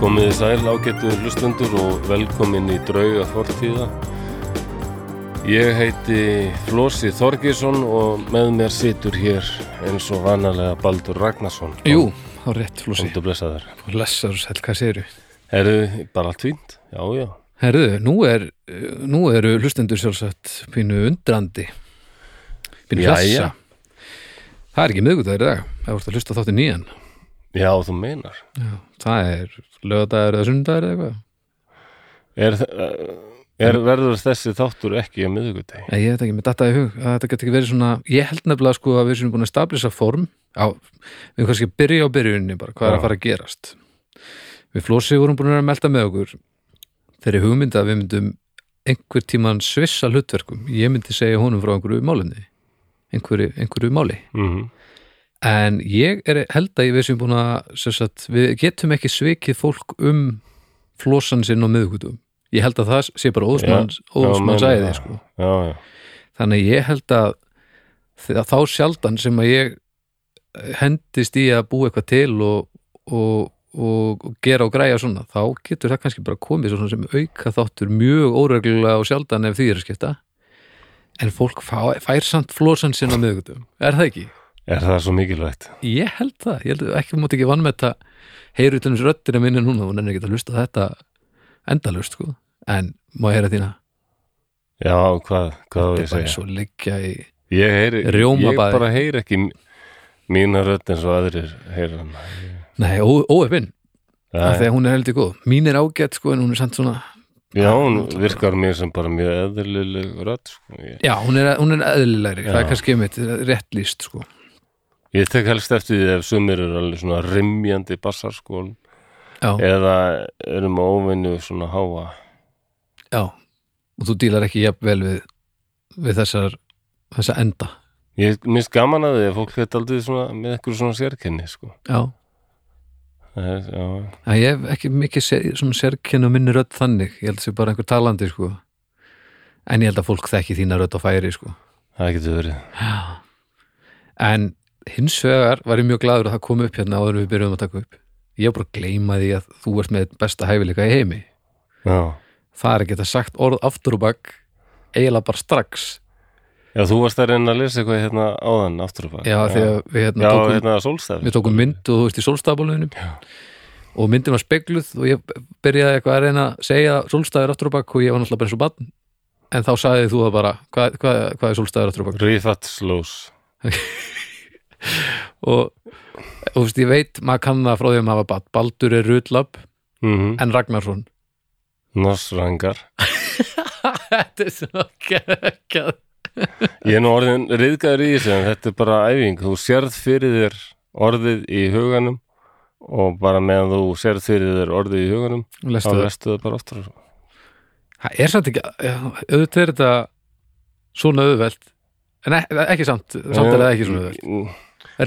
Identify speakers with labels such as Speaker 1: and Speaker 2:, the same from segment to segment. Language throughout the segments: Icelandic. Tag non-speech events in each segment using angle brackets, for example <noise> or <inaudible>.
Speaker 1: Komið sæl ágættu hlustundur og velkomin í drauga fortíða. Ég heiti Flósi Þorgesson og með mér situr hér eins og vanalega Baldur Ragnarsson.
Speaker 2: Jú, þá er rétt flósi
Speaker 1: Komdu blessa þær.
Speaker 2: Lessar og sæl, hvað segirðu?
Speaker 1: Herðu, bara allt fínt? Já, já.
Speaker 2: Herðu, nú, er, nú eru hlustendur sjálfsagt pínu undrandi Pínu
Speaker 1: Jæja.
Speaker 2: hlessa Það er ekki miðgudagur í dag Það voru að hlusta þáttu nýjan
Speaker 1: Já, þú meinar.
Speaker 2: Það er lögadagur eða sunnudagur eða eitthvað
Speaker 1: Er, þ- er verður þessi þáttur ekki að miðugudegi?
Speaker 2: Nei, Ég veit ekki, mér dattaði í hug að þetta geti ekki verið svona Ég held nefnilega sko að við séum búin að stablisa form á, við erum kannski að byrja á byrjunni bara, hvað er
Speaker 1: Já.
Speaker 2: að fara að gerast Við flósi vorum búin að vera að melda með okkur þeirri hugmynd að við myndum einhver tíman svissa hlutverkum ég myndi segja honum frá einhverju málinni einhverju, einhverju máli
Speaker 1: Mm
Speaker 2: Mhm. en ég er, held að við séum búin að sem sagt, við getum ekki svikið fólk um flósan sinn og miðgutum ég held að það sé bara óðsmanns óðsmannsæði sko
Speaker 1: Já, já.
Speaker 2: þannig að ég held að þegar þá sjaldan sem að ég eh, hendist í að búa eitthvað til og, og, og, og gera og græja svona, þá getur það kannski bara komið svona sem auka þáttur mjög óreglulega og sjaldan ef því er að skipta en fólk fá, fær samt flósan sinna miðgutum, er það ekki?
Speaker 1: Er það svo mikilvægt?
Speaker 2: Ég held það, ég held að ekki mátt ekki vann með þetta heyru til hans röddina minni núna og nennir ekki að hlusta á þetta endalust sko, en má ég heyra þína
Speaker 1: Já, hvað, hvað á
Speaker 2: þetta er
Speaker 1: ég að
Speaker 2: bara
Speaker 1: segja?
Speaker 2: eins og liggja í
Speaker 1: Ég heyri, ég
Speaker 2: Rjómabaði.
Speaker 1: bara heyri ekki m- mína rödd eins og aðrir heyra hann.
Speaker 2: nei, óöfinn af því
Speaker 1: Æ,
Speaker 2: að hún er heldur góð mín er ágætt sko en hún er samt svona
Speaker 1: Já, hún virkar mér sem bara mjög eðlileg rödd. Sko. Ég,
Speaker 2: já, hún er, hún er eðlilegri, það
Speaker 1: Já.
Speaker 2: er kannski mitt rétt líst sko,
Speaker 1: ég tek helst eftir því ef sumir eru alveg svona rimjandi bassar sko,
Speaker 2: já,
Speaker 1: eða eru með óvinnu svona háa.
Speaker 2: já og þú dílar ekki jafn vel við við þessar, þessa enda
Speaker 1: Ég minnst gaman að því að fólk þetta aldrei svona, með eitthvað svona sérkenni sko.
Speaker 2: já,
Speaker 1: Það er, já,
Speaker 2: já ég hef ekki mikið ser, svona sérkenn og minni rödd þannig, ég held að sé bara einhver talandi sko, en ég held að fólk þekki þína rödd á færi sko
Speaker 1: það getur verið.
Speaker 2: já. en hins vegar var ég mjög gladur að það kom upp hérna áður en við byrjuðum að taka upp ég var bara að gleyma því að þú ert með besta hæfileika í heimi
Speaker 1: Já.
Speaker 2: það er að geta sagt orð aftur og bakk eiginlega bara strax
Speaker 1: Já, þú varst að reyna að lesa eitthvað hérna áðan aftur og bara.
Speaker 2: já, því að við, hérna,
Speaker 1: Já,
Speaker 2: tókum,
Speaker 1: hérna sólstæð.
Speaker 2: við tókum mynd og þú veist í sólstafbólunum
Speaker 1: Já.
Speaker 2: og myndin var spegluð og ég byrjaði eitthvað að reyna að segja sólstafir aftur og bakk og ég var náttúrulega bara eins og bann en þá sagði þú það bara hvað, hvað, hvað er sólstafir aftur og bakk
Speaker 1: Rífat slós.
Speaker 2: og, og þú veist, ég veit maður kann það frá því að maður var bann Baldur er rullab
Speaker 1: Mm
Speaker 2: en Ragnarsson
Speaker 1: Norsrangar.
Speaker 2: <laughs> þetta er svo geggjað
Speaker 1: Ég er nú orðin riðgæður í þessu en þetta er bara æfing. Þú sérð fyrir þér orðið í huganum og bara meðan þú sérð fyrir þér orðið í huganum þá
Speaker 2: lestu það
Speaker 1: lestu það bara oftar.
Speaker 2: Það er samt ekki, já, auðvitað er þetta svona auðvelt en ek- ekki samt, samt er það ekki svona auðvelt
Speaker 1: Mm,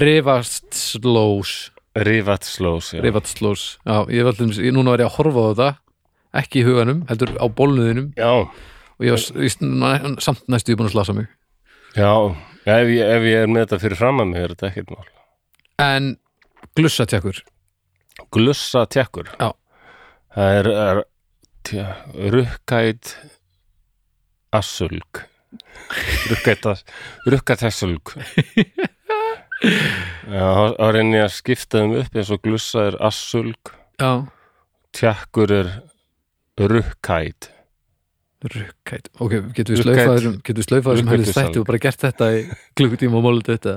Speaker 2: Rifast slós
Speaker 1: Rífat slós, já.
Speaker 2: Rifast slós, já, ég var allum núna var ég að horfa á þetta, ekki í huganum heldur á bólnuðinum
Speaker 1: Já,
Speaker 2: og ég var s- ég, næ- samt næstu ég búin að slasa mig
Speaker 1: já. Já, ef, ég, ef ég er með þetta fyrir fram að mig er þetta ekkert mál.
Speaker 2: en glussa tjekkur
Speaker 1: Glussa tjekkur.
Speaker 2: Já.
Speaker 1: Það er, er tja, rukkæt assulg. Rukkæt as- rukkæt
Speaker 2: <laughs>
Speaker 1: assulg. Já, þá- þá reyni ég að skipta þeim upp eins og glussa er assulg,
Speaker 2: já,
Speaker 1: tjekkur er rukkæt.
Speaker 2: rukkætt ok, getum við
Speaker 1: Rukkæt.
Speaker 2: slaufaðurum getum við slaufaðurum
Speaker 1: Rukkætt
Speaker 2: helvist
Speaker 1: salg.
Speaker 2: þætti og bara gert þetta í klukkutíma og mólið
Speaker 1: <laughs>
Speaker 2: þetta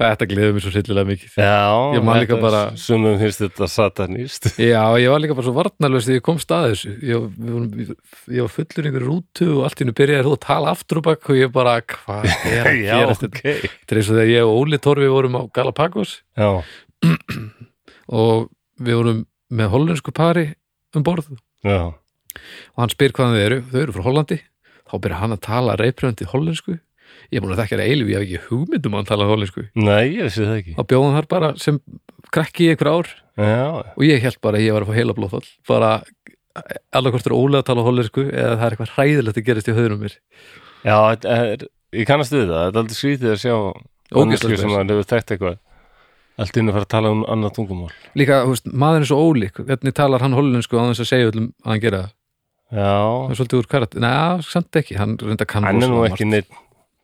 Speaker 2: þetta gleður mér svo sillilega mikið
Speaker 1: Já,
Speaker 2: Ég man líka
Speaker 1: þetta-
Speaker 2: bara-
Speaker 1: Sumum finnst þetta satanist.
Speaker 2: Já, ég var líka bara svo varnarlöst þegar ég komst að þessu ég, við vorum, ég var fullur einhverju rútu og allt í hennu byrjaði þú að tala aftur og bakk og ég bara, hvað er að
Speaker 1: <laughs> Já,
Speaker 2: gerast þetta
Speaker 1: ok.
Speaker 2: Þetta er eins og þegar ég og Óli Torfi vorum á Galapagos
Speaker 1: Já,
Speaker 2: og við vorum með hollensku pari um borð
Speaker 1: já,
Speaker 2: og hann spyr hvaðan þau eru, þau eru frá Hollandi þá byrjar hann að tala reyprjöndi hollensku ég er búin að þekkja það eilu, ég hef ekki hugmyndum að hann tala hollensku
Speaker 1: nei, ég vissi það ekki.
Speaker 2: þá bjóðum þar bara sem krakki í einhver ár
Speaker 1: Já,
Speaker 2: og ég held bara að ég var að fá heila blóðfall bara allakvort er ólega að tala hollensku eða það er eitthvað hræðilegt að gerast í höðunum mér
Speaker 1: já þetta er, ég kannast við það, þetta er aldrei skrítið að sjá
Speaker 2: Ógeðslega
Speaker 1: manneskju sem
Speaker 2: spes.
Speaker 1: hann hefur þekkt eitthvað Allt inn að fara að tala um annað tungumál.
Speaker 2: líka, þú veist, maður er svo ólík hvernig talar hann hollensku á þess að segja öllum að hann gera það, það
Speaker 1: Já,
Speaker 2: er svolítið úr karat neða, samt ekki, hann reynda kann
Speaker 1: hann er nú
Speaker 2: rosalega
Speaker 1: ekki
Speaker 2: margt.
Speaker 1: neitt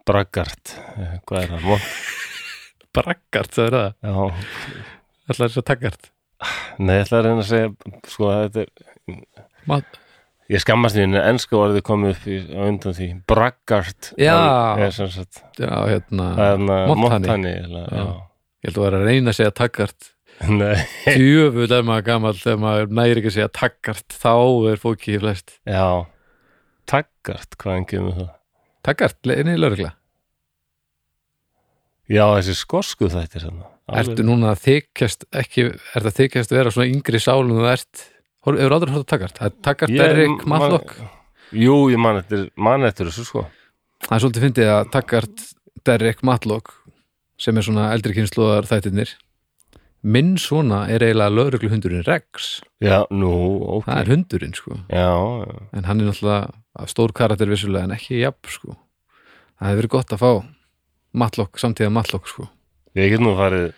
Speaker 1: braggart. Eh, Hvað er hann? Von-
Speaker 2: braggart, það er það,
Speaker 1: Já,
Speaker 2: alltaf þess að taggart
Speaker 1: nei, ég ætla að reyna að segja, sko, þetta er,
Speaker 2: Ma-
Speaker 1: ég skammast því en ennska orðið komið upp í, á undan því. Braggart.
Speaker 2: Já.
Speaker 1: Það er sem sagt,
Speaker 2: já, hérna,
Speaker 1: það er hana,
Speaker 2: Montani.
Speaker 1: montani. eða-
Speaker 2: Já.
Speaker 1: Já.
Speaker 2: ég held að vera að reyna að segja taggart
Speaker 1: <laughs> Nei,
Speaker 2: djöfull er maður gamall þegar maður næri ekki að segja taggart, þá er fólki í flest
Speaker 1: já. Taggart, hvaðan kemur það?
Speaker 2: taggart, einnig lögregla
Speaker 1: Já, þessi skosku þættir hann.
Speaker 2: Ertu núna að þykjast ekki, er það þykjast vera svona yngri sálum en þú ert Hor- Hefur aldrei hort að takkart? Takkart
Speaker 1: Ég-
Speaker 2: er Rick
Speaker 1: man-
Speaker 2: Matlock
Speaker 1: Jú, ég man eftir, man eftir þessu sko.
Speaker 2: Það er svolítið fyndið að Taggart Derrick Matlock sem er svona eldri kynnslóðar þættirnir minn svona er eiginlega lögreglu hundurinn Rex,
Speaker 1: Já, nú, ok.
Speaker 2: það er hundurinn sko
Speaker 1: Já,
Speaker 2: en hann er náttúrulega að stór karakter vissulega en ekki jafn sko það hefur verið gott að fá Matlock samtíða Matlock sko,
Speaker 1: ég get nú farið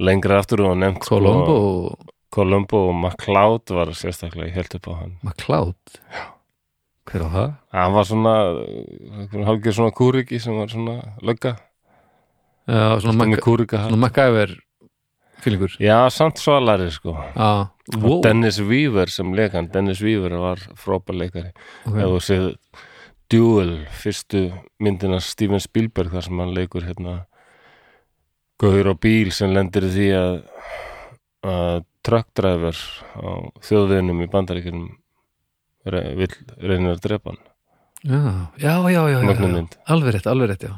Speaker 1: lengra aftur og nefnt sko,
Speaker 2: Colombo og
Speaker 1: Columbo og MacLeod var sérstaklega, ég held upp á hann.
Speaker 2: McCloud hver á það?
Speaker 1: Hann var svona, hálfgeir svona kúriki sem var svona lögga.
Speaker 2: Já, svona,
Speaker 1: Mac... Með
Speaker 2: Mac,
Speaker 1: kúrika hann.
Speaker 2: Ah. svona MacGyver fílingur
Speaker 1: Já, samt svalari sko.
Speaker 2: ah, wow,
Speaker 1: Og Dennis Weaver sem leikann, Dennis Weaver var frópa leikari.
Speaker 2: okay.
Speaker 1: Ef þú séð Duel, fyrstu myndina Steven Spielberg þar sem hann leikur hérna Gauður á bíl sem lendir í því að, að truckdræfur á þjóðveginum í bandaríkjunum re, vill reynir að drepa hann
Speaker 2: Já, já, já, já, já,
Speaker 1: Mögnuð
Speaker 2: já.
Speaker 1: mynd.
Speaker 2: Alveg rétt, alveg rétt, já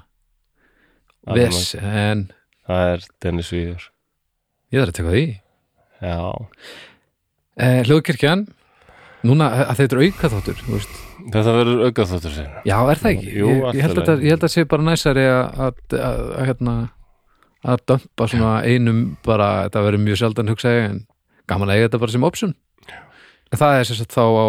Speaker 1: Alveg
Speaker 2: Ves, en
Speaker 1: það er Dennis Weaver
Speaker 2: ég þarf að teka því
Speaker 1: Já,
Speaker 2: eh, Hljóðkirkjan, núna að þetta er auka þáttur veist.
Speaker 1: þetta verður aukað þáttur sér
Speaker 2: Já, er það ekki?
Speaker 1: Jú,
Speaker 2: ég,
Speaker 1: allt
Speaker 2: ég, held
Speaker 1: í
Speaker 2: að, þetta-
Speaker 1: lagi.
Speaker 2: ég held að sé bara næsari að að- að- að hérna að dömpa svona einum bara, þetta verður mjög sjaldan hugsa ég en gaman að eiga þetta bara sem option En það er sem sagt þá á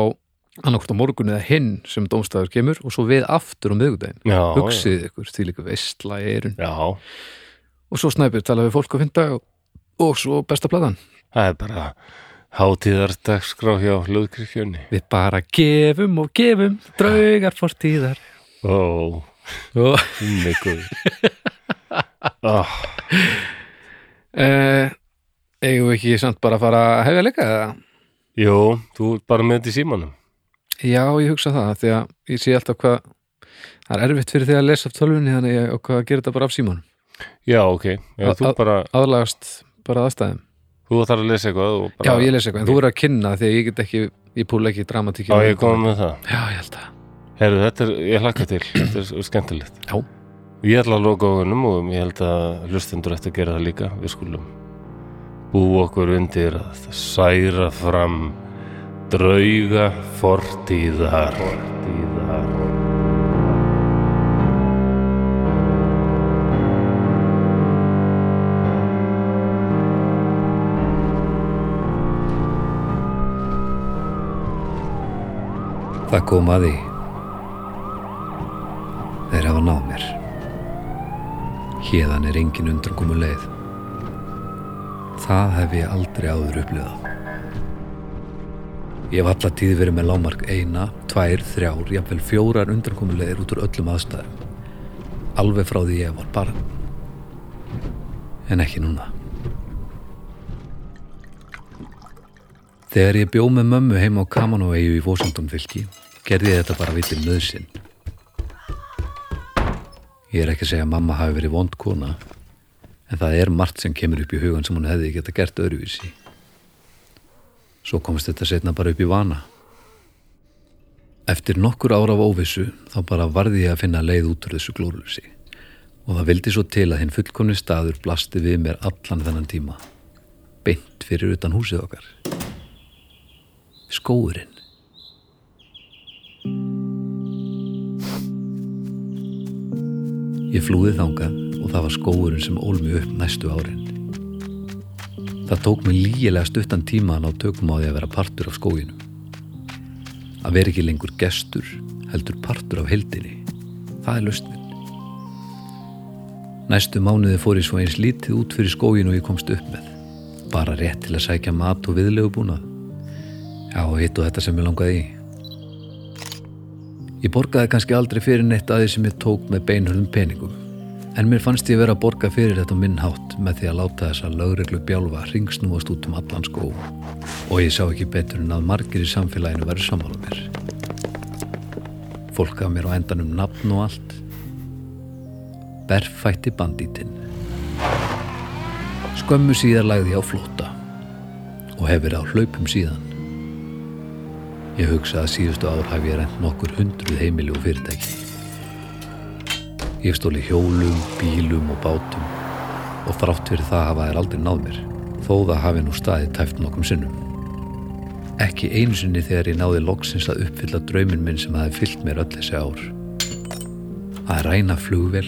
Speaker 2: annarkvort á morgun eða hinn sem dómstæður kemur og svo við aftur á miðgudaginn
Speaker 1: Já,
Speaker 2: Hugsið ykkur, því líka veistla í eirun
Speaker 1: já,
Speaker 2: og svo snæpið tala við fólk á fyndag og, og svo besta platan
Speaker 1: það er bara hátíðardagskrá hjá hljóðkirkjunni
Speaker 2: við bara gefum og gefum draugar fortíðar
Speaker 1: Ó,
Speaker 2: og
Speaker 1: mikið oh,
Speaker 2: eh, eigum við ekki samt bara að fara að hefja leika eða?
Speaker 1: Jú, þú ert bara með þetta í símanum
Speaker 2: já, ég hugsa það, því að ég sé alltaf hvað það er erfitt fyrir því að lesa af tölvunni þannig ég og hvað að gera þetta bara af símanum
Speaker 1: Já, ok, já,
Speaker 2: Að-
Speaker 1: þú
Speaker 2: að-
Speaker 1: bara
Speaker 2: aðlagast bara aðstæðum
Speaker 1: þú þarf að lesa eitthvað og
Speaker 2: já,
Speaker 1: bara,
Speaker 2: ég les eitthvað, en þú er að kynna því að ég get ekki, ég púla ekki dramatíki
Speaker 1: Já, ég kom með það
Speaker 2: já, ég held að
Speaker 1: Herru, þetta er, ég hlakka
Speaker 2: <clears throat>
Speaker 1: til, þetta er s- skemmtilegt
Speaker 2: Já.
Speaker 1: Ég ætla að loka ogunum og ég held að hlustendur eftir að gera það líka við skulum bú okkur undir að særa fram drauga fortíðar Fortíðar
Speaker 3: Það kom að því. Þeir hafa náð mér. Hérðan er engin undankomu um leið. Það hef ég aldrei áður upplifað. Ég hef alla tíð verið með lámark eina, tvær, þrjár, jafnvel fjórar undankomu leiðir út úr öllum aðstæðum. Alveg frá því ég var barn. En ekki núna. Þegar ég bjó með mömmu heim á Kamanóeyju í Vosendum fylki, gerði ég þetta bara vitið nöðsinn. Ég er ekki að segja að mamma hafi verið vond kona, en það er margt sem kemur upp í hugan sem hún hefði geta gert öðruvísi. Svo komst þetta setna bara upp í vana. Eftir nokkur ára af óvissu þá bara varði ég að finna leið út úr þessu glórulsi og það vildi svo til að hinn fullkomni staður blasti við mér allan þennan tíma, beint fyrir utan húsið okkar skóurinn. Ég flúði þangað og það var skóurinn sem ól mig upp næstu árin. Það tók mig lígilega stuttan tíma að ná tökum á því að vera partur af skóginum. Að vera ekki lengur gestur, heldur partur af heldinni. Það er lustin. Næstu mánuði fór ég svo eins lítið út fyrir skógin og ég komst upp með. Bara rétt til að sækja mat og viðlegubúna. Já, hitt og þetta sem ég langaði í. Ég borgaði kannski aldrei fyrir neitt að því sem ég tók með beinhölum peningum. En mér fannst ég vera að borga fyrir þetta á minn hátt með því að láta þessa lögreglu bjálfa ringsnúast út um allan skó. Og ég sá ekki betur en að margir í samfélaginu veru sammála mér. Fólk gaf mér á endanum nafn og allt. Berfætti bandítinn. Skömmu síðar lagði ég á flóta og hef verið á hlaupum síðan. Ég hugsa að síðustu ár hef ég rent nokkur hundruð heimili og fyrirtæki. Ég hef stóli hjólum, bílum og bátum og þrátt fyrir það hafa þær aldrei náð mér, þó það hafi nú staði tæft nokkrum sinnum. Ekki einu sinni þegar ég náði loksins að uppfylla draumin minn sem hafi fyllt mér öll þessi ár. Að ræna flugvel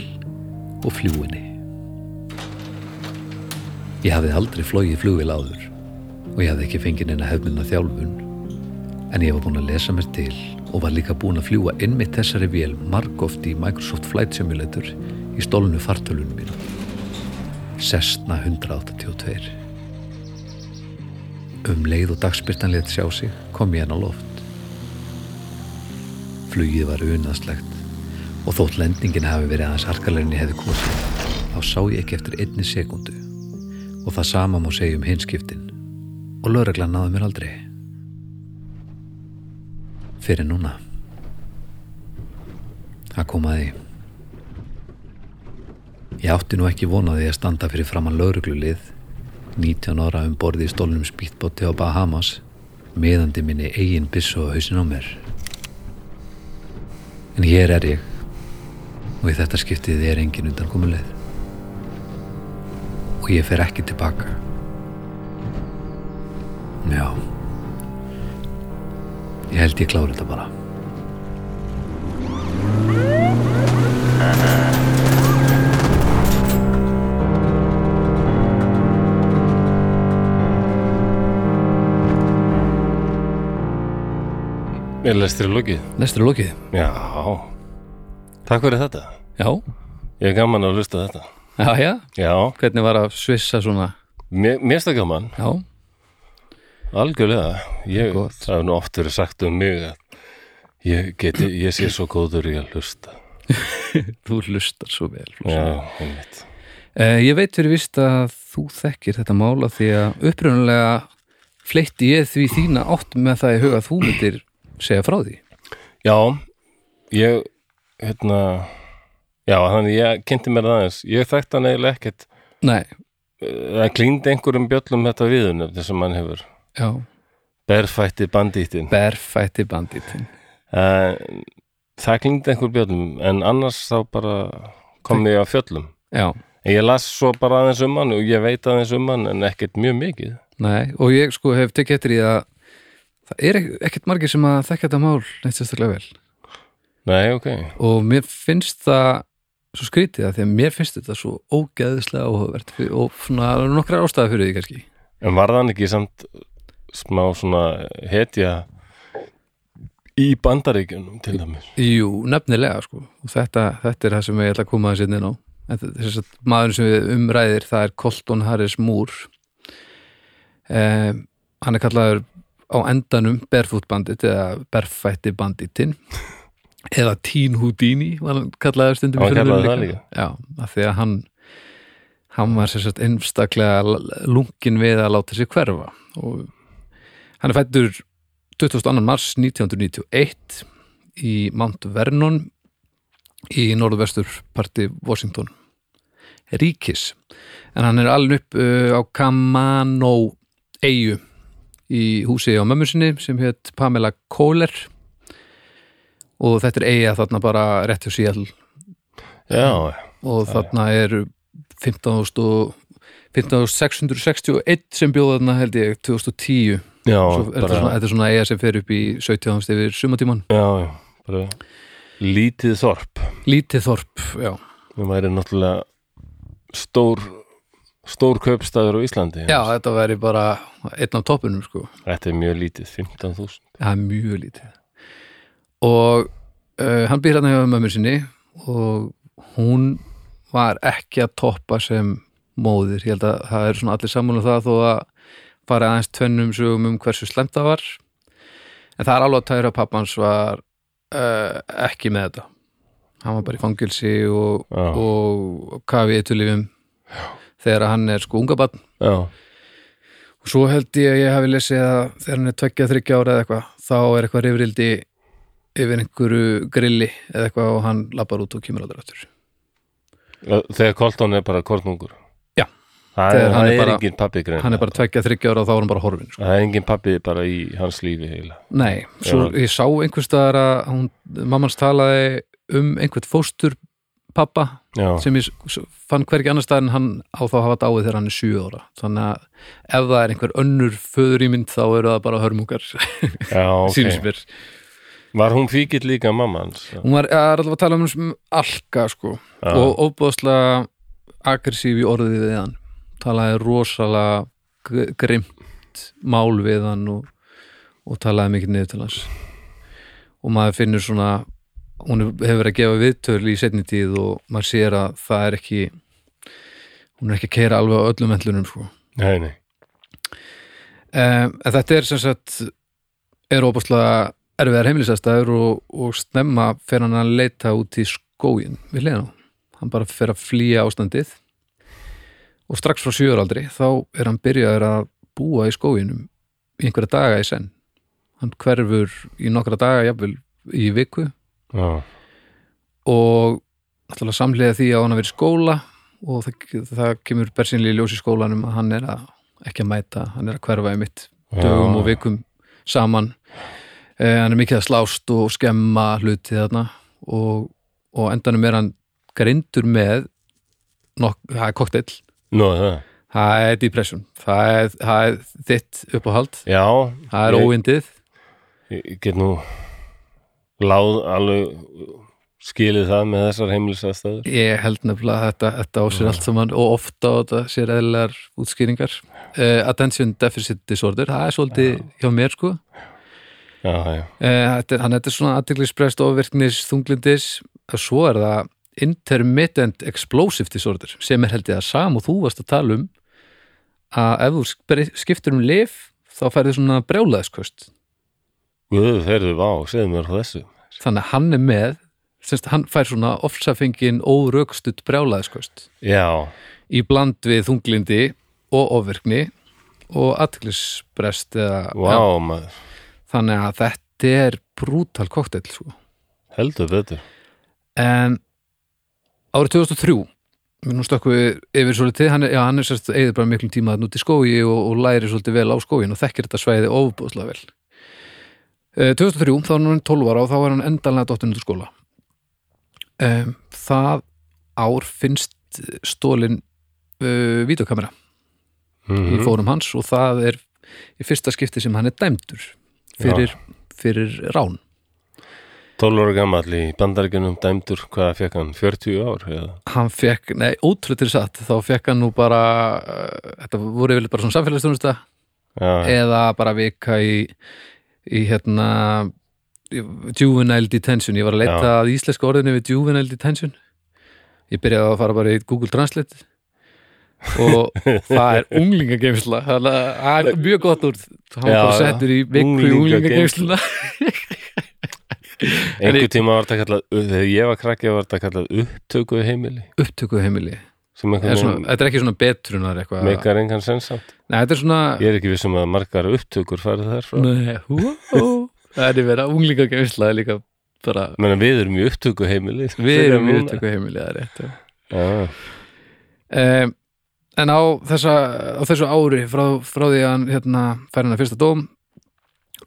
Speaker 3: og fljúinni. Ég hafði aldrei flogið flugvel áður og ég hafði ekki fengið neina hefmilna þjálfun en ég var búinn að lesa mér til og var líka búinn að fljúa innmitt þessari vél margóft í Microsoft Flight Simulator í stólunu fartölunum mínu. Cessna 182. Um leið og dagspyrtan let sjá sig kom ég henn á loft. Flugið var unaðslegt og þótt lendingin hafi verið aðeins harkalegni hefði kosið þá sá ég ekki eftir einni sekundu og það sama má segja um hinskiptin og lögreglan náði mér aldrei fyrir núna að koma að því ég átti nú ekki vonaði að standa fyrir framann lauruglulið 19 ára um borði í stólnum spýtbóti á Bahamas meðandi minni eigin byssu á hausin á mér en hér er ég og í þetta skiptið er engin undankomuleið og ég fer ekki tilbaka já Ég held ég klári þetta bara.
Speaker 1: Ég lestir í lokið.
Speaker 2: Lestur er lokið.
Speaker 1: Já. Takk fyrir þetta.
Speaker 2: Já,
Speaker 1: Ég er gaman að lusta þetta.
Speaker 2: já, já.
Speaker 1: Já,
Speaker 2: Hvernig var að svissa svona?
Speaker 1: mér, mér stað gaman.
Speaker 2: Já,
Speaker 1: Algjörlega. Ég,
Speaker 2: Gott.
Speaker 1: það er nú oft verið sagt um mig að ég, geti, ég sé svo góður í að lusta.
Speaker 2: þú lustar svo vel.
Speaker 1: Já, einmitt.
Speaker 2: Eh, ég veit fyrir vist að þú þekkir þetta mála því að upprunalega fleitti ég því þína átt með það í huga að þú myndir segja frá því.
Speaker 1: Já, ég, hérna, já, þannig ég kynnti mér það aðeins. Ég þekkti hann eiginlega ekkert
Speaker 2: Nei,
Speaker 1: það klíndi einhverjum bjöllum þetta viðunum sem hann hefur
Speaker 2: já,
Speaker 1: berfætti bandítin
Speaker 2: berfætti banditinn.
Speaker 1: uh, það klíndi einhver bjöllum en annars þá bara kom ég á fjöllum
Speaker 2: Já,
Speaker 1: en ég las svo bara aðeins um hann og ég veit aðeins um hann en ekkert mjög mikið
Speaker 2: nei, og ég sko hef tekið eftir í að það er ekk- ekkert margir sem að þekka þetta mál neitt sérstaklega vel.
Speaker 1: nei ok,
Speaker 2: og mér finnst það svo skrítið að því að mér finnst þetta svo ógeðislega áhugavert fyrir- og svona það eru nokkrar ástæða fyrir því kannski
Speaker 1: en varð hann ekki samt smá svona hetja í bandaríkjunum til dæmis
Speaker 2: Jú, nefnilega sko og þetta, þetta er það sem ég ætla að koma hérna að sinni ná þess að maður sem við umræðir það er Colton Harris Moore um, hann er kallaður á endanum Barefoot Bandit eða Berfætti Banditinn eða Teen Houdini var hann kallaður stundum í
Speaker 1: Hann var
Speaker 2: fjölmiðlum
Speaker 1: kallaður það
Speaker 2: Já, af því að hann hann var sérsagt einstaklega l- lunginn við að láta sér hverfa og hann er fættur 22. mars 1991 í Mount Vernon í norðvesturparti Washington ríkis en hann er alveg upp uh, á Kamano eigu í húsi á mömmu sinni sem hétt Pamela Kohler og þetta er eiga þarna bara rétt hjá Seattle
Speaker 1: já,
Speaker 2: og þarna eru 15.000 og 15.661 sem bjóða þarna held ég 2010
Speaker 1: já,
Speaker 2: Svo er þetta
Speaker 1: bara,
Speaker 2: svona, þetta er svona eiga sem fer upp í 17. yfir sumatíman
Speaker 1: já, já bara, lítið þorp
Speaker 2: lítið þorp, já,
Speaker 1: Við væri náttúrulega stór stór kaupstæður á Íslandi
Speaker 2: já þetta væri bara einn af toppunum sko
Speaker 1: Þetta er mjög lítið, 15.000
Speaker 2: það er mjög lítið eh, og uh, hann býr hérna hjá mömmu sinni og hún var ekki að toppa sem móðir, ég held að það eru svona allir saman og það þó að fara aðeins tvennum sögum um hversu slemt það var en það er alveg að tæra að pappans var uh, ekki með þetta hann var bara í fangilsi og,
Speaker 1: Já.
Speaker 2: og kafi eitulifum þegar hann er sko unga barn
Speaker 1: já,
Speaker 2: og svo held ég að ég hafi lesið að þegar hann er 23 ára eða eitthvað þá er eitthvað rifrildi yfir einhverju grilli eða eitthvað og hann lappar út og kemur aldrei aftur
Speaker 1: þegar Colton er bara kornungur
Speaker 2: Já.
Speaker 1: það
Speaker 2: Þegar
Speaker 1: er,
Speaker 2: hann er
Speaker 1: það er
Speaker 2: bara-
Speaker 1: engin pappi grein
Speaker 2: hann er bara 23 ára og þá er hann bara horfin sko.
Speaker 1: það er engin pappi bara í hans lífi heila
Speaker 2: nei, svo ég sá einhverstaðar að hún, mammans talaði um einhvert fóstur pappa
Speaker 1: já,
Speaker 2: sem ég s- s- fann hvergi annar stað en hann á þá hafa dáið þegar hann er 7 ára þannig að ef það er einhver önnur föðurýmynd þá eru það bara hörmungar <laughs>
Speaker 1: já,
Speaker 2: sínum
Speaker 1: ok
Speaker 2: mér
Speaker 1: var hún fíkild líka mamma hans já,
Speaker 2: hún var er alltaf að tala um sem alka sko og óbúðslega aggressív í orðið við hann talaði rosalega gr- grimt mál við hann og, og talaði mikið niður til hans og maður finnur svona hún hefur verið að gefa viðtöl í setni tíð og maður sér að það er ekki hún er ekki að keira alveg á öllum endlunum sko
Speaker 1: nei, nei,
Speaker 2: Um, en þetta er sem sagt er óbúslega erfiðar heimilisastæður og, og snemma fer hann að leita út í skógin við leiðan á. Hann bara fer að flýja ástandið og strax frá sjöuraldri þá er hann byrjaður að búa í skóginum í einhverja daga í senn. Hann hverfur í nokkra daga jafnvel í viku
Speaker 1: já,
Speaker 2: og náttúrulega samlega því að hann að vera í skóla og það, það kemur bersinlega í ljós í skólanum að hann er að ekki að mæta, hann er að hverfa í mitt dögum
Speaker 1: Já.
Speaker 2: og vikum saman eh, hann er mikið að slást og skemma hluti þarna og, og endanum er hann grindur með nokk, það er kokteill
Speaker 1: nú er það
Speaker 2: það er depression, það er, það er þitt uppáhald,
Speaker 1: já,
Speaker 2: það er
Speaker 1: ég-
Speaker 2: óindið
Speaker 1: ég get nú láð alveg skilið það með þessar heimilisastæður
Speaker 2: Ég held nefnilega að þetta, þetta á sér allt saman og ofta á þetta sér eðlilegar útskýringar. Uh, attention deficit disorder, það er svolítið hjá mér sko.
Speaker 1: já, já,
Speaker 2: Uh, þetta, er- hann þetta er svona aðtiklisprest ofvirknis þunglindis og svo er það intermittent explosive disorder sem er held ég að sam og þú varst að tala um að ef þú spre- skiptir um lif þá færðu svona brjálaðisköst.
Speaker 1: guðu ferðu vá, segðu mér frá þessu
Speaker 2: Þannig að hann er með, semst hann fær svona ofsafengin órökstutt brjálaðisköst.
Speaker 1: já,
Speaker 2: í bland við þunglindi og ofvirkni og atklisbrest eða,
Speaker 1: vá,
Speaker 2: Já,
Speaker 1: maður
Speaker 2: þannig að þetta er brútal kokteill sko.
Speaker 1: heldur betur
Speaker 2: en árið 2003 nú stökkum við yfir svolítið hann er, já, hann er sérst eigður bara miklum tíma þannig út í skói og, og læri svolítið vel á skóin og þekkir þetta svæði ofbúðslega vel Eh, 2003, þá er hann orðinn 12 ára og þá er hann endanlega dottinn út úr skóla um, það ár finnst stólin uh, vídeokamera
Speaker 1: mm
Speaker 2: í fórum hans og það er í fyrsta skipti sem hann er dæmdur fyrir, fyrir rán
Speaker 1: 12 ára gamall í bandaríkjunum dæmdur, hvað fekk hann, 40 ár eða?
Speaker 2: hann fekk, nei, ótrúlega til satt þá fekk hann nú bara uh, þetta voru yfirleitt bara svona samfélagsþjónusta
Speaker 1: Já,
Speaker 2: eða bara vika í, í hérna í- juvenile detention, ég var að leita
Speaker 1: Já.
Speaker 2: að íslenska orðinu við juvenile detention ég byrjaði að fara bara í Google Translate
Speaker 1: <laughs>
Speaker 2: og það er unglingageimsla þannig að það er mjög gott úr hann var
Speaker 1: Já,
Speaker 2: bara
Speaker 1: já.
Speaker 2: settur í vikku í
Speaker 1: Unglingageymslu.
Speaker 2: unglingageimsluna
Speaker 1: einhver tíma var þetta kallað, þegar ég var krakki var þetta kallað upptöku heimili
Speaker 2: upptöku heimili
Speaker 1: sem
Speaker 2: er
Speaker 1: einhvern
Speaker 2: svona,
Speaker 1: veginn
Speaker 2: þetta er ekki svona betrunar eitthvað
Speaker 1: meikar engan sensamt.
Speaker 2: nei, þetta er svona
Speaker 1: Ég er ekki vissum að margar upptökur farið þar frá.
Speaker 2: nei, hú, hú, það er verið að unglingageimsla er líka bara
Speaker 1: Menna við erum í upptöku heimili.
Speaker 2: við erum í upptöku heimili það er rétt, já.
Speaker 1: Já,
Speaker 2: um, en á, þessa, á þessu ári frá, frá því að hann hérna, fær hann að fyrsta dóm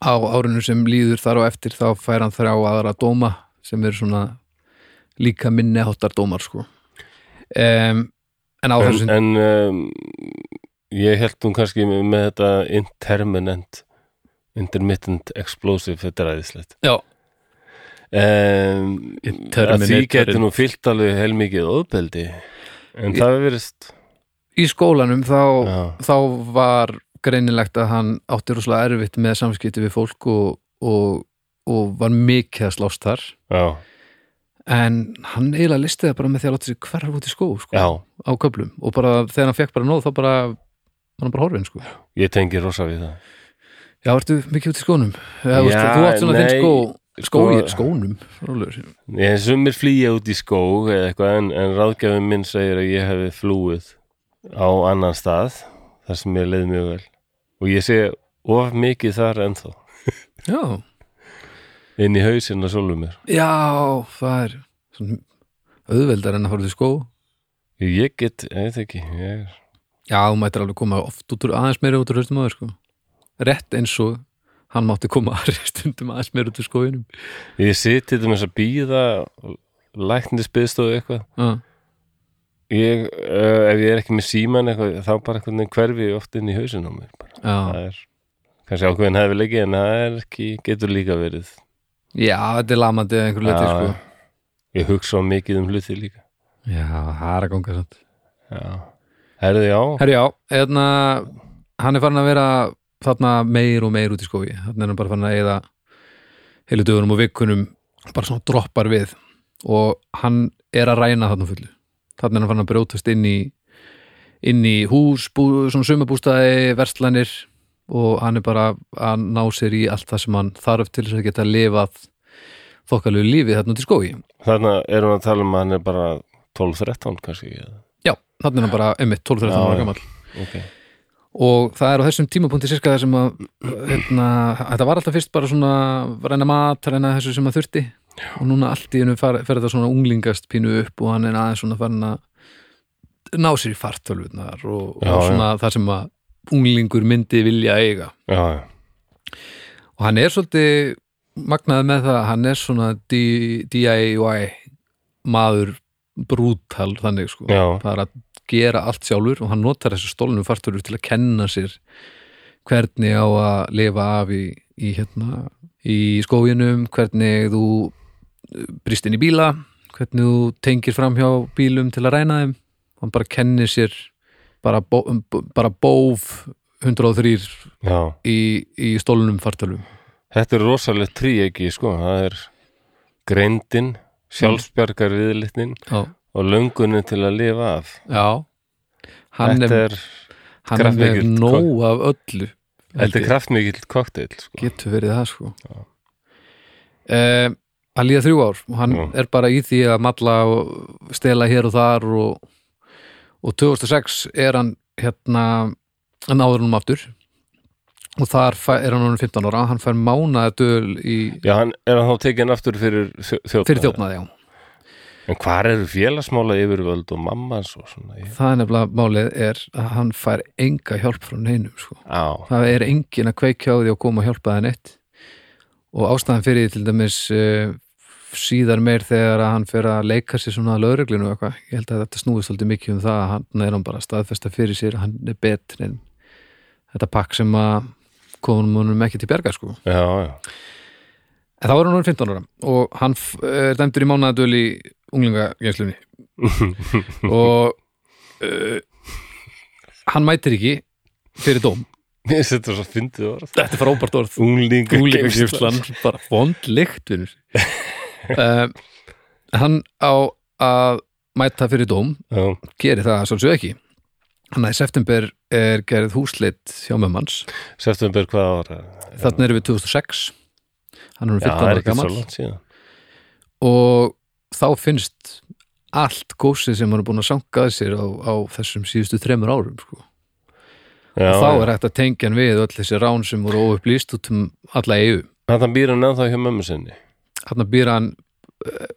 Speaker 2: á árinu sem líður þar og eftir þá fær hann þrjá aðra dóma sem eru svona líka minni háttar dómar sko um, en á
Speaker 1: en,
Speaker 2: þessu
Speaker 1: en um, ég held hún kannski með, með þetta interminent, intermittent explosive, þetta er æðislegt.
Speaker 2: já,
Speaker 1: Um, að því getur nú fyllt alveg heilmikið óbeldi, en
Speaker 2: Ég-
Speaker 1: það hefur verið,
Speaker 2: í skólanum þá
Speaker 1: já,
Speaker 2: þá var greinilegt að hann átti rosalega erfitt með samskipti við fólk og, og, og var mikið að slást þar
Speaker 1: já,
Speaker 2: en hann eiginlega listi það bara með því að láta sér hverfa út í skó sko,
Speaker 1: já,
Speaker 2: á köflum og bara þegar hann fekk bara nóð þá bara var hann bara horfinn sko
Speaker 1: ég tengi rosa við það
Speaker 2: Já, ertu mikið út í skónum? Já,
Speaker 1: Já,
Speaker 2: þú, veist, þú átt svona þinn
Speaker 1: nei,
Speaker 2: skó skó,
Speaker 1: sko-
Speaker 2: skónum, rólaugur
Speaker 1: ég sumir flýja út í skó eða eitthvað en, en ráðgjafum minn segir að ég hefði flúið á annan stað þar sem ég leið mjög vel og ég sé of mikið þar ennþá
Speaker 2: Já,
Speaker 1: inn í hausinn að sólu mér
Speaker 2: já, það er svona auðveldar en að fara út í skó
Speaker 1: ég get, ég veit ekki ég er
Speaker 2: Já, þú mættir alveg koma oft út úr aðeins meira út úr höstum aður sko Rett eins og hann mátti koma <laughs> aðri stundum aðeins meira út úr skóinum
Speaker 1: Ég sit til dæmis að býða læknisbyðstofu eitthvað
Speaker 2: Já,
Speaker 1: ég, uh, ef ég er ekki með síman eitthvað, þá bara einhvern veginn hverfi ég oft inn í hausinn á mér bara.
Speaker 2: já,
Speaker 1: það er kannski ákveðin hefilegi en það er ekki, getur líka verið
Speaker 2: já, þetta er lamandi eða einhverju leti
Speaker 1: Já.
Speaker 2: sko
Speaker 1: ég hugsa of mikið um hluti líka
Speaker 2: Já, það er að ganga samt
Speaker 1: já, herðu já
Speaker 2: Herri já, hérna hann er farin að vera þarna meir og meir út í skói þarna er hann bara farin að eyða heilu dögunum og vikunum bara svona droppar við og hann er að ræna þarna á fullu þarna er hann farin að brjótast inn í inn í hús, bú, svona sumabústaði verslanir og hann er bara að ná sér í allt það sem hann þarf til þess að geta lifað þokkalegu lífið þarna út í skói
Speaker 1: þarna erum við að tala um að hann er bara 12-13 kannski eða.
Speaker 2: já, þarna er hann bara einmitt 12-13
Speaker 1: Já,
Speaker 2: ára
Speaker 1: já.
Speaker 2: gamall
Speaker 1: ok,
Speaker 2: og það er á þessum tímapunkti sérska þar sem að hérna, þetta var alltaf fyrst bara svona reyna mat, reyna þessu sem að þurfti og núna allt í hennu fer, fer þetta svona unglingast pínu upp og hann er aðeins svona farin að ná sér í fartölvurnar og,
Speaker 1: Já,
Speaker 2: og svona það sem að unglingur myndi vilja eiga
Speaker 1: já, já
Speaker 2: og hann er svolítið magnaði með það að hann er svona D- DIY maður brútal þannig sko
Speaker 1: Já.
Speaker 2: það er að gera allt sjálfur og hann notar þessu stólnum fartúrur til að kenna sér hvernig á að lifa af í, í hérna í skóginum, hvernig þú brist inn í bíla hvernig þú tengir fram hjá bílum til að ræna þeim hann bara kennir sér bara, bó, um, bara bóf 103
Speaker 1: Já,
Speaker 2: í, í stólnum fartölum
Speaker 1: þetta er rosalega trí ekki, sko, það er greindin, sjálfsbjargar viðlitnin
Speaker 2: Já,
Speaker 1: og löngunin til að lifa af
Speaker 2: já. Hann
Speaker 1: þetta
Speaker 2: er,
Speaker 1: er,
Speaker 2: hann er með
Speaker 1: kraftmikill
Speaker 2: nóg af öllu
Speaker 1: þetta
Speaker 2: held
Speaker 1: er
Speaker 2: ég.
Speaker 1: kraftmikill kokteil sko.
Speaker 2: getur verið það sko um, að líða þrjú ár og hann
Speaker 1: Já.
Speaker 2: er bara í því að malla og stela hér og þar og, og 2006 er hann hérna hann áður hann aftur og þar fæ- er hann orðinn 15 ára hann fær mánaða döl í
Speaker 1: Já, hann er hann þá tekinn aftur fyrir þjófnaði.
Speaker 2: fyrir þjófnaði, já,
Speaker 1: En hvar eru félagsmála yfirvöld og mamma hans og svona? Ég...
Speaker 2: það er nefnilega málið er að hann fær enga hjálp frá neinum sko
Speaker 1: Á,
Speaker 2: það er engin að kveikja á því að koma og hjálpa það neitt og ástæðan fyrir því til dæmis uh, síðar meir þegar að hann fer að leika sér svona að lögreglinu og eitthvað ég held að þetta snúist svolítið mikið um það að hann er hann bara að staðfesta fyrir sér að hann er betri en þetta pakk sem að komum honum ekki til bjarga sko
Speaker 1: já, já.
Speaker 2: en þá er hann orðinn 15 ára og hann f- er dæmdur í mánaðadöl í <laughs> unglingagenslunni og uh, hann mætir ekki fyrir dóm
Speaker 1: Mér setur svo fyndið orð.
Speaker 2: þetta er frábært orð
Speaker 1: Unglinga
Speaker 2: Gúlíkislan bara vondlikt
Speaker 1: <laughs>
Speaker 2: vinnur uh, Hann á að mæta fyrir dóm
Speaker 1: Já,
Speaker 2: gerir það svolítið ekki hann að í september er gerð húsleitt hjá mömmu hans,
Speaker 1: september hvað ára?
Speaker 2: þarna erum við 2006 hann er
Speaker 1: Já,
Speaker 2: 15
Speaker 1: það er
Speaker 2: ára
Speaker 1: ekki
Speaker 2: gammal
Speaker 1: svo langt síðan.
Speaker 2: og þá finnst allt gósið sem hann er búin að sankaði sér á, á þessum síðustu þremur árum sko.
Speaker 1: Já,
Speaker 2: og þá
Speaker 1: já.
Speaker 2: er hægt að tengja hann við öll þessi rán sem voru óupplýst út um alla EU
Speaker 1: Þannig býr hann ennþá hjá mömmu sinni.
Speaker 2: hann býr hann eh,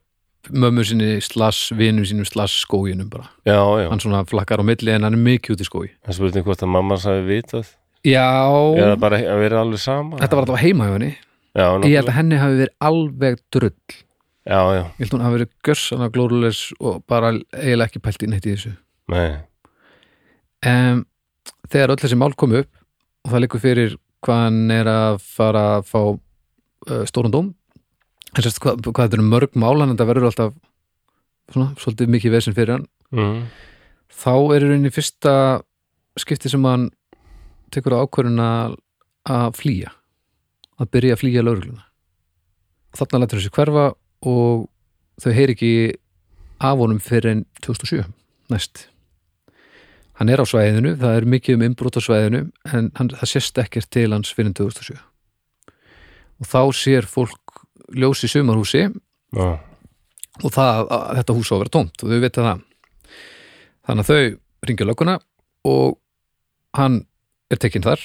Speaker 2: mömmu sinni slass, vinum sínum slass skóginum bara,
Speaker 1: Já, já.
Speaker 2: hann svona flakkar á milli en hann er mikið út í skói
Speaker 1: Það spurði hvort að mamma hans hafi vitað.
Speaker 2: já,
Speaker 1: Eða bara að vera alveg sama.
Speaker 2: þetta var alltaf heima hjá henni
Speaker 1: Já,
Speaker 2: ég
Speaker 1: náttúrulega.
Speaker 2: held að henni hafi verið alveg drull ég
Speaker 1: Já, já.
Speaker 2: held hún hafi verið görsana glórulegs og bara eiginlega ekki pælt inn eitt í þessu
Speaker 1: Nei.
Speaker 2: um, þegar öll þessi mál kom upp og það liggur fyrir hvað hann er að fara að fá uh, stórun dóm en sérst hvað, hvað þetta eru mörg mál hann þetta verður alltaf svona, svolítið mikið vesinn fyrir hann
Speaker 1: Mm.
Speaker 2: þá er í rauninni fyrsta skipti sem hann tekur á ákvörðun að að flýja að byrja að flýja laurugluna þarna lætur þessi hverfa og þau heyri ekki af honum fyrir en 2007 næst hann er á svæðinu, það er mikið um innbrot á svæðinu en hann, það sést ekkert til hans fyrir en 2007 og þá sér fólk ljós í sumarhúsi
Speaker 1: já,
Speaker 2: og það, að, þetta hús á að vera tómt og þau vita það þannig að þau ringja lögguna og hann er tekinn þar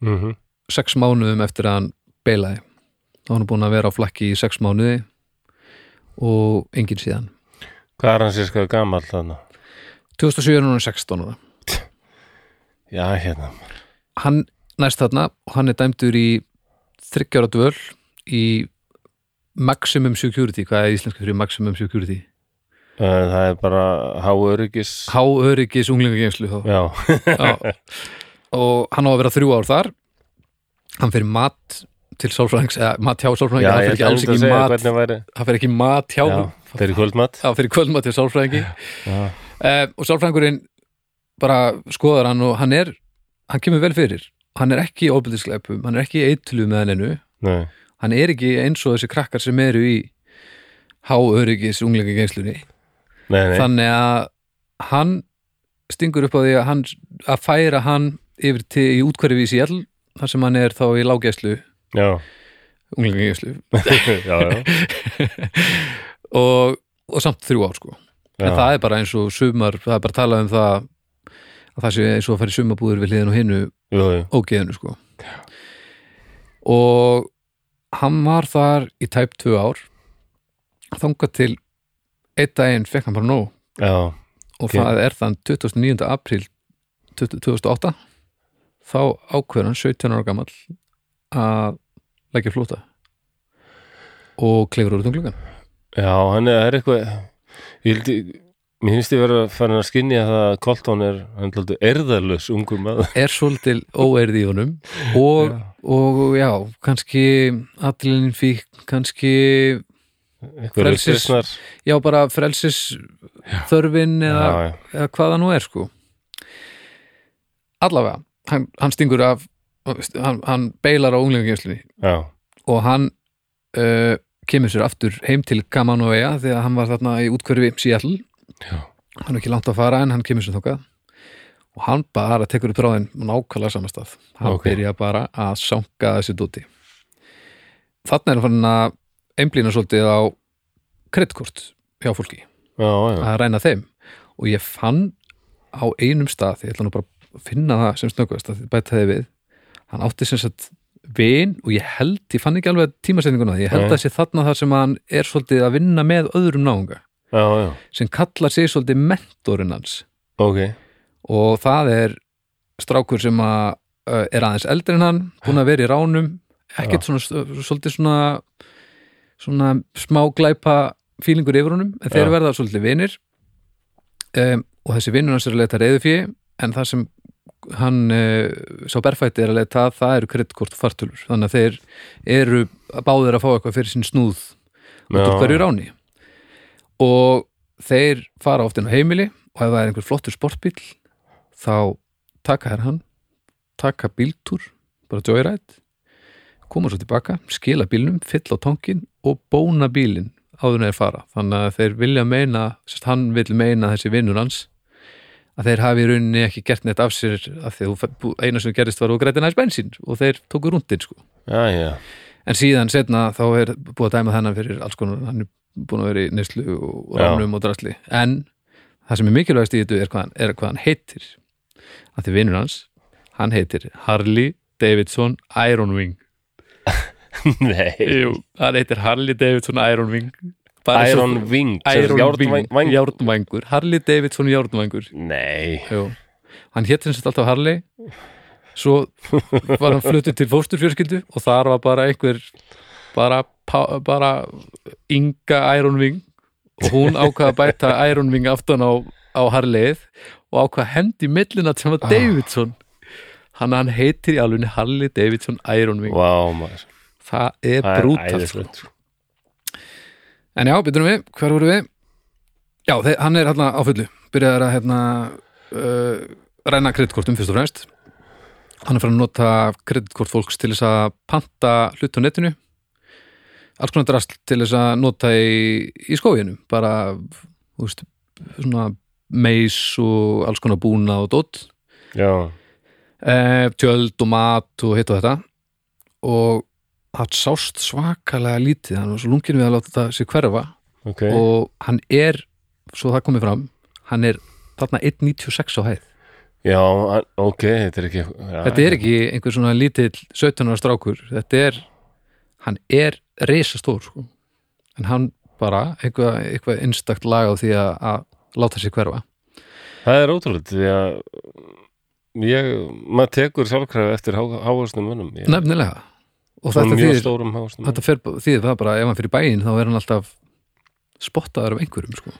Speaker 1: mhm,
Speaker 2: sex mánuðum eftir að hann beilaði þá hann er búin að vera á flakki í sex mánuði og enginn síðan
Speaker 1: hvað er hann sér skoði gamall þarna?
Speaker 2: 2007 er hann 16 ára
Speaker 1: Já, hérna,
Speaker 2: hann næst þarna og hann er dæmdur í þryggjara dvöl í maximum security hvað er íslenska fyrir maximum security
Speaker 1: Eh, það er bara háöryggis
Speaker 2: háöryggis unglingageimslu þá
Speaker 1: Já,
Speaker 2: Já. og hann á að vera þrjú ár þar hann fyrir mat til sálfræðings eða mat hjá sálfræðingi,
Speaker 1: já
Speaker 2: hann fyrir
Speaker 1: ég
Speaker 2: ekki
Speaker 1: ætla
Speaker 2: alls
Speaker 1: einmitt að
Speaker 2: ekki
Speaker 1: segja
Speaker 2: mat
Speaker 1: hvernig væri
Speaker 2: hann fyrir ekki mat hjá
Speaker 1: Já, það er í kvöldmatt
Speaker 2: Já, fyrir kvöldmatt til sálfræðingi
Speaker 1: Já.
Speaker 2: eh, og sálfræðingurinn bara skoðar hann og hann er hann kemur vel fyrir, hann er ekki í ofbeldisglæpum, hann er ekki í eitlu með hann ennu
Speaker 1: Nei,
Speaker 2: hann er ekki eins og þessi krakkar sem eru í háöryggis unglingageinslunni
Speaker 1: nei, nei,
Speaker 2: þannig að hann stingur upp á því að, hann, að færa hann yfir til í útkverfi í Sjell þar sem hann er þá í lágæslu
Speaker 1: já <laughs>
Speaker 2: unglingageinslu
Speaker 1: Já, já,
Speaker 2: og, og samt þrjú ár sko
Speaker 1: já,
Speaker 2: en það er bara eins og sumar það er bara talað um það að það sé eins og að fara í sumabúður við hliðin og hinnu
Speaker 1: jú, jú,
Speaker 2: ógeðinu sko og hann var þar í tæp tvö ár þangað til einn daginn fekk hann bara nóg
Speaker 1: já,
Speaker 2: og
Speaker 1: Ok.
Speaker 2: það er þann 29. apríl 20- 2008 þá ákveður hann 17 ára gamall að leggja flóta og um klefur úr tunglugan
Speaker 1: já, hann er, það er eitthvað Ég hildi, mér finnst ég vera farin að skynja það að Colton er, hann er aldrei erðalus ungur maður
Speaker 2: er svolítil óeirði í honum og,
Speaker 1: Já.
Speaker 2: og já, kannski aðlinn fík, kannski
Speaker 1: Eitthvað
Speaker 2: Frelsis-
Speaker 1: uppreisnar
Speaker 2: já, bara frelsis þörfin
Speaker 1: Já,
Speaker 2: eða,
Speaker 1: já,
Speaker 2: eða hvað það nú er sko allavega, hann, hann stingur af hann, hann beilar á unglingageimslinni
Speaker 1: já,
Speaker 2: og hann uh, kemur sér aftur heim til Kamanóea þegar hann var þarna í útkverfi Seattle
Speaker 1: Já.
Speaker 2: hann er ekki langt að fara en hann kemur sér þókað og hann bara tekur upp ráðin nákvæmlega samastað hann
Speaker 1: Ok.
Speaker 2: byrja bara að sanga þessi dóti þarna er hann farin að einblýna svolítið á kreditkort hjá fólki
Speaker 1: já, já,
Speaker 2: að ræna þeim og ég fann á einum stað, ég ætla nú bara að finna það sem snöggvast að bæta þið við hann átti sem sagt vin og ég held, ég fann ekki alveg tímasetninguna ég held
Speaker 1: Nei.
Speaker 2: að sé þarna þar sem hann er svolítið að vinna með öðrum náunga
Speaker 1: já, já,
Speaker 2: sem kallar sig svolítið mentorinn hans
Speaker 1: ok
Speaker 2: og það er strákur sem að uh, er aðeins eldri en hann, búin að vera í ránum ekkert svona, svolítið svona svona smá glæpa fílingur yfir honum, en þeir
Speaker 1: Já.
Speaker 2: verða svolítið vinir um, og þessi vinur hans er að leita reyðu fyrir, en það sem hann, uh, sá berfætti er að leita að það eru kreditkort og fartölur þannig að þeir eru báðir að fá eitthvað fyrir sinn snúð
Speaker 1: Já,
Speaker 2: út úr hverju ráni og þeir fara oft inn á heimili og ef það er einhver flottur sportbíl þá taka þær hann taka bíltúr, bara joyride koma svo tilbaka, skila bílnum fylla á tankin og bóna bílin áður en þeir fara, þannig að þeir vilja meina, sérst hann vil meina þessi vinnur hans að þeir hafi í rauninni ekki gert neitt af sér að því að þú- eina sem gerist var og græti næst bensín og þeir tóku rúndin sko
Speaker 1: Já, já, <laughs>
Speaker 2: en síðan setna þá er búið að dæma þennan fyrir alls konar, hann er búin að vera í neyslu og
Speaker 1: Já.
Speaker 2: ránum og drasli en það sem er mikilvægast í þetta er hvað hann, er hvað hann heitir að því vinnur hans, hann heitir Harley Davidson Iron Wing
Speaker 1: nei
Speaker 2: Jú, hann heitir Harley Davidson Iron Wing Bara eins og-
Speaker 1: Iron Wing, sem sagt,
Speaker 2: Iron
Speaker 1: járnvæng-
Speaker 2: Wing,
Speaker 1: væng-
Speaker 2: Járnvængur Harley Davidson Járnvængur
Speaker 1: Nei,
Speaker 2: Jú. hann hétt sem sagt alltaf Harley svo var hann fluttur til fósturfjörskildu og þar var bara einhver bara, pá- bara Inga Iron Wing og hún ákvað að bæta Iron Wing aftan á, á Harleyð og ákvað að hendi millina sem var Davidson hann, hann heitir í alveg Harley Davidson Iron Wing
Speaker 1: vá maður
Speaker 2: það er
Speaker 1: Það er
Speaker 2: brútal sko.
Speaker 1: æðislegt, sko.
Speaker 2: en já, byrjum við, hver voru við? já, þeir, hann er hérna á fullu byrjaður að hérna uh, ræna kreditkortum fyrst og fremst hann er fyrir að nota kreditkort fólks til þess að panta hlut á netinu alls konar drast til þess að nota í, í skóginum bara þú veist, svona meis og alls konar búna og dótt
Speaker 1: sko. já,
Speaker 2: eh, tjöld og mat og hitt og þetta og það sást svakalega lítið hann var svo lungin við að láta þetta sér hverfa
Speaker 1: ok
Speaker 2: og hann er, svo það komið fram hann er þarna 1.96 á hæð
Speaker 1: já, a- ok, þetta er ekki já,
Speaker 2: þetta er ekki einhver svona lítill 17 ára strákur, þetta er hann er reisastór sko. en hann bara eitthvað, eitthvað einstakt lag á því að, að láta sér hverfa
Speaker 1: það er ótrúlega því að ég, maður tekur sjálfkrafa eftir há, hávarsnum mönnum ég,
Speaker 2: nefnilega og
Speaker 1: svona
Speaker 2: þetta
Speaker 1: mjög
Speaker 2: þýðir,
Speaker 1: stórum hávarsnum
Speaker 2: þetta fer, þýðir það bara ef hann fyrir bæinn þá er hann alltaf spottaður af einhverjum sko.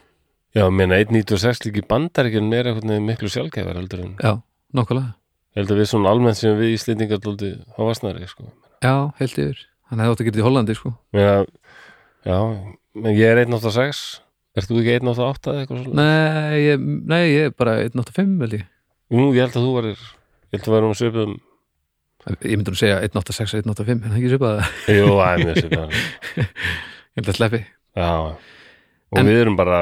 Speaker 1: já, ég meina 1.96 líki bandaríkjum er eitthvað miklu sjálfgæfar heldur en
Speaker 2: já, nokkulega
Speaker 1: ég held að við svona almennt sem við íslendingar dóldi hávarsnari, sko
Speaker 2: já, held yfir, hann hefði átt að gera þetta í Hollandi sko.
Speaker 1: meina, já, menn ég er 1.86 ert þú ekki 1.88 eða eitthvað svona
Speaker 2: nei, ég, nei, ég er bara 1.85 held ég
Speaker 1: nú, ég held að þú varir ég held að varum að söpum
Speaker 2: ég myndi að segja 1.86 og 1.85 en það er ekki svipað ég
Speaker 1: jú, aðeins söpum
Speaker 2: held að sleppi
Speaker 1: Já, og
Speaker 2: En-
Speaker 1: við erum bara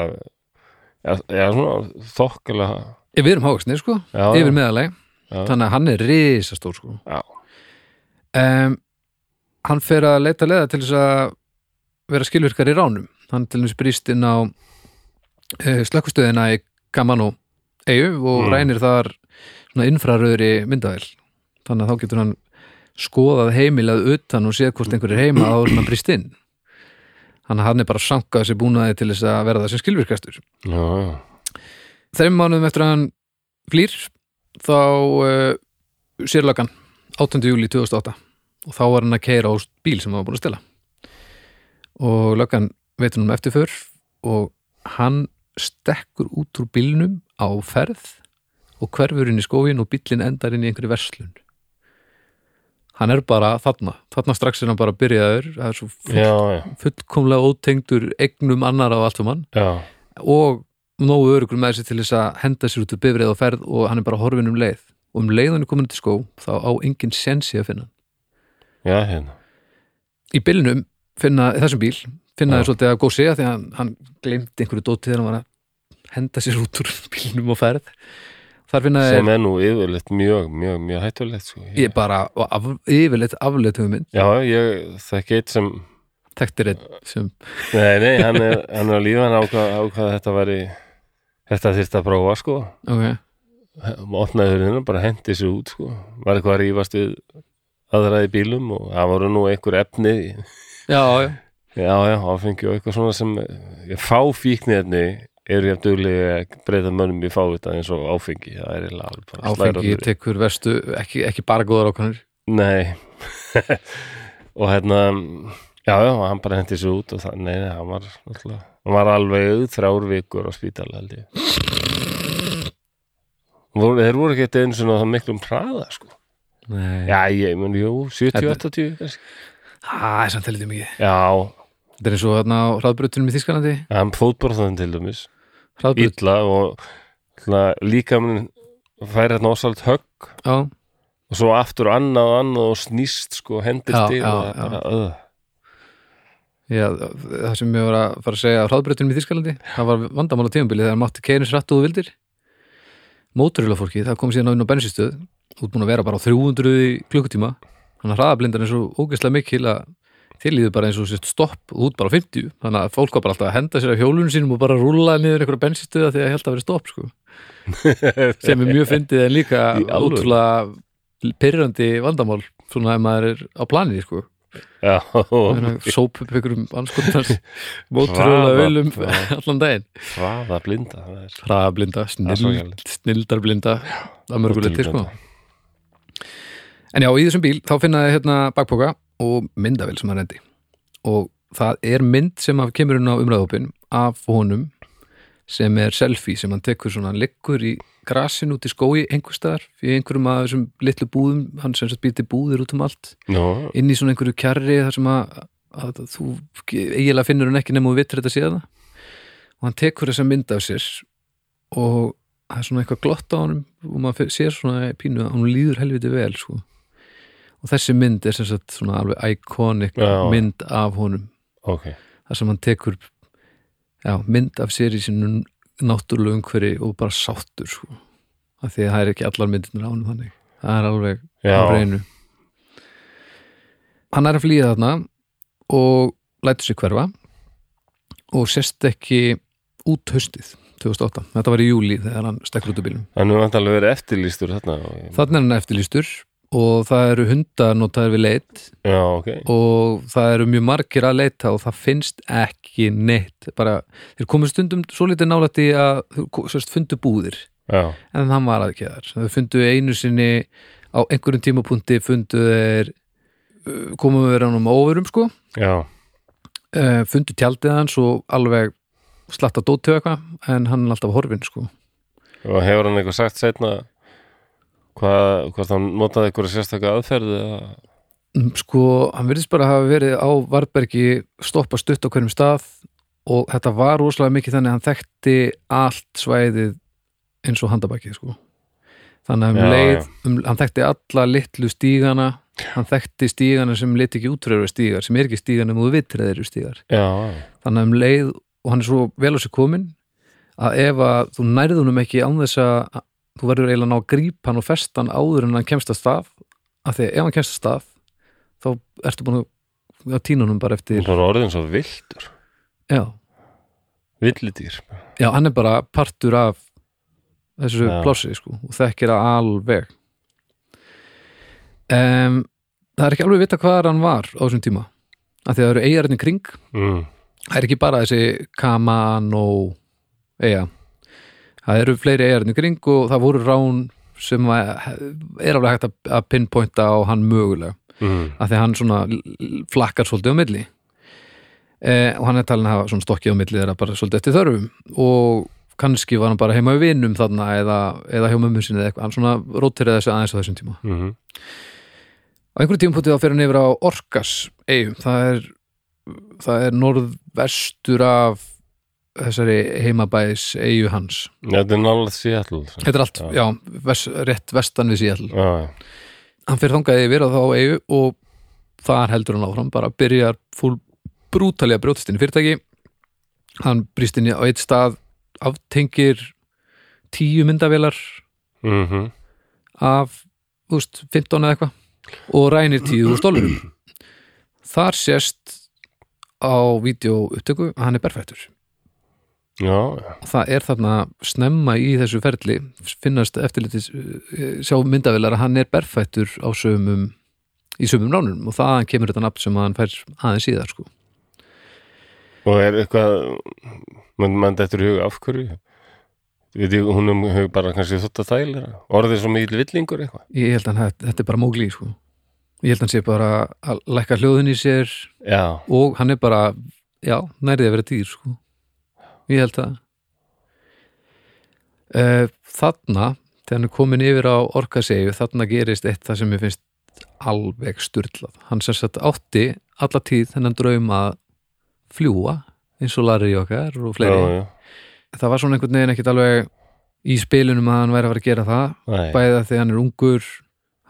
Speaker 1: já, já svona þokkilega
Speaker 2: Eh, Við erum hávaksnir sko,
Speaker 1: Já,
Speaker 2: yfir
Speaker 1: já.
Speaker 2: meðaleg
Speaker 1: Já.
Speaker 2: þannig að hann er risastór sko
Speaker 1: já,
Speaker 2: um, Hann fer að leita leða til þess að vera skilvirkar í ránum hann til þess brýst inn á uh, slökkustöðina í Gamano eigu og
Speaker 1: Mm.
Speaker 2: rænir þar svona infraröðri myndavél þannig að þá getur hann skoðað heimilað utan og séð hvort einhver er heima áður en hann brýst inn þannig að hann er bara að sankað sér búnaði til þess að verða sem skilvirkastur
Speaker 1: já, já.
Speaker 2: þreim mánuðum eftir að hann flýr þá uh, sérlagan 8. júli 2008 og þá var hann að keira á bíl sem hann var búin að stela og löggan veitur hann um eftirför og hann stekkur út úr bílnum á ferð og hverfur inn í skóin og bílinn endar inn í einhverju verslun hann er bara þarna þarna strax er hann bara byrjaður það er svo full,
Speaker 1: já, já,
Speaker 2: fullkomlega ótengdur eignum annar á allt um hann
Speaker 1: já.
Speaker 2: og nógu örugur með sér til þess að henda sér út úr bifrið og ferð og hann er bara horfin um leið og um leið hann er komin til skó þá á enginn sensi að finna hann.
Speaker 1: já hérna
Speaker 2: í bylnum finna, í þessum bíl finna
Speaker 1: Já.
Speaker 2: þér svolítið að góð segja því að hann, hann gleymdi einhverju dótið þegar hann var að henda sér út úr <laughs> bílnum og ferð þar finna
Speaker 1: sem
Speaker 2: þér
Speaker 1: er nú yfirleitt mjög, mjög, mjög hættulegt sko.
Speaker 2: ég bara og af, yfirleitt afleitt hugmynd
Speaker 1: Já, ég þekki eitt sem
Speaker 2: þekktir einn sem
Speaker 1: nei, nei, hann er, hann er á lífi hann ákvað, ákvað að þetta væri þetta þyrfti að prófa sko
Speaker 2: ok,
Speaker 1: opnaði hurðina, bara hendi sér út sko. var eitthvað að rífast við aðraði bílum og það voru nú einhver efni í-
Speaker 2: já, já,
Speaker 1: Já, já, áfengi og eitthvað svona sem ég fá fíknirni eru ég duglega að breyta mönnum í fávita eins og áfengi, það er eiginlega alveg bara
Speaker 2: áfengi
Speaker 1: slærandi.
Speaker 2: tekur vestu, ekki, ekki bara góðar ákvæmur
Speaker 1: Nei <laughs> og hérna já, já, hann bara hendi sér út og það, nei, nei, hann var náttúrulega, hann var alveg þrjár vikur á spítal held ég voru, Þeir voru ekki einu svona það miklum hraða, sko
Speaker 2: það
Speaker 1: Já, ég mun, jú, 70-80 kannski.
Speaker 2: er samt heldur mikið
Speaker 1: Já,
Speaker 2: þetta er eins og þarna á hraðbrutunum í Þískalandi
Speaker 1: hann fótborðan til dæmis
Speaker 2: hraðbraut
Speaker 1: illa og svona, líka minn fær hérna ósalt högg
Speaker 2: já,
Speaker 1: og svo aftur annað og annað og snýst sko
Speaker 2: Já,
Speaker 1: hendist yfir
Speaker 2: já,
Speaker 1: og það er
Speaker 2: já.
Speaker 1: bara, öð.
Speaker 2: já, það sem ég var að fara að segja á hraðbreytunum í Þískalandi, það var vandamál á tímabili þegar mátti keinis rætt og þú vildir móturulafólki, það kom síðan á inn á bensinstöð út búin að vera bara á 300 í klukkutíma þannig að hraðablindan er svo ógeðslega mikil að tilýður bara eins og sért stopp og út bara á 50, þannig að fólk var bara alltaf að henda sér af hjólunum sínum og bara rúla niður einhverja bensinstöða þegar held að vera stopp sko. sem er mjög fyndið en líka
Speaker 1: Í alvöru?
Speaker 2: ótrúlega pyrrandi vandamál svona ef maður er á planinu sko.
Speaker 1: <laughs> já, Sko.
Speaker 2: sóp upp ykkur um
Speaker 1: <laughs>
Speaker 2: anskotans mótrúlega ölum <laughs>
Speaker 1: Hraða-
Speaker 2: allan daginn
Speaker 1: hraða blinda það er
Speaker 2: hraðablinda,
Speaker 1: er svo
Speaker 2: snild, snildarblinda að mörguleiti sko
Speaker 1: ótrúlega.
Speaker 2: en já, í þessum bíl þá finnaði hérna bakpoka og myndavél sem hann rendi og það er mynd sem af kemur inn á umræðhópin af honum sem er selfie sem hann tekur svona hann liggur í grasin út í skói einhverstaðar í einhverjum af þessum litlu búðum hann sem sagt býti búðir út um allt
Speaker 1: Nú,
Speaker 2: inn í svona einhverju kjarri þar sem að, að þú eiginlega finnur hann ekki nema þú vittir þetta síðan og hann tekur þessa mynd af sér og það er svona eitthvað glott á honum og maður fe- sér svona pínu að hún líður helviti vel sko. og þessi mynd er sem sagt svona alveg iconic
Speaker 1: Já.
Speaker 2: mynd af honum
Speaker 1: ok,
Speaker 2: þar sem hann tekur já, mynd af sér í sínum náttúrulega umhverfi og bara sáttur sko. af því að það er ekki allar myndirnar ánum þannig það er alveg á
Speaker 1: já,
Speaker 2: reynu hann er að flýja þarna og lætur sig hverfa og sérst ekki út haustið 2008, þetta var í júli þegar hann stekkur út úr bílum
Speaker 1: hann er vantanlega verið eftirlýstur þarna, og-
Speaker 2: þannig er hann eftirlýstur og það eru hundar notaðir við leit
Speaker 1: já, ok
Speaker 2: og það eru mjög margir að leita og það finnst ekki neitt bara, þeir komu stundum svo litið nálætti að þeir sérst, fundu búðir
Speaker 1: já,
Speaker 2: en hann var ekki þar þau fundu einu sinni á einhverjum tímapunkti fundu þeir uh, komu við ránum óverum sko
Speaker 1: já,
Speaker 2: uh, fundu tjaldið hans og alveg slatta dóttu eitthvað en hann er alltaf horfinn sko
Speaker 1: og hefur hann eitthvað sagt setna hvað, hvort hann notaði eitthvað sérstaka aðferð eða,
Speaker 2: Mm, sko, hann virðist bara hafa verið á Varbergi stoppa stutt á hverjum stað og þetta var rosalega mikið þannig að hann þekkti allt svæðið eins og handabakið sko þannig að um
Speaker 1: Já,
Speaker 2: leið,
Speaker 1: já.
Speaker 2: Um, hann þekkti alla litlu stígana hann þekkti stígana sem lit ekki útröru stígar sem er ekki stígana um þú vitir að þeir eru stígar
Speaker 1: já,
Speaker 2: þannig að um leið og hann er svo vel á sig komin að ef að þú nærðu húnum ekki án þess að þú verður eiginlega að ná að grípa hann og festa hann áður en hann kemst að stað af því að ef hann kemst að stað þá ertu búin að- að tína húnum bara
Speaker 1: hann
Speaker 2: eftir
Speaker 1: er bara orðin svo vildur
Speaker 2: já,
Speaker 1: villidýr,
Speaker 2: já, hann er bara partur af þessu
Speaker 1: Já.
Speaker 2: plássi sko, og þekkir það alveg um, það er ekki alveg vita hvað hann var á þessum tíma af því að það eru eigarinn í kring
Speaker 1: mm.
Speaker 2: það er ekki bara þessi Kaman og eiga það eru fleiri eigarinn í kring og það voru rán sem að, er alveg hægt að, að pinpointa á hann mögulega
Speaker 1: Mm.
Speaker 2: af því að hann svona l- l- flakkar svolítið á milli eh, og hann er talin að hafa svona stokkið á milli þeirra bara svolítið eftir þörfum og kannski var hann bara heima við vinnum þarna eða, eða hjá mömmu sinni eða eitthvað, hann svona rótirði þessu aðeins á þessum tíma
Speaker 1: Mm.
Speaker 2: á einhverjum tímpúti þá fer hann yfir á Orkas eigum, það er það er norðvestur af þessari heimabæðis eigu hans,
Speaker 1: þetta er nálega Seattle sem-
Speaker 2: þetta er allt
Speaker 1: Já.
Speaker 2: já, vers, rétt vestan við síðall
Speaker 1: já, já,
Speaker 2: hann fer þangað yfir á þá eigu og þar heldur hann áfram, bara byrjar fúl brútalja brjótist inn í fyrirtæki hann brýst inn í- á eitt stað aftengir tíu myndavélar
Speaker 1: mm
Speaker 2: af úst, 15 eða eitthvað og rænir 10.000 dólarum þar sést á vídeoupptöku að hann er berfættur
Speaker 1: já, já
Speaker 2: og það er þarna snemma í þessu ferli finnast eftirlitis eh, sjá myndavilar að hann er berfættur á sömum í sömum ránunum og þaðan kemur þetta nafn sem hann fær aðeins síðar sko.
Speaker 1: Og er eitthvað, mann man dettur í hug af hverju? Við því, hún um hug bara kannski þótt að þælir. Orðið svo mikil villingur eitthvað.
Speaker 2: ég held að hann, þetta er bara mógli sko. ég held að hann sé bara að lækka hljóðin í sér
Speaker 1: Já,
Speaker 2: og hann er bara já, nærðið að vera dýr sko. ég held það Eh, þarna þegar hann er komin yfir á orkasegu þarna gerist eitt það sem mér finnst alveg sturlað hann sem sagt átti alla tíð þennan draum að fljúa eins og Larry okkar og fleiri
Speaker 1: já, já.
Speaker 2: það var svona einhvern veginn ekkit alveg í spilunum að hann væri að fara að gera það
Speaker 1: Nei,
Speaker 2: bæða því hann er ungur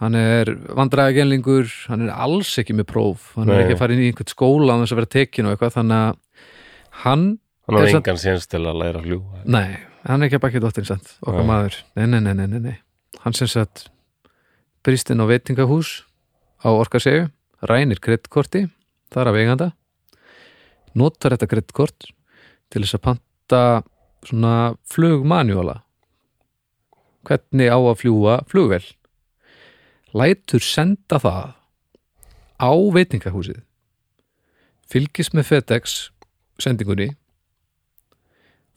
Speaker 2: hann er vandræðagenlingur hann er alls ekki með próf hann er
Speaker 1: Nei.
Speaker 2: ekki að fara inn í einhvern skóla án þess að vera tekin og eitthvað þannig að hann,
Speaker 1: hann
Speaker 2: er
Speaker 1: hafði
Speaker 2: samt-
Speaker 1: engan séns til að læra að fljúa.
Speaker 2: nei, hann er ekki að bakið dóttin sant, okkar
Speaker 1: Nei.
Speaker 2: maður, nei, nei, nei, nei, nei, nei hann sem sagt brýst inn á veitingahús á orkasegu rænir kreddkorti, þar af eiganda notar þetta kreddkort til þess að panta svona flugmanjóla hvernig á að fljúa flugvel lætur senda það á veitingahúsið fylgist með FedEx sendingunni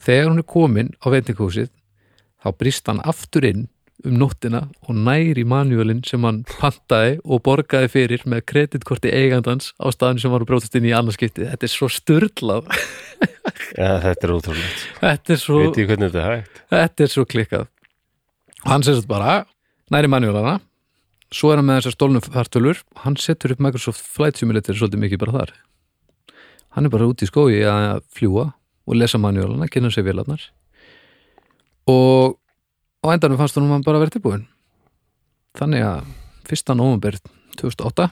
Speaker 2: þegar hún er komin á veitingahúsið þá brist hann aftur inn um nóttina og næri manjúlinn sem hann pantaði og borgaði fyrir með kreditkorti eigandans á staðan sem hann brótast inn í annarskiptið þetta er svo styrlað
Speaker 1: Já, þetta er ótrúlegt.
Speaker 2: <laughs> þetta er svo
Speaker 1: Veit ég hvernig þetta er hægt?
Speaker 2: Þetta er svo klikkað og hann sérst bara, næri manjúlana svo er hann með þessar stólnum fartölur hann setur upp Microsoft Flight Simulator svolítið mikið bara þar hann er bara úti í skói að fljúa og lesa manjúlana, kynna sér vélarnar og á endanum fannst hann bara verið tilbúin þannig að 1. november 2008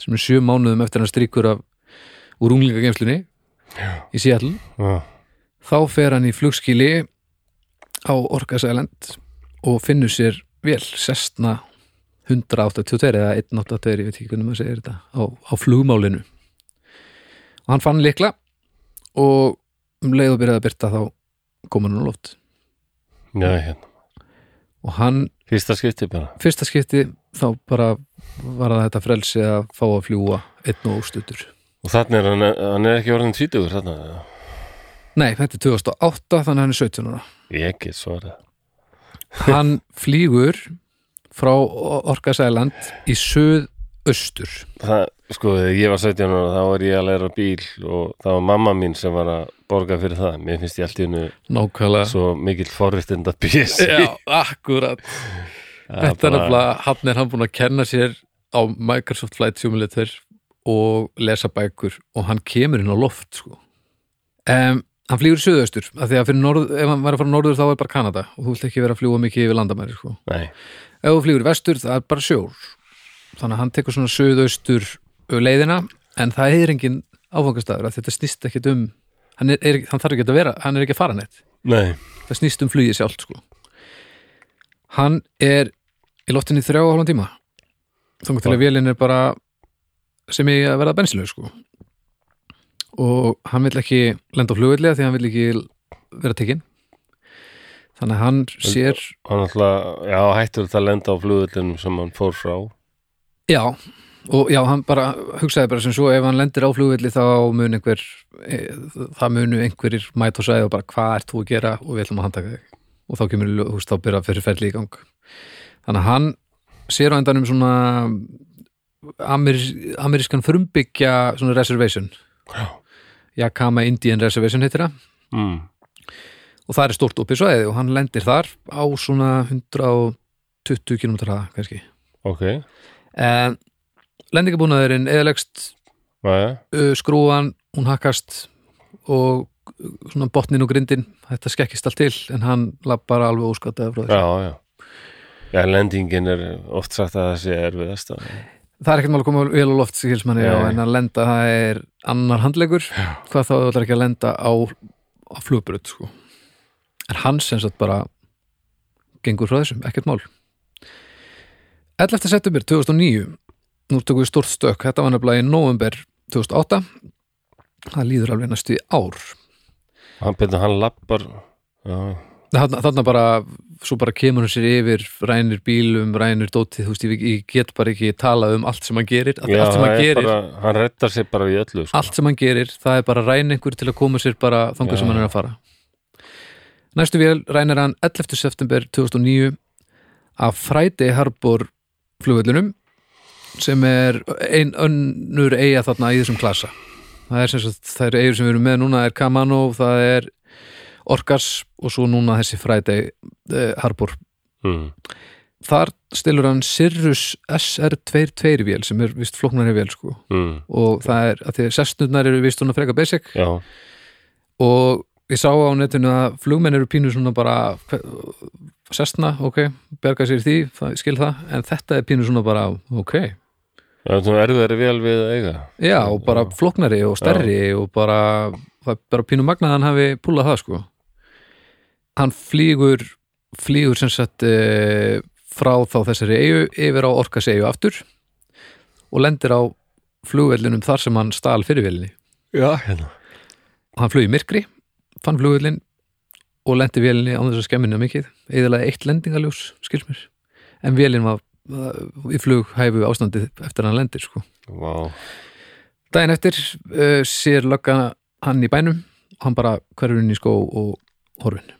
Speaker 2: sem er sjö mánuðum eftir hann strýkur af úr unglingageimslunni í Seattle
Speaker 1: já,
Speaker 2: þá fer hann í flugskili á Orcas Island og finnur sér vel sestna 182 eða 182, ég veit ekki hvernig maður segir þetta á, á flugmálinu og hann fann líkla og um leið og byrjaði að byrta þá kom hann á loft
Speaker 1: já, hérna
Speaker 2: og hann,
Speaker 1: Fyrsta skipti bara
Speaker 2: fyrsta skipti þá bara var það þetta frelsi að fá að fljúa einn og óstuttur
Speaker 1: Og þannig er hann, hann er ekki orðin tvítugur þarna eða?
Speaker 2: Nei, þetta er 2008 þannig að hann er 17 ára
Speaker 1: Ég get svarað
Speaker 2: hann flýgur frá Orkasæland í söðaustur
Speaker 1: Það, sko, þegar ég var 17 ára þá var ég að læra á bíl og það var mamma mín sem var að borga fyrir það Mér finnst ég allt í hennu
Speaker 2: nákvæmlega
Speaker 1: svo mikill forréttinda bís
Speaker 2: Já, akkurat Þetta er nefnilega, hann er hann búin að kenna sér á Microsoft Flight Simulator og lesa bækur og hann kemur inn á loft sko. um, Hann flýgur í söðaustur af því að fyrir norð, ef hann væri að fara norður þá er bara Kanada og þú vilt ekki vera að fljúga mikið yfir landamæri sko.
Speaker 1: Nei,
Speaker 2: ef þú flýgur í vestur það er bara sjór þannig að hann tekur svona söðaustur leiðina en það er engin áfangastæður að þetta snýst ekkit um hann, er, er, hann þarf ekki að vera, hann er ekki að fara neitt
Speaker 1: nei,
Speaker 2: það snýst um flugið sjálft sko. hann er í loftinu í þrjá og hálfum tíma þannig til að vélinn er bara sem ég að verða bensinlegu sko. og hann vill ekki lenda á flugvillega því hann vill ekki vera tekinn þannig að hann sér
Speaker 1: hann alltaf Já, hættur þetta að lenda á flugullinum sem hann fór frá
Speaker 2: Já, og já, hann bara hugsaði bara sem svo ef hann lendir á flugvelli þá mun einhver e, það munu einhverir mæta og segja bara hvað ert þú að gera og við ætlum að handtaka þig og þá kemur í ljó- þú veist, þá byrja fyrir ferli í gang þannig að hann sér á endanum svona amer, amerískan frumbyggja svona reservation Já. Yakama Indian Reservation heitir það
Speaker 1: mm.
Speaker 2: og það er stórt opið svæði og hann lendir þar á svona 120 km hraða kannski
Speaker 1: Ok,
Speaker 2: en lendingabúnaðurinn eðalegst
Speaker 1: næja,
Speaker 2: uh, skrúan, hún hakkast og uh, svona botnin og grindin þetta skekkist allt til en hann lappar alveg óskataði frá þessu
Speaker 1: já, já Já, lendingin er oft sagt að það sé erfiðast að-
Speaker 2: það er ekkert mál að koma vel á loft skils manni, já,
Speaker 1: Nei.
Speaker 2: en að lenda það er annar handlegur hvað þá þú ætlar ekki að lenda á, á flugbröð sko. en hann sem sagt bara gengur frá þessum, ekkert mál 11. september 2009 nú tökum við stórt stök þetta var nefnilega í november 2008 það líður alveg næstu í ár
Speaker 1: Hann betur hann lappar Já,
Speaker 2: þarna, þarna bara, svo bara kemur hann sér yfir rænir bílum, rænir dótið þú veist, ég, ég get bara ekki talað um allt sem hann gerir, allt,
Speaker 1: já
Speaker 2: allt sem hann
Speaker 1: það er
Speaker 2: gerir
Speaker 1: bara, hann rettar sér bara í öllu sko.
Speaker 2: allt sem hann gerir, það er bara að ræna einhver til að koma sér bara þangað
Speaker 1: Já.
Speaker 2: sem hann er að fara næstu vél rænir hann 11. september 2009 af Friday Harbor flugvöllunum sem er ein önnur eiga þarna í þessum klasa það er sem sagt, það eru eigur sem við erum með núna er Kamano, það er Orkas og svo núna þessi Friday eh, Harbor
Speaker 1: mm.
Speaker 2: þar stilur hann Sirrus SR22 vél sem er vist flóknari vél sko
Speaker 1: Mm.
Speaker 2: og það er að því að sestnurnar eru vist svona freka basic
Speaker 1: Já,
Speaker 2: og ég sá á netinu að flugmenn eru pínu svona bara hve- sestna, ok, berga sér því það, ég skil það, en þetta er pínu svona bara ok,
Speaker 1: það er svona erfiðari vel við að eiga
Speaker 2: já, og bara flóknari og stærri og bara, það er bara pínu magnað að hann hafi púlað það sko hann flýgur flýgur sem sagt e, frá þá þessari eigu yfir á Orkas eigu aftur og lendir á flugvellinum þar sem hann stal fyrirvelinni
Speaker 1: Já, hérna
Speaker 2: og hann flög í myrkri, fann flugvillin og lendi vélinni án þess að skemminu mikið, eðalega eitt lendingaljós skils mér, en vélin var var í flughæfu ástandi eftir að hann lendir sko.
Speaker 1: Vá,
Speaker 2: Dæin eftir uh, sér löggan hann í bænum og hann bara hverfur inn í skó og horfin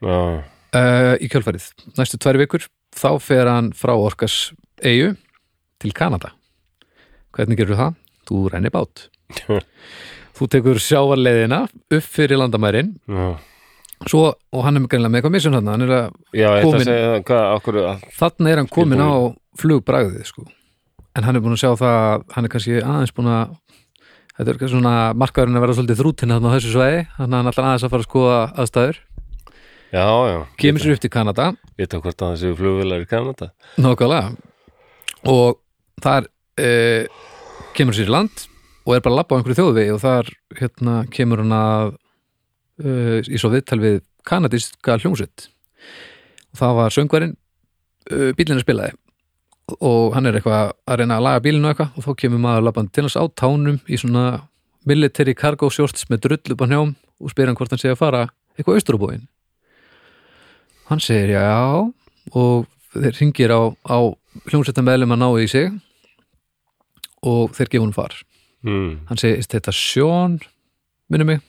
Speaker 1: já,
Speaker 2: uh, í kjölfærið, næstu tvær vikur þá fer hann frá Orkas eigu til Kanada hvernig gerur það? Þú rænir bát þú tekur sjávarleiðina upp fyrir landamærin
Speaker 1: já
Speaker 2: svo, og hann er með greinlega með eitthvað missun hann, hann er að,
Speaker 1: Já, ég ætla
Speaker 2: Komin.
Speaker 1: að segja það, hvað, okkur all...
Speaker 2: þarna er hann komin á
Speaker 1: Skilbúin.
Speaker 2: flugbragðið sko. en hann er búin að sjá það að hann er kannski aðeins búin að þetta er kannski svona markaðurinn að vera svolítið þrútinn þarna á þessu svæði, þannig að hann ætlar aðeins að fara að skoða aðstæður,
Speaker 1: Já, já,
Speaker 2: kemur sér upp til Kanada
Speaker 1: vita hvort að það séu flugvilar í Kanada
Speaker 2: nákvæmlega og þar e, kemur sér í land og er bara að labba á einhverju þjóðvegi og þar hérna kemur hann að uh, í svo viðtal við kanadíska hljómsveit og það var söngvarinn uh, bílinn að spilaði og hann er eitthvað að reyna að laga bílinu eitthvað og þá kemur maður labbandi til hans á tánum í svona military cargo shorts með drull upp á hnjám og spyr hann hvort hann sé að fara eitthvað austur á bóin hann segir já og þeir ringir á, á hljómsveitar meðlum að ná í sig og þeir gefa hún far
Speaker 1: mm.
Speaker 2: hann segir, "Is þetta Sjón minnum mig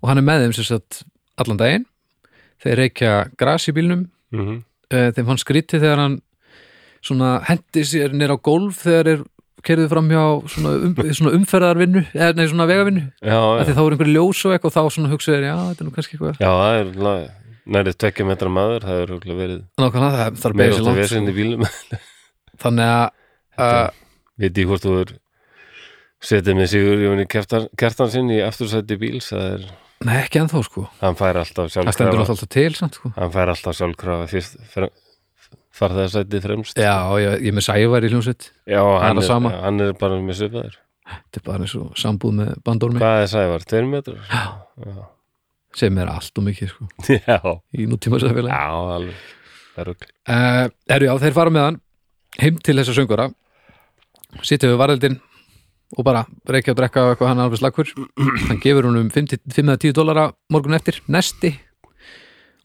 Speaker 2: og hann er með þeim sem sagt allan daginn þeir reykja gras í bílnum
Speaker 1: Mm
Speaker 2: eh, þeim fann skríti þegar hann svona hendi sér nýr á gólf þegar er kerðið fram hjá svona, um, <laughs> svona umferðarvinnu eða nei, svona vegavinnu
Speaker 1: Já,
Speaker 2: af
Speaker 1: já.
Speaker 2: því þá er einhver ljós og eitthvað og þá svona hugsaður, já, þetta er nú kannski eitthvað
Speaker 1: já, það er la- nærið tvekja metra maður, það er örugglega verið
Speaker 2: nákvæmlega, það þarf að
Speaker 1: meira
Speaker 2: beigja sér
Speaker 1: átt að
Speaker 2: langt
Speaker 1: vesinn í bílum
Speaker 2: þannig að, að
Speaker 1: veit ég hvort þú er setið með Sigur Jóni Kjartan, Kjartan sinn í aftursæti bíls það er,
Speaker 2: nei, ekki ennþá sko
Speaker 1: hann fær alltaf
Speaker 2: það stendur
Speaker 1: sjálfkrafa
Speaker 2: náttúrulega alltaf til samt sko
Speaker 1: hann fær alltaf sjálfkrafa fyrst frem, farðaðsæti fremst
Speaker 2: já, ég, ég er með sævar í hljómsveit
Speaker 1: Já,
Speaker 2: er
Speaker 1: hann
Speaker 2: það
Speaker 1: er,
Speaker 2: sama.
Speaker 1: já, hann er bara með svipaður
Speaker 2: þetta er bara eins og sambúð með bandormi
Speaker 1: hvað er Sævar, tveir metrar? <laughs> Já,
Speaker 2: sem er allt og mikið sko
Speaker 1: já,
Speaker 2: í nútíma sæfélagi
Speaker 1: já alveg það er okkur
Speaker 2: uh, Erju já, þeir fara með hann heim til þessa söngvara sitja við varðildin og bara reykja og drekka og eitthvað hann er alveg slakkur hann gefur hún um 5-10 dólara morgun eftir, næsti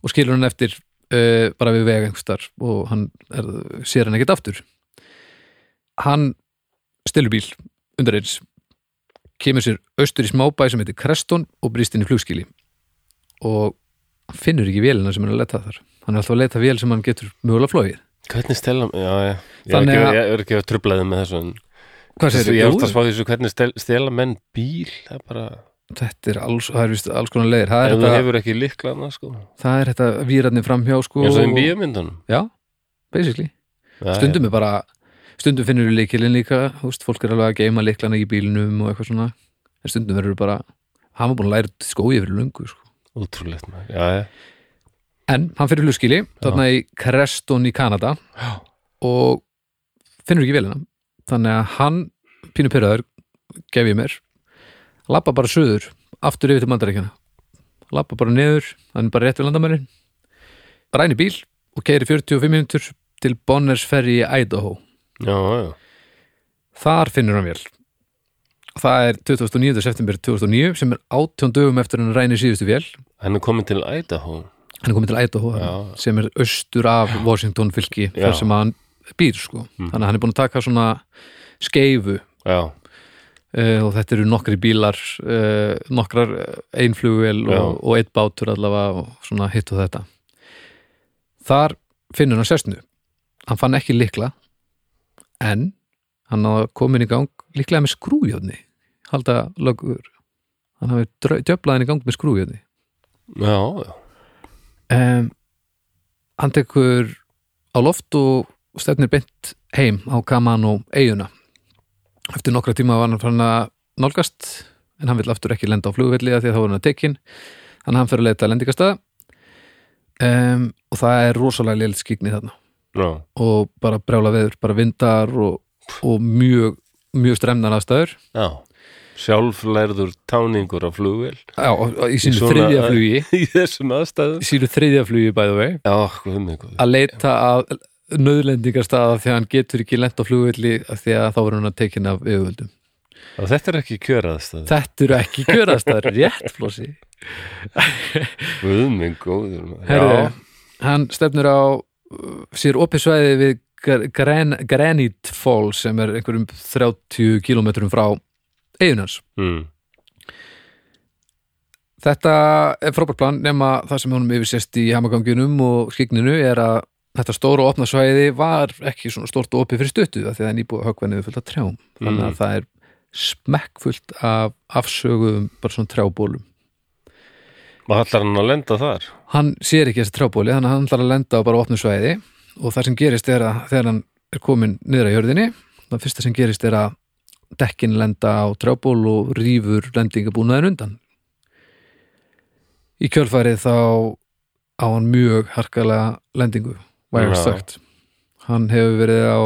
Speaker 2: og skilur hann eftir uh, bara við vega einhverstar og hann er, sér hann ekkert aftur hann stelur bíl undir eins kemur sér austur í smábæ sem heitir Kreston og brýst inn í flugskili og hann finnur ekki vélina sem hann er að leta þar hann er alltaf að leta vél sem hann getur mögulega flóið
Speaker 1: hvernig stela, já, já ég er
Speaker 2: Þannig
Speaker 1: ekki,
Speaker 2: að-
Speaker 1: ég er ekki að trublaði með þessu en
Speaker 2: Hvað
Speaker 1: Þessu,
Speaker 2: segirðu?
Speaker 1: ég vorst
Speaker 2: Jú,
Speaker 1: að spá því þessu hvernig stel, stela menn bíl það er bara,
Speaker 2: þetta er alls, það er víst alls konar leiðir það er,
Speaker 1: ef þú
Speaker 2: þetta,
Speaker 1: hefur ekki liklaðna sko,
Speaker 2: það er þetta výrarnir framhjá sko,
Speaker 1: eins og í
Speaker 2: og-
Speaker 1: bíómyndunum
Speaker 2: já, basically
Speaker 1: Já,
Speaker 2: stundum er bara, stundum finnur við líkilinn líka þú veist, fólk er alveg að geima líklana í bílnum og eitthvað svona, en stundum verður bara hann var búin að læra út í skói fyrir lungu sko.
Speaker 1: já, ótrúlegt maður. já, já,
Speaker 2: en hann fyrir hluskili, þarna í Creston í Kanada
Speaker 1: Já.
Speaker 2: og finnur ekki velina þannig að hann, pínu pyrraður gef ég mér, lappa bara söður, aftur yfir til mandarækjana lappa bara neður, hann er bara rétt við landamærin ræni bíl og keiri 45 minútur til Bonners ferry í Idaho
Speaker 1: já, já.
Speaker 2: þar finnur hann vel það er 29. september 2009 sem er 18 dögum eftir hann ræni síðustu vel
Speaker 1: hann er komin til Idaho
Speaker 2: hann er komið til Idaho
Speaker 1: Já.
Speaker 2: sem er austur af Washington fylki
Speaker 1: Já. Hmm.
Speaker 2: þar sem hann býr sko þannig að hann er búin að taka svona skeifu
Speaker 1: já,
Speaker 2: uh, og þetta eru nokkri bílar uh, nokkrar einflugvél
Speaker 1: Já.
Speaker 2: og, og eitt bátur allavega og svona hitt og þetta þar finnur hann sestnu hann fann ekki likla en hann hafði komin í gang líklega með skrújóðni halda lögur hann hafi djöflaðin í gang með skrújóðni
Speaker 1: já, já.
Speaker 2: um, hann tekur á loft og stefnir beint heim á Kamano eiguna eftir nokkra tíma var hann fann að nálgast en hann vill aftur ekki lenda á flugvelli af því að þá var hann að tekin þannig að hann fyrir að leita að lendingastað um, og það er rosalega lélit skikni þarna
Speaker 1: já.
Speaker 2: og bara brjála veður, bara vindar og, og mjög, mjög stremnar aðstæður
Speaker 1: já. sjálflærður táningur á flugvél <laughs>
Speaker 2: Já, og- og í sínu
Speaker 1: svona-
Speaker 2: þriðja flugi
Speaker 1: í þessum aðstæðum
Speaker 2: í sínu þriðja flugi bæðu vei
Speaker 1: já, hvað með hvað
Speaker 2: að leita að nöðlendingarstaða því að hann getur ekki lent á flugvilli því að þá verður hann að tekin af yfirvöldum.
Speaker 1: Og þetta er ekki kjöraðstæð
Speaker 2: Þetta eru ekki kjöraðstæður, rétt flósi.
Speaker 1: Guðminn góður maður.
Speaker 2: Herðu,
Speaker 1: Já,
Speaker 2: hann stefnir á uh, sér opið svæði við Gr- Gran Granite Falls sem er einhverjum 30 kilometrum frá eiginans.
Speaker 1: mm,
Speaker 2: Þetta er frábært plan nema það sem honum yfirsest í hamaganginum og skigninu er að þetta stóra opna svæði var ekki svona stórt og opið fyrir stuttu af því að það er nýbúið að höggva niður fullt af trjám þannig að
Speaker 1: Mm.
Speaker 2: það er smekkfullt af afsöguðum bara svona trjábólum
Speaker 1: maður ætlar hann að lenda þar
Speaker 2: hann sér ekki þessi trjábóli þannig að hann ætlar að lenda á bara opnu svæði og það sem gerist er að þegar hann er komin niður að jörðinni það fyrsta sem gerist er að dekkin lenda á trjából og rýfur lendingabúnaðin undan í kjölfarið þá á hann mjög harkalega lendingu vægast
Speaker 1: Já.
Speaker 2: sagt hann hefur verið á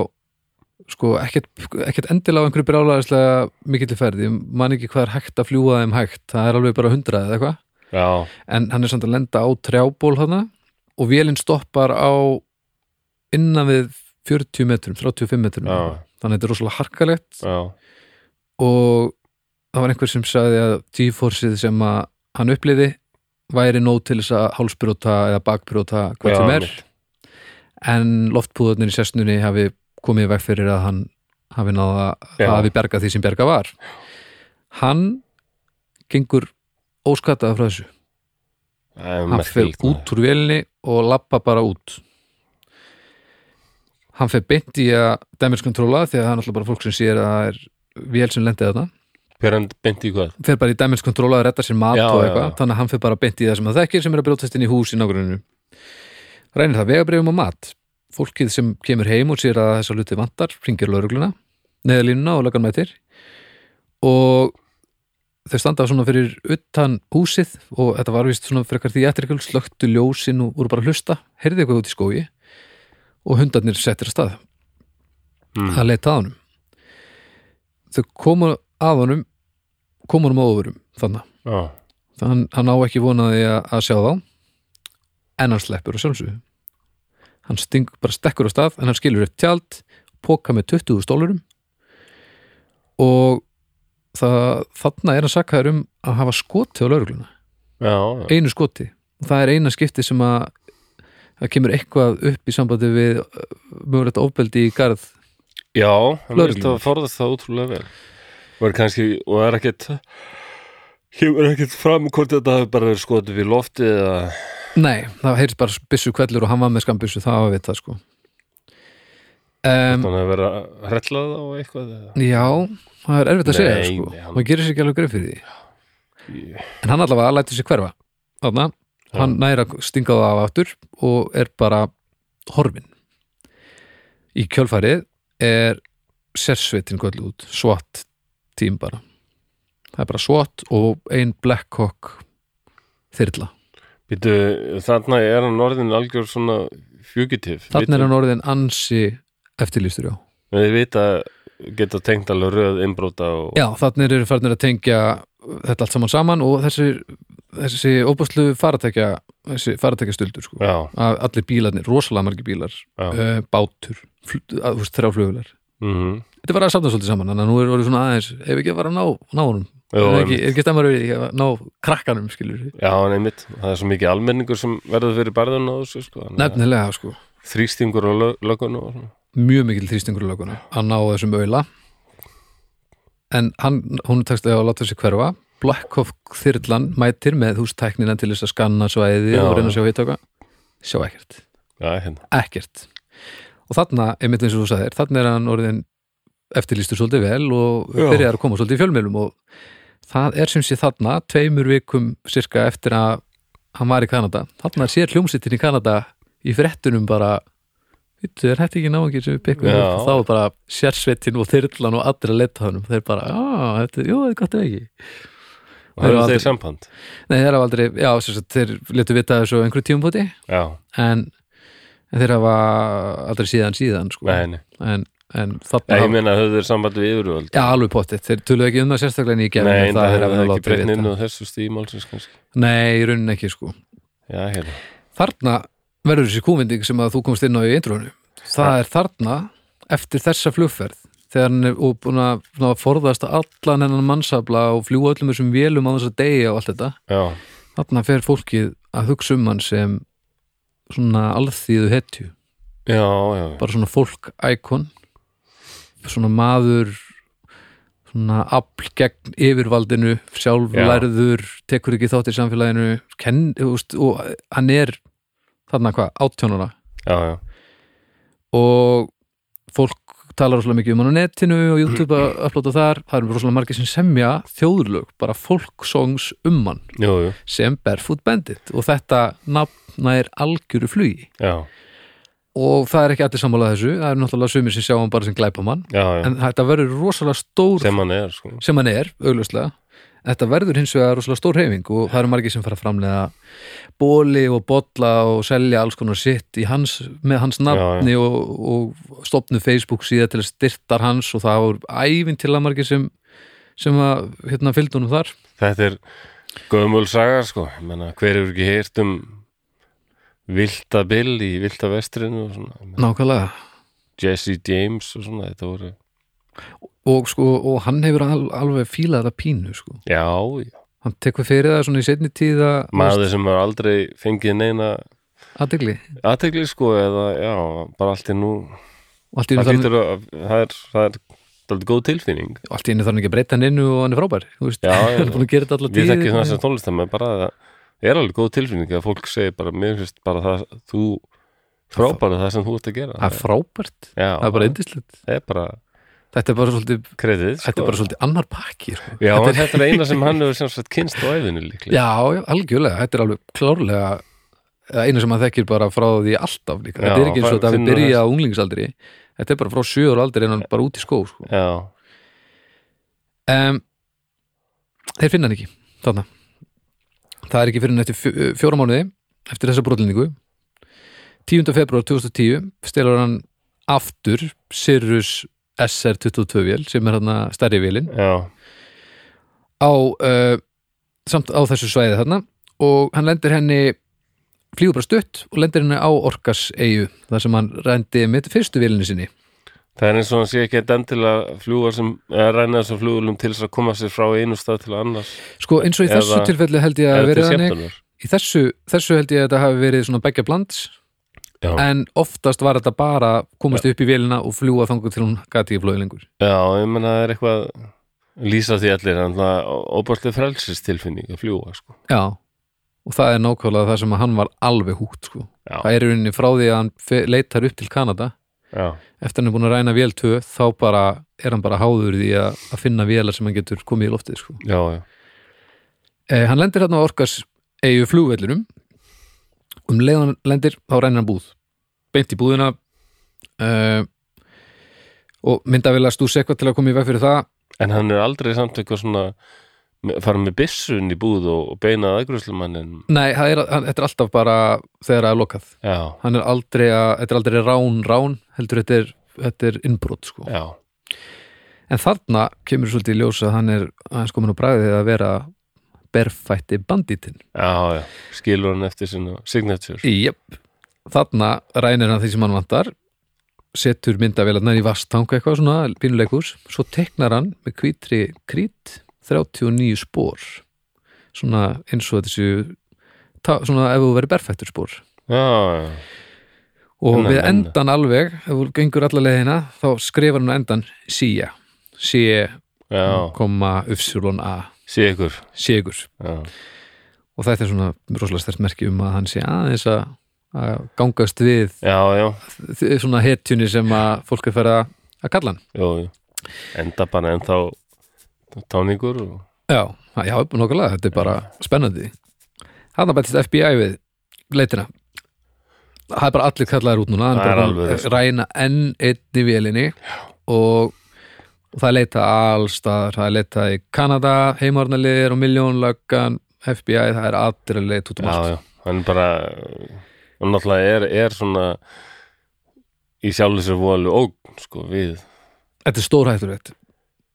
Speaker 2: sko ekkert, ekkert endilega á einhverju brjálæðislega mikill ferð, ég man ekki hvað er hægt að fljúga þeim hægt, það er alveg bara 100 eða eitthvað,
Speaker 1: já,
Speaker 2: en hann er samt að lenda á trjából þarna og vélinn stoppar á innan við 40 metrum, 35 metrum
Speaker 1: já,
Speaker 2: þannig að þetta er rosalega harkalegt
Speaker 1: já,
Speaker 2: og það var einhver sem sagði að G-forceið sem að hann upplýði væri nóg til þess að hálsbrjóta eða bakbrjóta
Speaker 1: Já,
Speaker 2: hvað sem er
Speaker 1: mitt.
Speaker 2: en loftpúðarnir í sessnunni hafi komið veg fyrir að hann hafi náða
Speaker 1: Já.
Speaker 2: að hafi bergað því sem bergað var hann gengur óskattaða frá þessu
Speaker 1: Það er
Speaker 2: hann fer
Speaker 1: merkilegt, maður.
Speaker 2: út úr vélinni og lappa bara út hann fer beint í að damage controla því að það er náttúrulega bara fólk sem sér að það er vél sem lendi þarna
Speaker 1: Hver hann beint í hvað?
Speaker 2: fer bara í damage control að retta sér mat
Speaker 1: Já,
Speaker 2: og
Speaker 1: já,
Speaker 2: eitthvað,
Speaker 1: já.
Speaker 2: þannig að hann fer bara beint í það sem hann þekkir sem er að brjótast inn í hús í nágruninu reynir það vegabrifum og mat fólkið sem kemur heim og sér að þessa luti vantar, ringir laurugluna neðalínuna og lögan mætir og þau standa svona fyrir utan húsið og þetta var vist svona frekar því eftir eitthvað slöktu ljósin og voru bara að hlusta heyrði eitthvað út í skógi og hundarnir settir að stað
Speaker 1: Mm.
Speaker 2: að leita að honum þau komu að honum komu honum á ofurum þannig
Speaker 1: Já,
Speaker 2: hann, hann á ekki vonaði að, að sjá þá en hann sleppur að sjálfsögðu hann sting, bara stekkur á stað en hann skilur upp tjald póka með 20 stólurum og það, þarna er hann sakkaður um að hafa skoti á laurugluna
Speaker 1: já, já,
Speaker 2: einu skoti og það er eina skipti sem að það kemur eitthvað upp í sambandi við uh, mögulegt ofbeldi í garð
Speaker 1: já hann veist
Speaker 2: Lögreglan.
Speaker 1: að forðast það útrúlega vel var kannski, og er ekkert kemur ekkert fram hvort þetta hafi bara verið skotið við loftið eða
Speaker 2: Nei, það heyrðist bara byssu kvellur og hann var með skambyssu, það var við það sko um,
Speaker 1: þannig að vera hrellað á eitthvað eða
Speaker 2: Já, það er erfitt að segja
Speaker 1: Nei,
Speaker 2: sko.
Speaker 1: nei, hann-
Speaker 2: maður gerir sér ekki alveg greið fyrir því En hann allavega lætur sér hverfa Þarna, hann næra stinga það af aftur og er bara horfin Í kjölfarið er sérsveitin kvöld út SWAT tím bara Það er bara SWAT og ein Black Hawk þyrla
Speaker 1: Býtu, þarna er hann orðin algjör svona fugitiv
Speaker 2: Þannig er hann orðin ansi eftirlýstur já
Speaker 1: Við vita geta tengt alveg röð innbróta og
Speaker 2: Já, þannig eru farnir að tengja þetta allt saman saman og þessi, þessi óbúslu faratækja þessi faratækja stöldur sko
Speaker 1: já,
Speaker 2: að allir bílarnir, rosalega margir bílar
Speaker 1: já.
Speaker 2: uh, bátur, fl- að, þú veist, þrjáflugular
Speaker 1: mhm.
Speaker 2: þetta var að safna svolítið saman þannig að nú er orðið svona aðeins, ef ekki að fara að ná, ná honum
Speaker 1: Jó,
Speaker 2: er
Speaker 1: einmitt.
Speaker 2: ekki, er ekki stemmar við ekki að ná krakkanum skilur við,
Speaker 1: já, neymitt, það er svo mikið almenningur sem verður fyrir barðun á þessu sko. þannig að
Speaker 2: nefnilega sko
Speaker 1: Þrýstingur á lö- lögguna og svona.
Speaker 2: mjög mikil þrýstingur í löguna að ná þessum auðla en hann, hún tekst að láta sig hverfa Blackhoff þyrlan mætir með hústæknina til þess að skanna svæði
Speaker 1: Já.
Speaker 2: og reyna að sjá hittaka sjá ekkert,
Speaker 1: Já, hérna,
Speaker 2: ekkert og þarna, einmitt eins og þú sagðir, þarna er hann orðin eftirlýstur svolítið vel og
Speaker 1: Já.
Speaker 2: byrjar að koma svolítið í fjölmiðlum og það er sem sé þarna tveimur vikum cirka eftir að hann var í Kanada, þarna sér hljómsittin í Kanada í frettunum bara Vittu, er þetta ekki náðingir sem við pikkum
Speaker 1: Já.
Speaker 2: upp og þá er bara sérsveitin og þyrlan og allir að leta honum þeir bara, já, þetta, jú, þetta er gott ef ekki
Speaker 1: og það
Speaker 2: Eru
Speaker 1: er
Speaker 2: aldrei-
Speaker 1: þeir samband
Speaker 2: Nei, þeir hafa aldrei, já, sem sagt, þeir letu vita af þessu á einhverjum tímupóti
Speaker 1: Já,
Speaker 2: en, en þeir hafa aldrei síðan síðan, sko
Speaker 1: nei, nei
Speaker 2: en, en
Speaker 1: Já,
Speaker 2: þarna
Speaker 1: ég meina höfðu þeir samband við yfirvöld
Speaker 2: Já, alveg pottitt, þeir töluðu ekki um það sérstaklega en ég gerði
Speaker 1: Nei, en það
Speaker 2: er alveg
Speaker 1: hefði það ekki
Speaker 2: látið
Speaker 1: breytn inn
Speaker 2: vita.
Speaker 1: á þessu stímálsins kannski
Speaker 2: Nei, í rauninni ekki sko
Speaker 1: Já, hérna,
Speaker 2: Þarna verður þessi kúmynding sem að þú komst inn á í eindrúinu Það er þarna eftir þessa flugferð þegar hann er og búin að svona að forðast allan hennan mannsabla og fljúa öllum þessum vélum á þess að deyja og allt þetta
Speaker 1: já,
Speaker 2: þarna fer fólkið að hugsa um hann sem svona alþýðu hetju
Speaker 1: já, já
Speaker 2: bara svona fólk íkon svona maður svona afl gegn yfirvaldinu sjálflærður, tekur ekki þátt í samfélaginu kenn, úst, og hann er þarna hvað, átjónuna
Speaker 1: Já, já,
Speaker 2: og fólk talar rosalega mikið um hann á netinu og YouTube að upplota þar, það eru rosalega margir sem semja þjóðurlög, bara fólksongs um hann
Speaker 1: jú, jú,
Speaker 2: sem Barefoot Bandit og þetta nafna er algjöru flugi
Speaker 1: já,
Speaker 2: og það er ekki allir sammála þessu, það eru náttúrulega sumir sem sjá hann bara sem glæpamann
Speaker 1: já, já
Speaker 2: en þetta verður rosalega stór sem,
Speaker 1: sem hann er, sko
Speaker 2: hann er, augljóslega þetta verður hins vegar rosalega stór hefing og það eru margir sem fara að framlega bóli og bolla og selja alls konar sitt í hans, með hans nafni Og, og stopnu Facebook síða til að styrtar hans og það voru ævinn til að margir sem, sem að hérna fylgdu honum þar
Speaker 1: Þetta er gömul saga sko Ég Menna, hver hefur ekki heyrt um Vilda Bill í Vilda Vestrinu og svona Ég meina,
Speaker 2: nákvæmlega
Speaker 1: Jesse James og svona þetta voru
Speaker 2: og, sko, og hann hefur al, alveg fílað þetta pínu sko.
Speaker 1: já, já.
Speaker 2: hann tekur fyrir það svona í setni tíð að-
Speaker 1: maður sem var aldrei fengið neina
Speaker 2: athygli
Speaker 1: aðtegli sko eða já, bara allt í nú
Speaker 2: og allt í einu
Speaker 1: það,
Speaker 2: þarf hann-
Speaker 1: hlýtur að, það er, það er daldið góð tilfinning
Speaker 2: allt í einu þarf hann ekki að breyta hann innu og hann er frábær þú veist, <laughs>
Speaker 1: Já, já,
Speaker 2: hann er búin að gera þetta alltaf
Speaker 1: við þekkjum það sem tónlistamenn bara að það er alveg góð tilfinning að fólk segir bara mér finnst bara það þú frábæra það sem þú ert að gera
Speaker 2: það er frábært,
Speaker 1: já,
Speaker 2: það er bara yndislegt
Speaker 1: það er bara
Speaker 2: þetta er bara svolítið,
Speaker 1: kredið sko.
Speaker 2: þetta er bara svolítið annar pakki sko.
Speaker 1: já,
Speaker 2: þetta
Speaker 1: en þetta er eina sem hann hefur sem sagt kynst á æfinu líklega
Speaker 2: Já, já, algjörlega, þetta er alveg klárlega eða einu sem að þekkir bara frá því alltaf líka,
Speaker 1: Já,
Speaker 2: þetta er ekki eins og
Speaker 1: bara
Speaker 2: þetta að
Speaker 1: finnur
Speaker 2: byrja á unglingsaldri, þetta er bara frá sjöður aldri en hann bara út í skó sko.
Speaker 1: já,
Speaker 2: um, Þeir finna hann ekki þarna Það er ekki fyrir hann eftir fjó- fjóra mánuði eftir þessa brotlinningu 10. februar 2010 stelur hann aftur Sirius SR22 vél sem er hann stærri vélin
Speaker 1: já,
Speaker 2: á uh, samt á þessu svæði þarna og hann lendir henni flýgur bara stutt og lendir henni á Orkas eigu þar sem hann rændi með fyrstu vilinni sinni
Speaker 1: það er eins og hann sé ekki að til að fljúa sem eða ræna þessum fljúlum til þess að koma sér frá einu stað til annars
Speaker 2: sko eins og í
Speaker 1: Eða-
Speaker 2: þessu tilfelli held ég
Speaker 1: Er
Speaker 2: að
Speaker 1: þetta
Speaker 2: verið þannig
Speaker 1: skemmtunar?
Speaker 2: í þessu, þessu held ég að þetta hafi verið svona begja blands
Speaker 1: Já.
Speaker 2: en oftast var þetta bara komast upp í vélina og fljúa þangur til hún gati í flóði lengur
Speaker 1: Já, ég menna það er eitthvað lýsa því allir, en það óbærslega frelsistilfinning að fljúa, sko.
Speaker 2: já og það er nákvæmlega það sem að hann var alveg húgt sko.
Speaker 1: Já,
Speaker 2: það er í rauninni frá því að hann fe- leitar upp til Kanada
Speaker 1: já,
Speaker 2: eftir hann er búin að ræna vél 2 þá bara er hann bara háður því að, að finna vélar sem hann getur komið í loftið sko.
Speaker 1: já, já.
Speaker 2: eh, hann lendir hérna á Orkas eigu flugvellinum um leiðan lendir þá rænir hann búð beint í búðina eh, og mynda vel að stúsa eitthvað til að koma í veg fyrir það
Speaker 1: En hann er aldrei samt eitthvað svona me- fara með byssun í búð og, og beinað aðgrúslumannin.
Speaker 2: nei, það er, hann, þetta er alltaf bara þegar það er lokað
Speaker 1: Já,
Speaker 2: hann er aldrei að, þetta er aldrei rán rán heldur þetta er, þetta er innbrot sko.
Speaker 1: já,
Speaker 2: en þarna kemur svolítið í ljós að hann er hans komin á bræðið að vera berfætti bandítinn
Speaker 1: já, já. Skilur hann eftir sinna signature.
Speaker 2: Jöp, þarna rænir hann því sem hann vantar setur myndavélarnar í vastang eitthvað svona pínuleikus, svo teknar hann með hvítri krít 39 spór svona eins og þessu ta- svona ef þú verið berfættur spór
Speaker 1: Já, já,
Speaker 2: og
Speaker 1: Innan
Speaker 2: við
Speaker 1: enna.
Speaker 2: endan alveg, ef þú gengur alla leiðina þá skrifar hann á endan síja síja,
Speaker 1: já.
Speaker 2: koma ufsulon a
Speaker 1: Sé ykkur.
Speaker 2: sígur
Speaker 1: Já,
Speaker 2: og þetta er svona rosalega stert merki um að hann sé aðeins að að gangast við
Speaker 1: já, já,
Speaker 2: þ- svona hetjunni sem að fólk er færa að kalla hann
Speaker 1: já, já. Enda bara ennþá táningur og...
Speaker 2: já, það- já, nokkulega, þetta er bara spennandi hann bættist FBI við leitina það er bara allir kallaðir út núna hann
Speaker 1: Það er
Speaker 2: bara
Speaker 1: alveg
Speaker 2: að
Speaker 1: þess.
Speaker 2: ræna enn einn í vélinni og, og það er leita allstaðar, það er leita í Kanada heimarnaliðir og miljónlöggan FBI, það er allir að leita út um
Speaker 1: já,
Speaker 2: allt
Speaker 1: já, hann bara og náttúrulega er, er svona í sjálfur sér volu ógn, sko, við
Speaker 2: þetta er stórhættulegt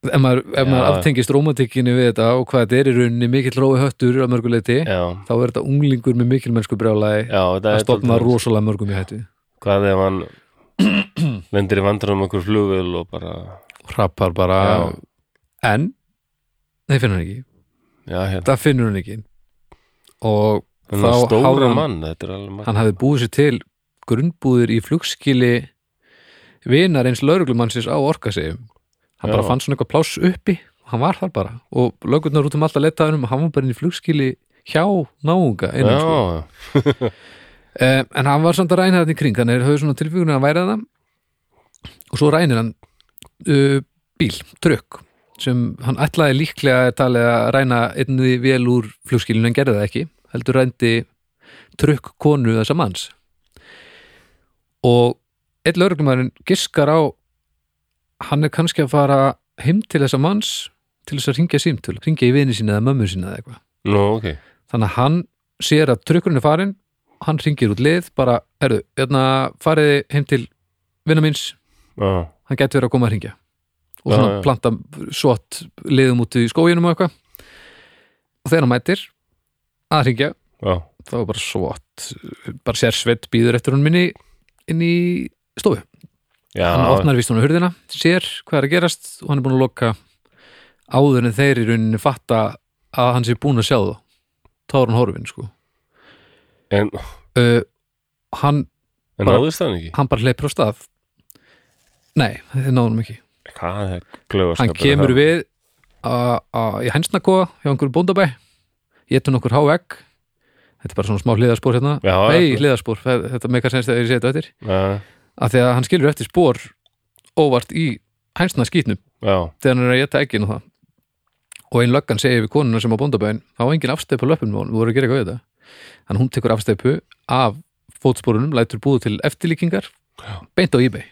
Speaker 2: ef maður, ef
Speaker 1: Já,
Speaker 2: maður
Speaker 1: já.
Speaker 2: aftengist rómatikkinni við þetta og hvað þetta er í rauninni mikill rói höttur að mörguleiti
Speaker 1: já,
Speaker 2: þá er þetta unglingur með mikilmennsku brjálæði
Speaker 1: já, það
Speaker 2: að
Speaker 1: er
Speaker 2: stofna
Speaker 1: dálítið-
Speaker 2: rosalega mörgum í hættu
Speaker 1: hvað ef hann
Speaker 2: <clears throat>
Speaker 1: lendir í vandrum okkur flugvél og bara,
Speaker 2: rappar bara
Speaker 1: Já.
Speaker 2: en, nei finnur hann ekki
Speaker 1: já, hérna
Speaker 2: það finnur hann ekki og
Speaker 1: hann er
Speaker 2: þá hafði
Speaker 1: stóra
Speaker 2: hann-
Speaker 1: mann, þetta er alveg mann
Speaker 2: hann hafi búið sér til grunnbúðir í flugskili vinar eins lauruglumannsins á orkasegjum hann bara
Speaker 1: Já.
Speaker 2: fann svona eitthvað pláss uppi og hann var þar bara og lögurnar út um alltaf leitaðunum og hann var bara inn í flugskili hjá náunga einum,
Speaker 1: já,
Speaker 2: sko. Eh, en hann var samt að ræna þetta í kring þannig er höfðu svona tilfíkunni að hann væri það og svo rænir hann uh, bíl, trökk sem hann ætlaði líklega talið að ræna einni vel úr flugskilinu en gerði það ekki, heldur rændi trökk konu þessa manns og einn lögreglumæðurinn giskar á hann er kannski að fara heim til þessa manns til þess að ringja símtöl, ringja í vini sína eða mömmu sína eða eitthvað
Speaker 1: Nú, ok.
Speaker 2: þannig að hann sér að trukkurinn er farin hann ringir út lið, bara herðu, hérna fariði heim til vinna míns,
Speaker 1: Já,
Speaker 2: hann gæti verið að koma að ringja og
Speaker 1: Já,
Speaker 2: svona
Speaker 1: já.
Speaker 2: planta svott liðum út í skóginum og eitthvað og þegar hann mætir að ringja,
Speaker 1: já,
Speaker 2: þá er bara svott bara sérsveit býður eftir hún minni inn í stofu
Speaker 1: já.
Speaker 2: hann opnar vist hún á hurðina, sér hvað er að gerast og hann er búin að loka áður en þeir í rauninni fatta að hann sé búin að sjá þá þá er hann horfin sko
Speaker 1: En,
Speaker 2: uh, hann,
Speaker 1: en
Speaker 2: Bara-
Speaker 1: náðist hann ekki?
Speaker 2: hann bara hleypur á stað nei, þið náðum ekki
Speaker 1: Hvað er klauðaskapur?
Speaker 2: hann kemur við a, a, í hænsnakoa hjá einhverju bóndabæ getur nokkur hávegg þetta er bara svona smá hliðarspor hérna
Speaker 1: Já,
Speaker 2: nei,
Speaker 1: já.
Speaker 2: hliðarspor, þe- þetta meikar senst að ég sé þetta eftir
Speaker 1: Já,
Speaker 2: af því að hann skilur eftir spor óvart í hænsna skýtnum
Speaker 1: já,
Speaker 2: þegar hann er að geta ekkin og það og einn löggan segir við konuna sem á bóndabæin þá var engin afsteipu á löpum og voru að gera eitthvað við þetta þannig hún tekur afsteipu af fótsporunum, lætur búið til eftirlíkingar beint á eBay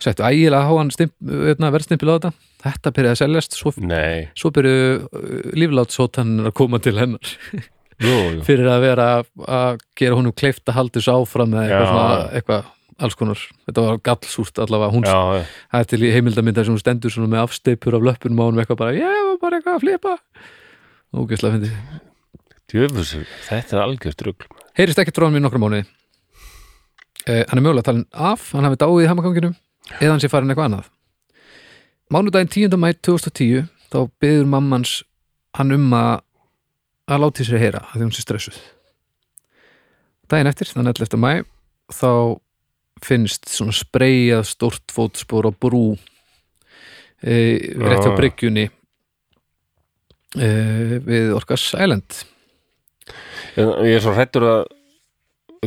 Speaker 2: settu ægilega háan verðstimpil á þetta þetta byrjaði að seljast svo,
Speaker 1: nei,
Speaker 2: svo byrjuðu líflátshótanir að koma til hennar
Speaker 1: jú, jú.
Speaker 2: fyrir að vera að gera honum kleift að haldi svo áfram eða eitthvað,
Speaker 1: Já.
Speaker 2: svona, eitthvað alls konar, þetta var gallsúrt allavega, hún
Speaker 1: Já, já,
Speaker 2: það er til í heimildamindar sem hún stendur svona með afsteipur af löppun og hún eitthvað bara, ég var bara eitthvað að flipa ógeðslega fyndi
Speaker 1: djöfus, þetta er algjörst rugl.
Speaker 2: heyrist ekki tróðan mér nokkra mánuði eh, hann er mögulega talin af hann hafi dáið í hamaganginum eða hann sé farin eitthvað annað mánudaginn 10. mæ 2010 þá byður mammans hann um að að láti sér heyra að því hún sé stressuð daginn eftir, þannig 11. mæ þá finnst svona spreyjað stórt fótspor á brú e, rétt hjá
Speaker 1: Já.
Speaker 2: bryggjunni e, við Orkas Island
Speaker 1: En ég er svo hrættur að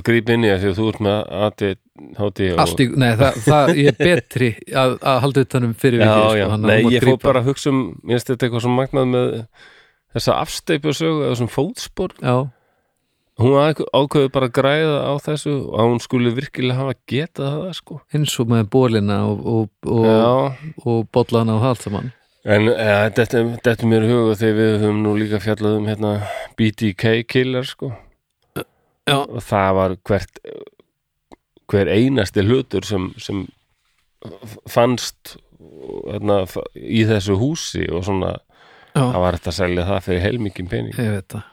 Speaker 1: grípa inn í þessi þú ert með ADHD og...
Speaker 2: allt í, nei, það, það ég er betri að, að halda utanum fyrir
Speaker 1: Já,
Speaker 2: vikið,
Speaker 1: já,
Speaker 2: sko, þannig að
Speaker 1: nei,
Speaker 2: þú mátt
Speaker 1: ég fór
Speaker 2: grípa.
Speaker 1: bara að hugsa um, ég veist þetta eitthvað sem magnað með þessa afsteipu sögu, þessum fótspor.
Speaker 2: já,
Speaker 1: Hún ákveði bara að græða á þessu og að hún skulle virkilega hafa getað það, sko.
Speaker 2: eins og með bólina og, og, og,
Speaker 1: Já,
Speaker 2: og bollana og það allt saman
Speaker 1: En ja, þetta, þetta er mér í huga þegar við höfum nú líka fjallað um hérna, BTK killer sko.
Speaker 2: Já.
Speaker 1: og það var hvert hver einasti hlutur sem, sem fannst hérna, f- í þessu húsi og svona
Speaker 2: já,
Speaker 1: það var þetta að selja það fyrir heilmikinn pening
Speaker 2: ég veit það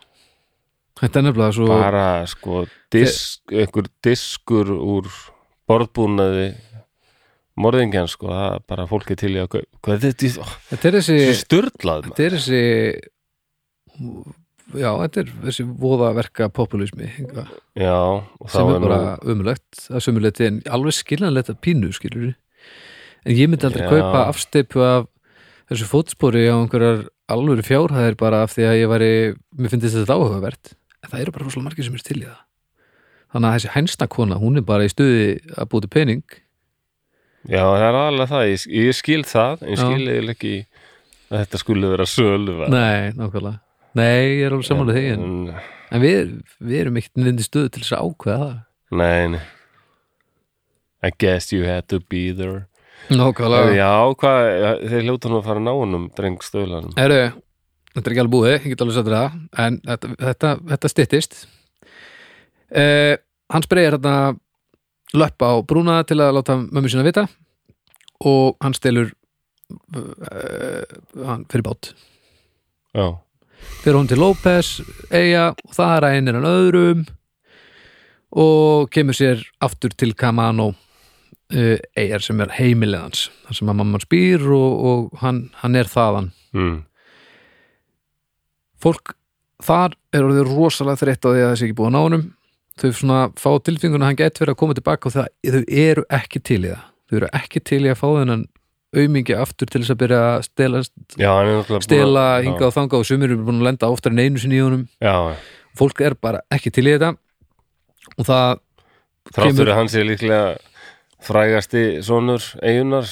Speaker 2: þetta er nefnilega svo
Speaker 1: bara sko disk, einhver diskur úr borðbúnaði morðingjan sko, það er bara fólki til í að kaup hvað er þetta, oh,
Speaker 2: þetta er þessi
Speaker 1: styrlað
Speaker 2: þetta er þessi já, þetta er þessi voðaverka populismi eitthvað,
Speaker 1: já, og þá
Speaker 2: sem er
Speaker 1: nú-
Speaker 2: bara umulegt að sömulegt en alveg skiljanlegt að pínu skilur en ég myndi aldrei
Speaker 1: Já.
Speaker 2: kaupa afsteipu af þessu fótspori á einhverjar alvöru fjárhæðir bara af því að ég væri mér finnst þetta áhugavert en það eru bara rosalega margir sem er til í það þannig að þessi hænsnakona, hún er bara í stuði að búti pening
Speaker 1: Já, það er aðalega það, ég, ég skil það en ég
Speaker 2: Já.
Speaker 1: skil eiginlega ekki að þetta skulle vera sölu
Speaker 2: nei, nákvæmlega nei, ég er alveg samanlega því en, en við, við erum ekkert nýndi stuði til þess að ákveða það
Speaker 1: Nei, nei I guess you had to be there
Speaker 2: Nákvæmlega
Speaker 1: Já, hvað, þeir hljóta nú að fara að ná honum dreng stöðlanum
Speaker 2: Herru, þetta er ekki alveg búið, ég get alveg sattur það en þetta, þetta, þetta styttist uh, Hann spreyir þarna löpp á brúna til að láta mömmu sína vita og hann stelur uh, hann fyrir bát
Speaker 1: Já,
Speaker 2: fyrir hún til López, Eyja og það er að einir en öðrum og kemur sér aftur til Kamano uh, Eyjar sem er heimilið hans þar sem að mamma spýr og, og hann, hann er þaðan
Speaker 1: mm.
Speaker 2: fólk þar er orðið rosalega þreytt á því að þessi ekki búið að ná honum þau svona fá tilfinguna að hann gæti verið að koma tilbaka og það, þau eru ekki til í það þau eru ekki til í að fá þennan aumingi aftur til þess að byrja að stela,
Speaker 1: já hann er náttúrulega
Speaker 2: stela
Speaker 1: búinn að-
Speaker 2: hingað og þangað og sumir eru búin að lenda oftar en einu sinni í honum
Speaker 1: Já,
Speaker 2: fólk er bara ekki til í þetta og það, Kemur-
Speaker 1: þráttur að hann sé líklega frægasti sonur eigunar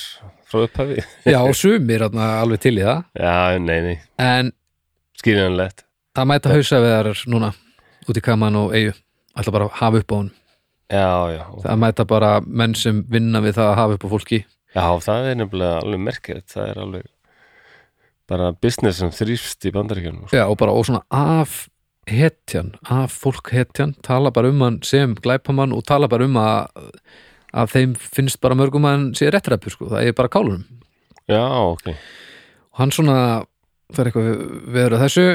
Speaker 1: frá
Speaker 2: <laughs>
Speaker 1: upphafi
Speaker 2: já, og sumir þarna alveg til í það,
Speaker 1: Já, nei, nei,
Speaker 2: en
Speaker 1: skiljanlegt
Speaker 2: það mæta hausa við þar núna út í kaman og eigu ætla bara að hafa upp á honum
Speaker 1: Já, já, og-
Speaker 2: það mæta bara menn sem vinna við það að hafa upp á fólki
Speaker 1: já, það er nefnilega alveg merkilegt, það er alveg bara business sem þrýfst í bandaríkjunum
Speaker 2: Já, og bara og svona af hetjan, af fólk hetjan tala bara um hann sem glæpamann og tala bara um að, að þeim finnst bara mörgum að hann sé réttræpur sko, það er bara kálunum
Speaker 1: Já, ok
Speaker 2: og hann svona fer eitthvað veður að þessu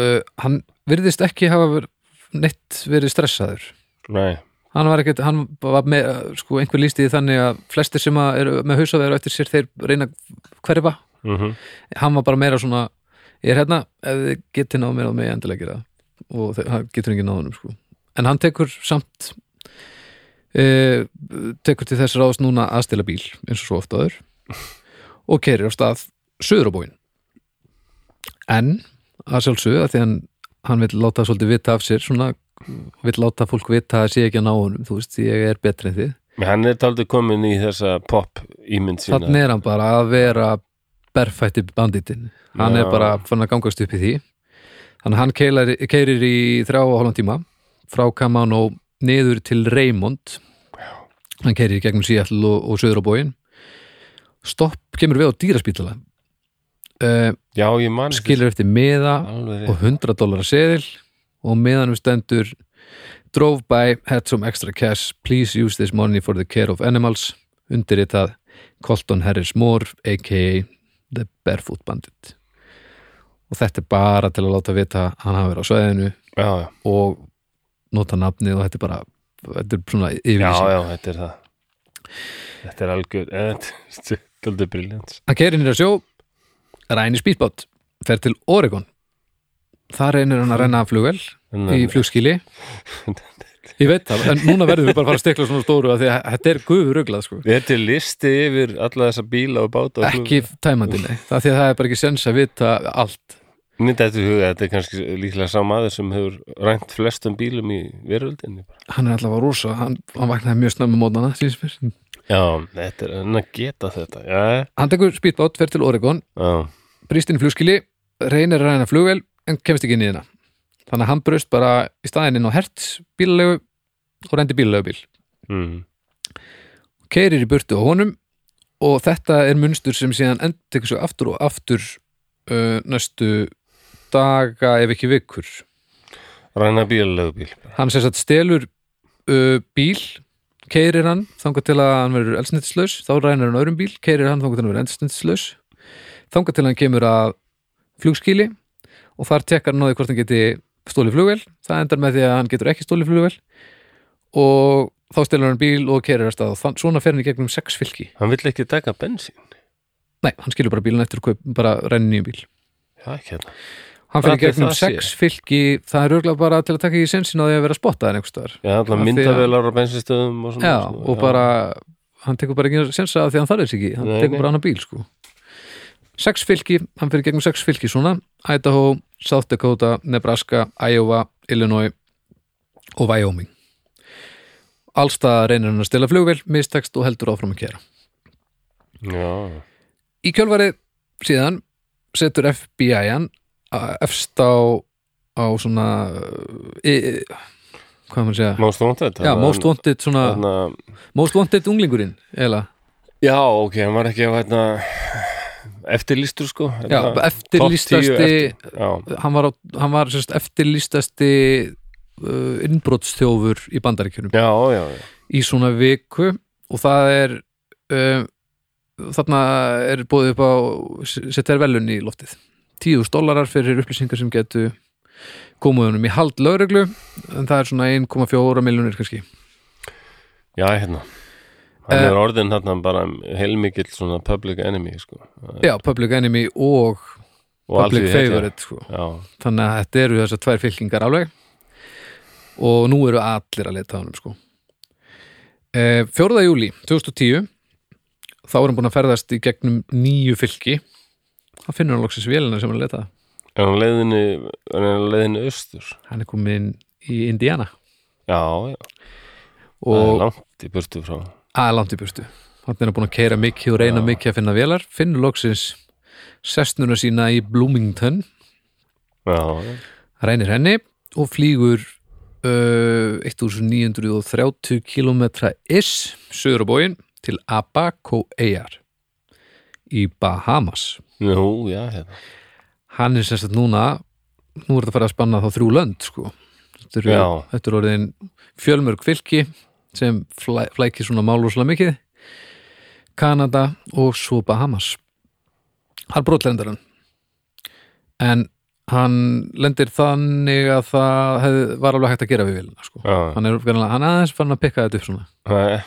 Speaker 2: uh, hann virðist ekki hafa ver- neitt verið stressaður
Speaker 1: Nei,
Speaker 2: hann var ekkert, hann var með uh, sko einhver lísti því þannig að flestir sem að eru með hausaveru eftir sér þeir reyna að hverfa,
Speaker 1: mm
Speaker 2: hann var bara meira svona ég er hérna, ef þið getið náð mér á mig endilega gera það." og þeir, hann getur ekki náðunum sko en hann tekur samt uh, tekur til þess ráðast núna að stila bíl eins og svo ofta aður og kerir á stað söðurabóin en að sjálfsögðu að því hann, hann vil láta svolítið vita af sér svona, vil láta fólk vita að sé ekki að ná honum þú veist, ég er betri en þið
Speaker 1: hann er taldið komin í þessa pop ímynd sína
Speaker 2: þannig er hann bara að vera berfætti banditinn hann
Speaker 1: Já.
Speaker 2: er bara fann að gangast upp í því þannig að hann keilar, keirir í þrjá og hálfum tíma frá Kamano niður til Raymond hann keirir í gegnum Seattle og, og Söðurabóin stopp kemur við á dýraspítala uh,
Speaker 1: Já, ég man eftir
Speaker 2: skilur eftir meða
Speaker 1: Alveg rétt.
Speaker 2: og 100 dólar seðil og meðanum stendur drove by, had some extra cash please use this money for the care of animals undirritað Colton Harris Moore aka The Barefoot Bandit og þetta er bara til að láta vita að hann hafa verið á sveðinu
Speaker 1: Já, já,
Speaker 2: og nota nafnið og þetta er bara þetta er svona
Speaker 1: já,
Speaker 2: yfirlýsing
Speaker 1: já, þetta er það Þetta er algjör eh, <laughs> Þetta er taldið briljant
Speaker 2: Hann keirir nýra sjó, rænir spýtbát, fer til Oregon. Það reynir hann að renna af flugvel í <laughs> flugskili. Ég veit það, en núna verðum við bara að fara að stekla svona stóru af því að þetta er guðuruglað sko.
Speaker 1: Þetta er listi yfir alla þessa bíla og báta og
Speaker 2: Ekki tæmandi, nei. Það er því að það er bara ekki sens að vita allt.
Speaker 1: Myndi þetta huga, þetta er kannski líklega sá maður sem hefur rænt flestum bílum í veröldinni bara.
Speaker 2: Hann er allavega rosa, hann, hann vaknaði mjög snömmu mótnana, síns mér.
Speaker 1: Já, þetta er hann að geta þetta Já,
Speaker 2: Hann tekur spýtbát, fer til Oregon,
Speaker 1: já,
Speaker 2: brýst inn í flugskili, reynir að ræna flugvel, en kemst ekki inn í hérna. Þannig að hann brust bara í staðinn inn á herts bílalegu og rendi bílalegu bíl.
Speaker 1: mm,
Speaker 2: keirir í burtu á honum og þetta er munstur sem síðan endtekur sig aftur og aftur uh, næstu daga ef ekki vikur
Speaker 1: ræna bíl, lögbíl
Speaker 2: hann sem sagt stelur uh, bíl keirir hann þangað til að hann verður elsnitslaus þá rænir hann öðrum bíl, keirir hann þangað til að hann verður elsnitslaus þangað til hann kemur að flugskili og þar tekkar hann á því hvort hann geti stólið flugvél, það endar með því að hann getur ekki stólið flugvél og þá stelur hann bíl og keirir að stað og þann- svona fer hann í gegnum sex fylki
Speaker 1: Hann vill ekki taka bensín
Speaker 2: Nei, hann skilur bara bílinn eftir og kaup, bara renni nýjum bíl.
Speaker 1: Já, ekki hérna
Speaker 2: Hann fyrir
Speaker 1: Ætli
Speaker 2: gegnum
Speaker 1: það sé?
Speaker 2: sex fylki, það er örgulega bara til að taka í sensin á því að vera spottaðin einhvers staðar.
Speaker 1: Já, allan
Speaker 2: Af því að-
Speaker 1: myndavelar á bensinstöðum og svona
Speaker 2: Já,
Speaker 1: svona,
Speaker 2: og bara, hann tekur bara ekki sensa af því að hann þarf þess ekki, hann
Speaker 1: Nei,
Speaker 2: tekur
Speaker 1: nei.
Speaker 2: bara hann að bíl, sko. Sex fylki, hann fyrir gegnum sex fylki svona, Idaho, South Dakota, Nebraska, Iowa, Illinois og Wyoming. Allstað reynir hann að stila flugvél, mistekst og heldur áfram að kera.
Speaker 1: Já,
Speaker 2: Í kjölfarið síðan setur FBI-an efst á, á svona e, e, hvað maður að segja
Speaker 1: most wanted
Speaker 2: já,
Speaker 1: þarna-
Speaker 2: most wanted svona
Speaker 1: þarna-
Speaker 2: most wanted unglingurinn eða,
Speaker 1: Já, ok, hann var ekki að hérna, eftirlýstur sko
Speaker 2: já,
Speaker 1: Hérna,
Speaker 2: eftirlýstasti
Speaker 1: topp 10 eftir- Já,
Speaker 2: hann var, á- hann var sérst, eftirlýstasti uh, innbrotsþjófur í bandaríkjunum
Speaker 1: já, já, já.
Speaker 2: í svona viku og það er uh, þarna er búið upp á setja þær velun í loftið 10.000 dólarar fyrir upplýsingar sem getu komið honum í hald lögreglu en það er svona 1,4 miljonir kannski
Speaker 1: Já, hérna Hann
Speaker 2: Eh,
Speaker 1: er orðin hérna bara heilmikill svona public enemy sko
Speaker 2: já, public enemy og
Speaker 1: Og
Speaker 2: public
Speaker 1: alþýðuhetja.
Speaker 2: favorite sko.
Speaker 1: Já,
Speaker 2: þannig að þetta eru þessar tvær fylkingar alveg og nú eru allir að leta á honum sko. e, 4. júli 2010 þá er hann búin að ferðast í gegnum nýju fylki það finnur hann loksins vélina sem hann er að leta að.
Speaker 1: er hann á leiðinni, er hann á leiðinni austur?
Speaker 2: hann er komin inn í Indiana
Speaker 1: Já, já, það er
Speaker 2: og
Speaker 1: langt í burtu frá
Speaker 2: að langt í burtu hann er búin að keira mikið og reyna mikið að finna vélar finnur loksins sestnuna sína í Bloomington
Speaker 1: Já, já,
Speaker 2: reynir henni og flýgur uh, 1930 km is söður á bóin til Abaco Eyjar í Bahamas
Speaker 1: Nú, já, hérna.
Speaker 2: hann er sem sagt núna nú er þetta að fara að spanna þá þrjú lönd sko. þetta, eru,
Speaker 1: Já.
Speaker 2: þetta eru orðin fjölmörg fylki sem flæ, flækir svona málúslega mikið Kanada og svo Bahamas hann brotlendar hann en hann lendir þannig að það hef, var alveg hægt að gera við vilina sko.
Speaker 1: Já.
Speaker 2: hann er greinilega- hann er aðeins fann að pikka þetta upp svona
Speaker 1: Æ,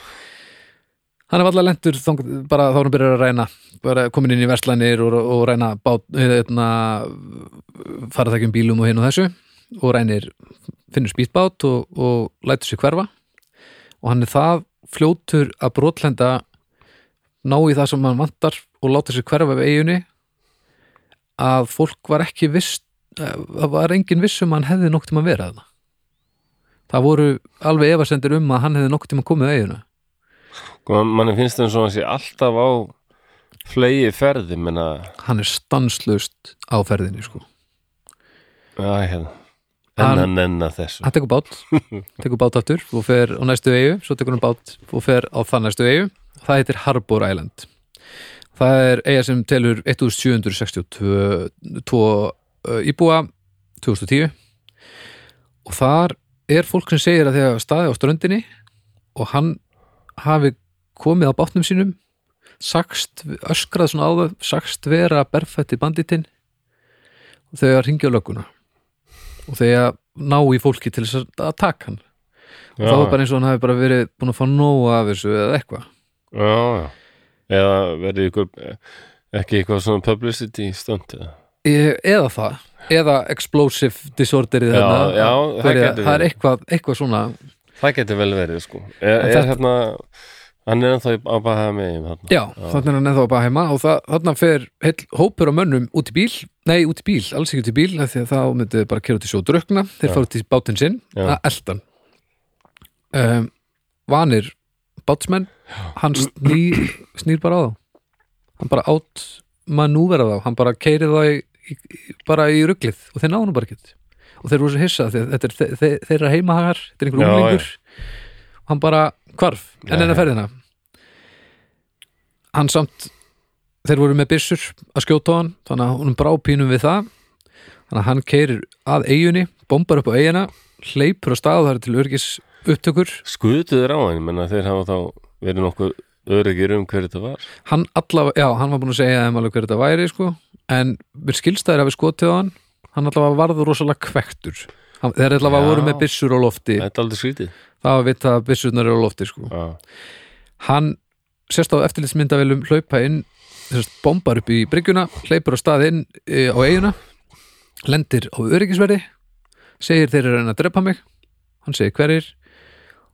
Speaker 2: hann er alltaf lentur þang, bara þá er hann byrjar að ræna bara komin inn í verslanir og, og ræna bát, hérna, faratækjum um bílum og hinn og þessu og rænir, finnur spýtbát og, og lætur sér hverfa og hann er það fljótur að brotlenda ná í það sem hann vantar og láta sér hverfa við eigunni að fólk var ekki viss eh, það var engin viss um að hann hefði nokkuð tíma að vera þarna það voru alveg efasendir um að hann hefði nokkuð tíma að komið að eiguna
Speaker 1: sko, manni finnst það eins og hann sé alltaf á flegi ferði, menna,
Speaker 2: hann er stanslust á ferðinni sko.
Speaker 1: já, hérna.
Speaker 2: Hann-
Speaker 1: En að nenna þessu.
Speaker 2: hann tekur bát tekur bát aftur og fer á næstu eigu svo tekur hann bát og fer á þann næstu eigu það heitir Harbour Island það er eiga sem telur 1762 tvo, uh, íbúa 2010 og þar er fólk sem segir að þegar staði á ströndinni og hann hafi komið á bátnum sínum sagst, öskrað svona á þau sagst vera berfætti banditinn þegar hringja á lögguna og þegar ná í fólki til þess að- að taka hann og
Speaker 1: Já,
Speaker 2: þá var bara eins og hann hafi bara verið búin að fá nóg af þessu eða eitthvað
Speaker 1: Já, já. Eða verði ykkur, ekki eitthvað svona publicity stönd, eða?
Speaker 2: E- eða það, eða explosive disorderið
Speaker 1: Já,
Speaker 2: þarna.
Speaker 1: já, það
Speaker 2: Verið-
Speaker 1: gæti
Speaker 2: það er
Speaker 1: verið.
Speaker 2: eitthvað, eitthvað svona
Speaker 1: Það getur vel verið, sko. Er,
Speaker 2: En
Speaker 1: er
Speaker 2: þetta-
Speaker 1: hérna, hann er ennþá í- á bahaða megin, hérna.
Speaker 2: já, þannig er hann ennþá bara heima og það, þarna fer heil, hópur á mönnum út í bíl nei, út í bíl, alls ekki út í bíl af því að þá myndið bara kera út í sjó og drukna þeir
Speaker 1: Já.
Speaker 2: fara út í bátinn sinn,
Speaker 1: Já.
Speaker 2: að eldan um, vanir bátsmenn hann snýr, snýr bara á þá hann bara átt manúvera þá hann bara keirið þá í, í, í- bara í ruglið og þeir náðum bara ekkert og þeir voru svo hissa því að þetta er þe þe þeirra heimahagar þetta er
Speaker 1: Já,
Speaker 2: einhver úlingur og hann bara hvarf
Speaker 1: Já,
Speaker 2: en enn
Speaker 1: já.
Speaker 2: að ferðina hann samt þeir voru með byssur að skjóta á hann þannig að hún brá pínum við það þannig að hann keirir að eigunni bombar upp á eigina, hleypur á stað þar til örgis upptökur
Speaker 1: Skutuður á hann, menna þeir hafa þá verið nokkuð öryggir um hverju þetta var.
Speaker 2: hann allavega, já, hann var búin að segja þeim alveg hver þetta væri, sko en mér skilstæðir að við skotið á hann hann allavega varður rosalega kvektur hann, þeir allavega
Speaker 1: Já.
Speaker 2: voru með byssur á lofti
Speaker 1: Þetta er aldrei skrítið.
Speaker 2: það var vitað að byssurnar eru á lofti, sko
Speaker 1: Já,
Speaker 2: hann sérst á eftirlitsmyndavélum hlaupa inn, sérst bombar upp í bryggjuna hleypur á stað inn e, á eiguna lendir á öryggisverði segir þeir eru að reyna að drepa mig hann segir hverjir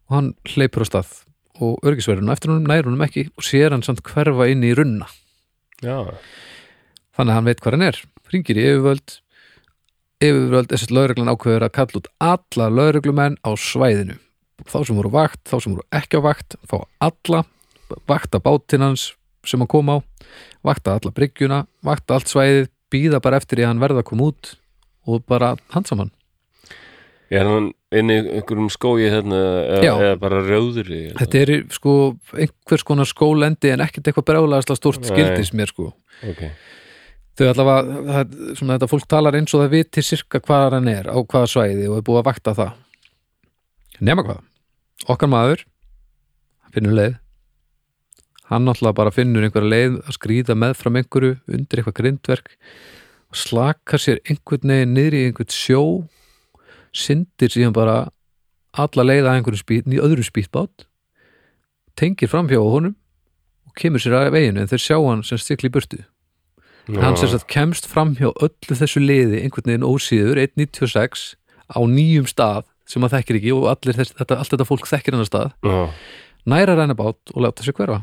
Speaker 2: og hann hleypur á stað og öryggisverðinu eftir honum, nær honum ekki og sér hann samt hverfa inn í runna
Speaker 1: já,
Speaker 2: þannig að hann veit hvað hann er ringir í yfirvöld yfirvöld þess að lögreglan ákveður að kalla út alla lögreglumenn á svæðinu þá sem voru á vakt, þá sem voru ekki á vakt fá alla, vakta bátinn hans sem að koma á vakta alla bryggjuna, vakta allt svæðið býða bara eftir því að hann verða að koma út og bara handsam hann
Speaker 1: Er hann inn í einhverjum skói hérna eða,
Speaker 2: Já.
Speaker 1: eða bara rjóður í?
Speaker 2: þetta er sko einhvers konar skólendi en ekkert eitthvað brjálega stort
Speaker 1: Nei.
Speaker 2: skildis mér sko
Speaker 1: Ok,
Speaker 2: þau allavega, það, svona þetta fólk talar eins og það viti sirka hvað hann er á hvaða svæði og er búið að vakta það nema hvað, okkar maður hann finnur leið hann náttúrulega bara finnur einhverja leið að skrýða með fram einhverju undir eitthvað grindverk og slaka sér einhvern veginn niður í einhvern sjó syndir síðan bara alla leið að einhverju spýt, í öðru spýtbát tengir framhjá á honum og kemur sér að veginu en þeir sjá hann sem stikli í burtu
Speaker 1: já,
Speaker 2: hann sem sagt kemst fram hjá öllu þessu liði einhvern veginn ósýður 1.96 á nýjum stað sem hann þekkir ekki og allir þess, þetta, allt þetta fólk þekkir hennar stað
Speaker 1: já,
Speaker 2: næra ræna bát og láta sér hverfa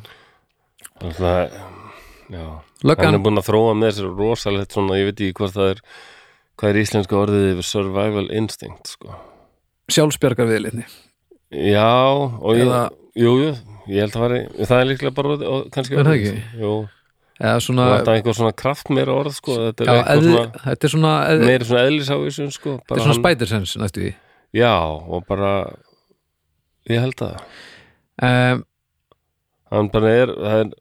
Speaker 1: alltaf, já. Hann
Speaker 2: löggan,
Speaker 1: er búin að þróa með sér rosalegt svona, ég veit ekki hvort það er, hvað er íslenska orðið yfir survival instinct, sko.
Speaker 2: sjálfsbjargar viðliðni
Speaker 1: Já, og ég,
Speaker 2: Eða-
Speaker 1: jú, jú, ég held að fara í, það er líklega bara, orðið- og, kannski,
Speaker 2: Er það
Speaker 1: orðið,
Speaker 2: ekki?
Speaker 1: Jú,
Speaker 2: eða svona,
Speaker 1: og þetta er einhver svona kraft meira orð, sko, þetta er
Speaker 2: já,
Speaker 1: eitthvað
Speaker 2: eðli,
Speaker 1: svona,
Speaker 2: þetta er svona eð,
Speaker 1: meira svona eðlisávísun, sko.
Speaker 2: þetta er svona spider-sense næstu í
Speaker 1: Já, og bara, ég held að
Speaker 2: um,
Speaker 1: hann bara er, það er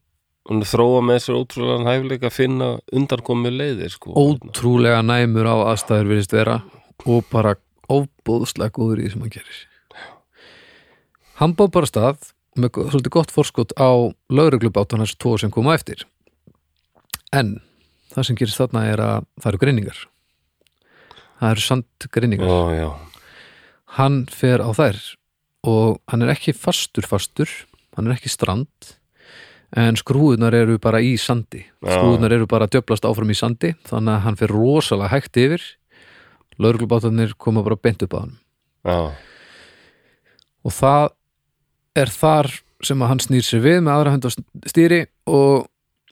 Speaker 1: hún er þróa með sér ótrúlega hæfileika að finna undarkomu leiðir sko
Speaker 2: ótrúlega næmur á aðstæður virðist vera og bara óbóðslega góður í því sem hann gerir hann bóð bara af stað með go- svolítið gott forskot á lauruglubátan hans tvo sem koma á eftir en það sem gerist þarna er að það eru greiningar það eru samt greiningar
Speaker 1: Ó, já,
Speaker 2: hann fer á þær og hann er ekki fastur fastur hann er ekki strand en skrúðunar eru bara í sandi
Speaker 1: Já.
Speaker 2: skrúðunar eru bara að djöblast áfram í sandi þannig að hann fer rosalega hægt yfir lauruglubátarnir koma bara beint upp á hann
Speaker 1: já,
Speaker 2: og það er þar sem að hann snýr sér við með aðra hönd á stýri og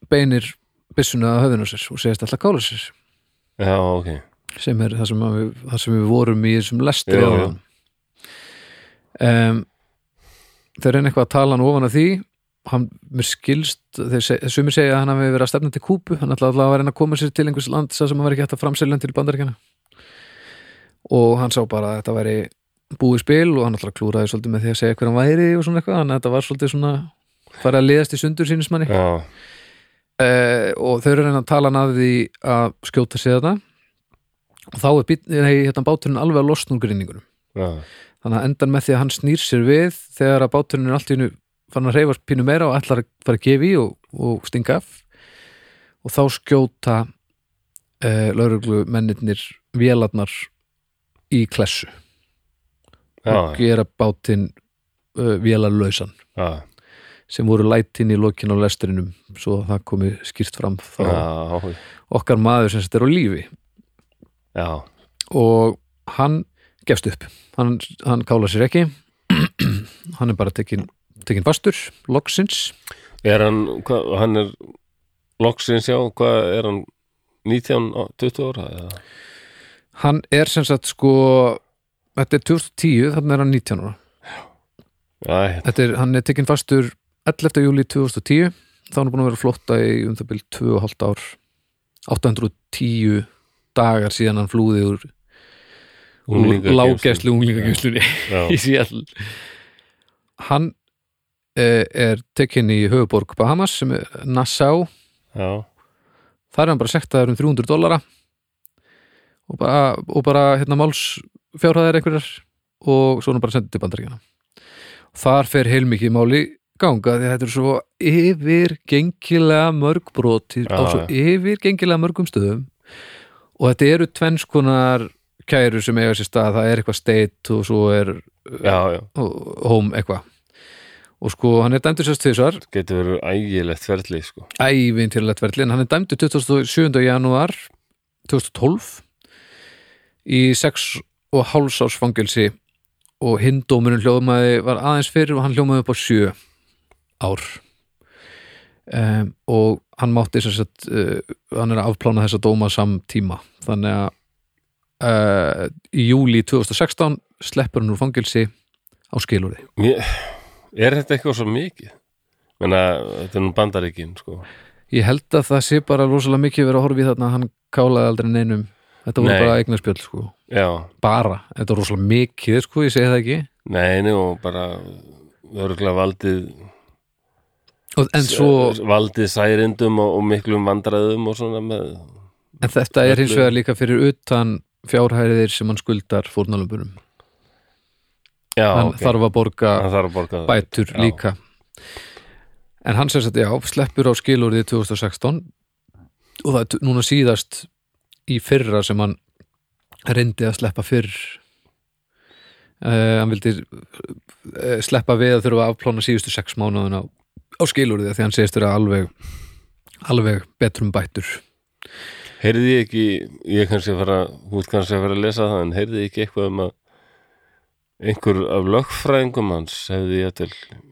Speaker 2: beinir byssuna að höfðinu sér og segist alltaf kála sér
Speaker 1: já, ok
Speaker 2: sem er það sem, að við, það sem við vorum í þessum lestri
Speaker 1: Já,
Speaker 2: á hann um, þeir reyna eitthvað að tala hann ofan af því hann, mér skilst, þeir seg, sumir segja að hann hafi verið að stefna til Kúpu hann ætlaði alltaf að reyna að koma sér til einhvers land sem hann var ekki hægt að framselja hann til bandaríkjana og hann sá bara að þetta væri búið spil og hann alltaf klúraði svolítið með því að segja hver hann væri og svona eitthvað, þannig að þetta var svolítið svona farið að liðast í sundur sínismanni
Speaker 1: já,
Speaker 2: uh, og þau eru að reyna að tala hann að því að skjóta sig þetta og þá er bíll, nei, hérna, báturinn alveg að losna úr grinningunum
Speaker 1: já,
Speaker 2: þannig að endan með því að hann snýr sér við þegar að báturinn er allt í hennu fann að reyfast pínu meira og ætlar að fara að gefa í og, og stinga af og þá skjóta uh, lauruglu mennirnir vélarnar í klessu og
Speaker 1: já,
Speaker 2: gera bátinn uh, vélarlausan
Speaker 1: já,
Speaker 2: sem voru lætin í lokin á lestrinum svo að það komi skýrt fram þá
Speaker 1: já, ok.
Speaker 2: okkar maður sem þetta er á lífi
Speaker 1: já,
Speaker 2: og hann gefst upp hann, hann kála sér ekki <clears throat> hann er bara tekin, tekin fastur loksins
Speaker 1: er hann, hva, hann er loksins já, hvað er hann 19, á- 20 ára eða?
Speaker 2: hann er sem sagt sko þetta er 2010, þannig er hann 19 ára
Speaker 1: Æ,
Speaker 2: Þetta er, hann er tekin fastur 11. júli 2010 þá er hann búin að vera á flótta í um það byrjum 2,5 ár 810 dagar síðan hann flúði úr
Speaker 1: unglingageymslu.
Speaker 2: lágæslu unglingageimslunni
Speaker 1: Já,
Speaker 2: <laughs> í Seattle hann eh, er tekinn í höfuborg Bahamas sem er Nassau
Speaker 1: já,
Speaker 2: þar er hann bara sektaður um 300 dollara og bara, og bara hérna máls fjárhæðar einhverjar og svo er hann bara sendið til bandaríkjana þar fer heilmikið máli ganga því að þetta er svo yfirgengilega mörg brot í- á
Speaker 1: Já,
Speaker 2: svo
Speaker 1: já.
Speaker 2: yfirgengilega mörgum stöðum og þetta eru tvenns konar kæru sem eiga sér stað, það er eitthvað state og svo er
Speaker 1: já, já,
Speaker 2: og home eitthvað og sko hann er dæmdur sérst tvisar
Speaker 1: getur verið ægilegt ferli sko.
Speaker 2: ævintýrlegt verðli en hann er dæmdur 27. janúar 2012 í 6 og hálfs árs fangelsi og hinn dómurinn hljómaði var aðeins fyrir og hann hljómaði upp á 7 ár um, og hann mátti þess að uh, hann er að afplána þessa dóma samtíma þannig að uh, í júli 2016 sleppur hann úr fangelsi á skilurði
Speaker 1: Mér, er þetta eitthvað svo mikið? Menna, þetta er nú bandaríkin sko.
Speaker 2: Ég held að það sé bara rosalega mikið verið að horfa í þarna að hann kálaði aldrei neinum Þetta voru
Speaker 1: Nei.
Speaker 2: bara eignarspjöld sko
Speaker 1: Já,
Speaker 2: Bara, þetta er rosalega mikið sko, ég segi það ekki
Speaker 1: nei, nú bara örgulega valdið
Speaker 2: og, En svo,
Speaker 1: valdið særindum og, og miklum vandræðum og svona með
Speaker 2: en þetta er hins
Speaker 1: öllu-
Speaker 2: vegar líka fyrir utan fjárhæriðir sem hann skuldar fórnalömburum
Speaker 1: Já,
Speaker 2: Hann
Speaker 1: ok.
Speaker 2: þarf að borga
Speaker 1: hann þarf að borga það
Speaker 2: bætur
Speaker 1: Já.
Speaker 2: líka En hann sem sagt, já, sleppur á skilurðið 2016 og það er t- núna síðast í fyrra sem hann reyndi að sleppa fyrr uh, hann vildi uh, sleppa við að þurfa að afplána síðustu sex mánuðina á, á skilurðið því hann segist vera alveg alveg betrum bætur
Speaker 1: Heyrði ég ekki, ég kannski að fara hútt kannski að fara að lesa það en heyrði ég ekki eitthvað um að einhver af lögfræðingum hans hefði ég til,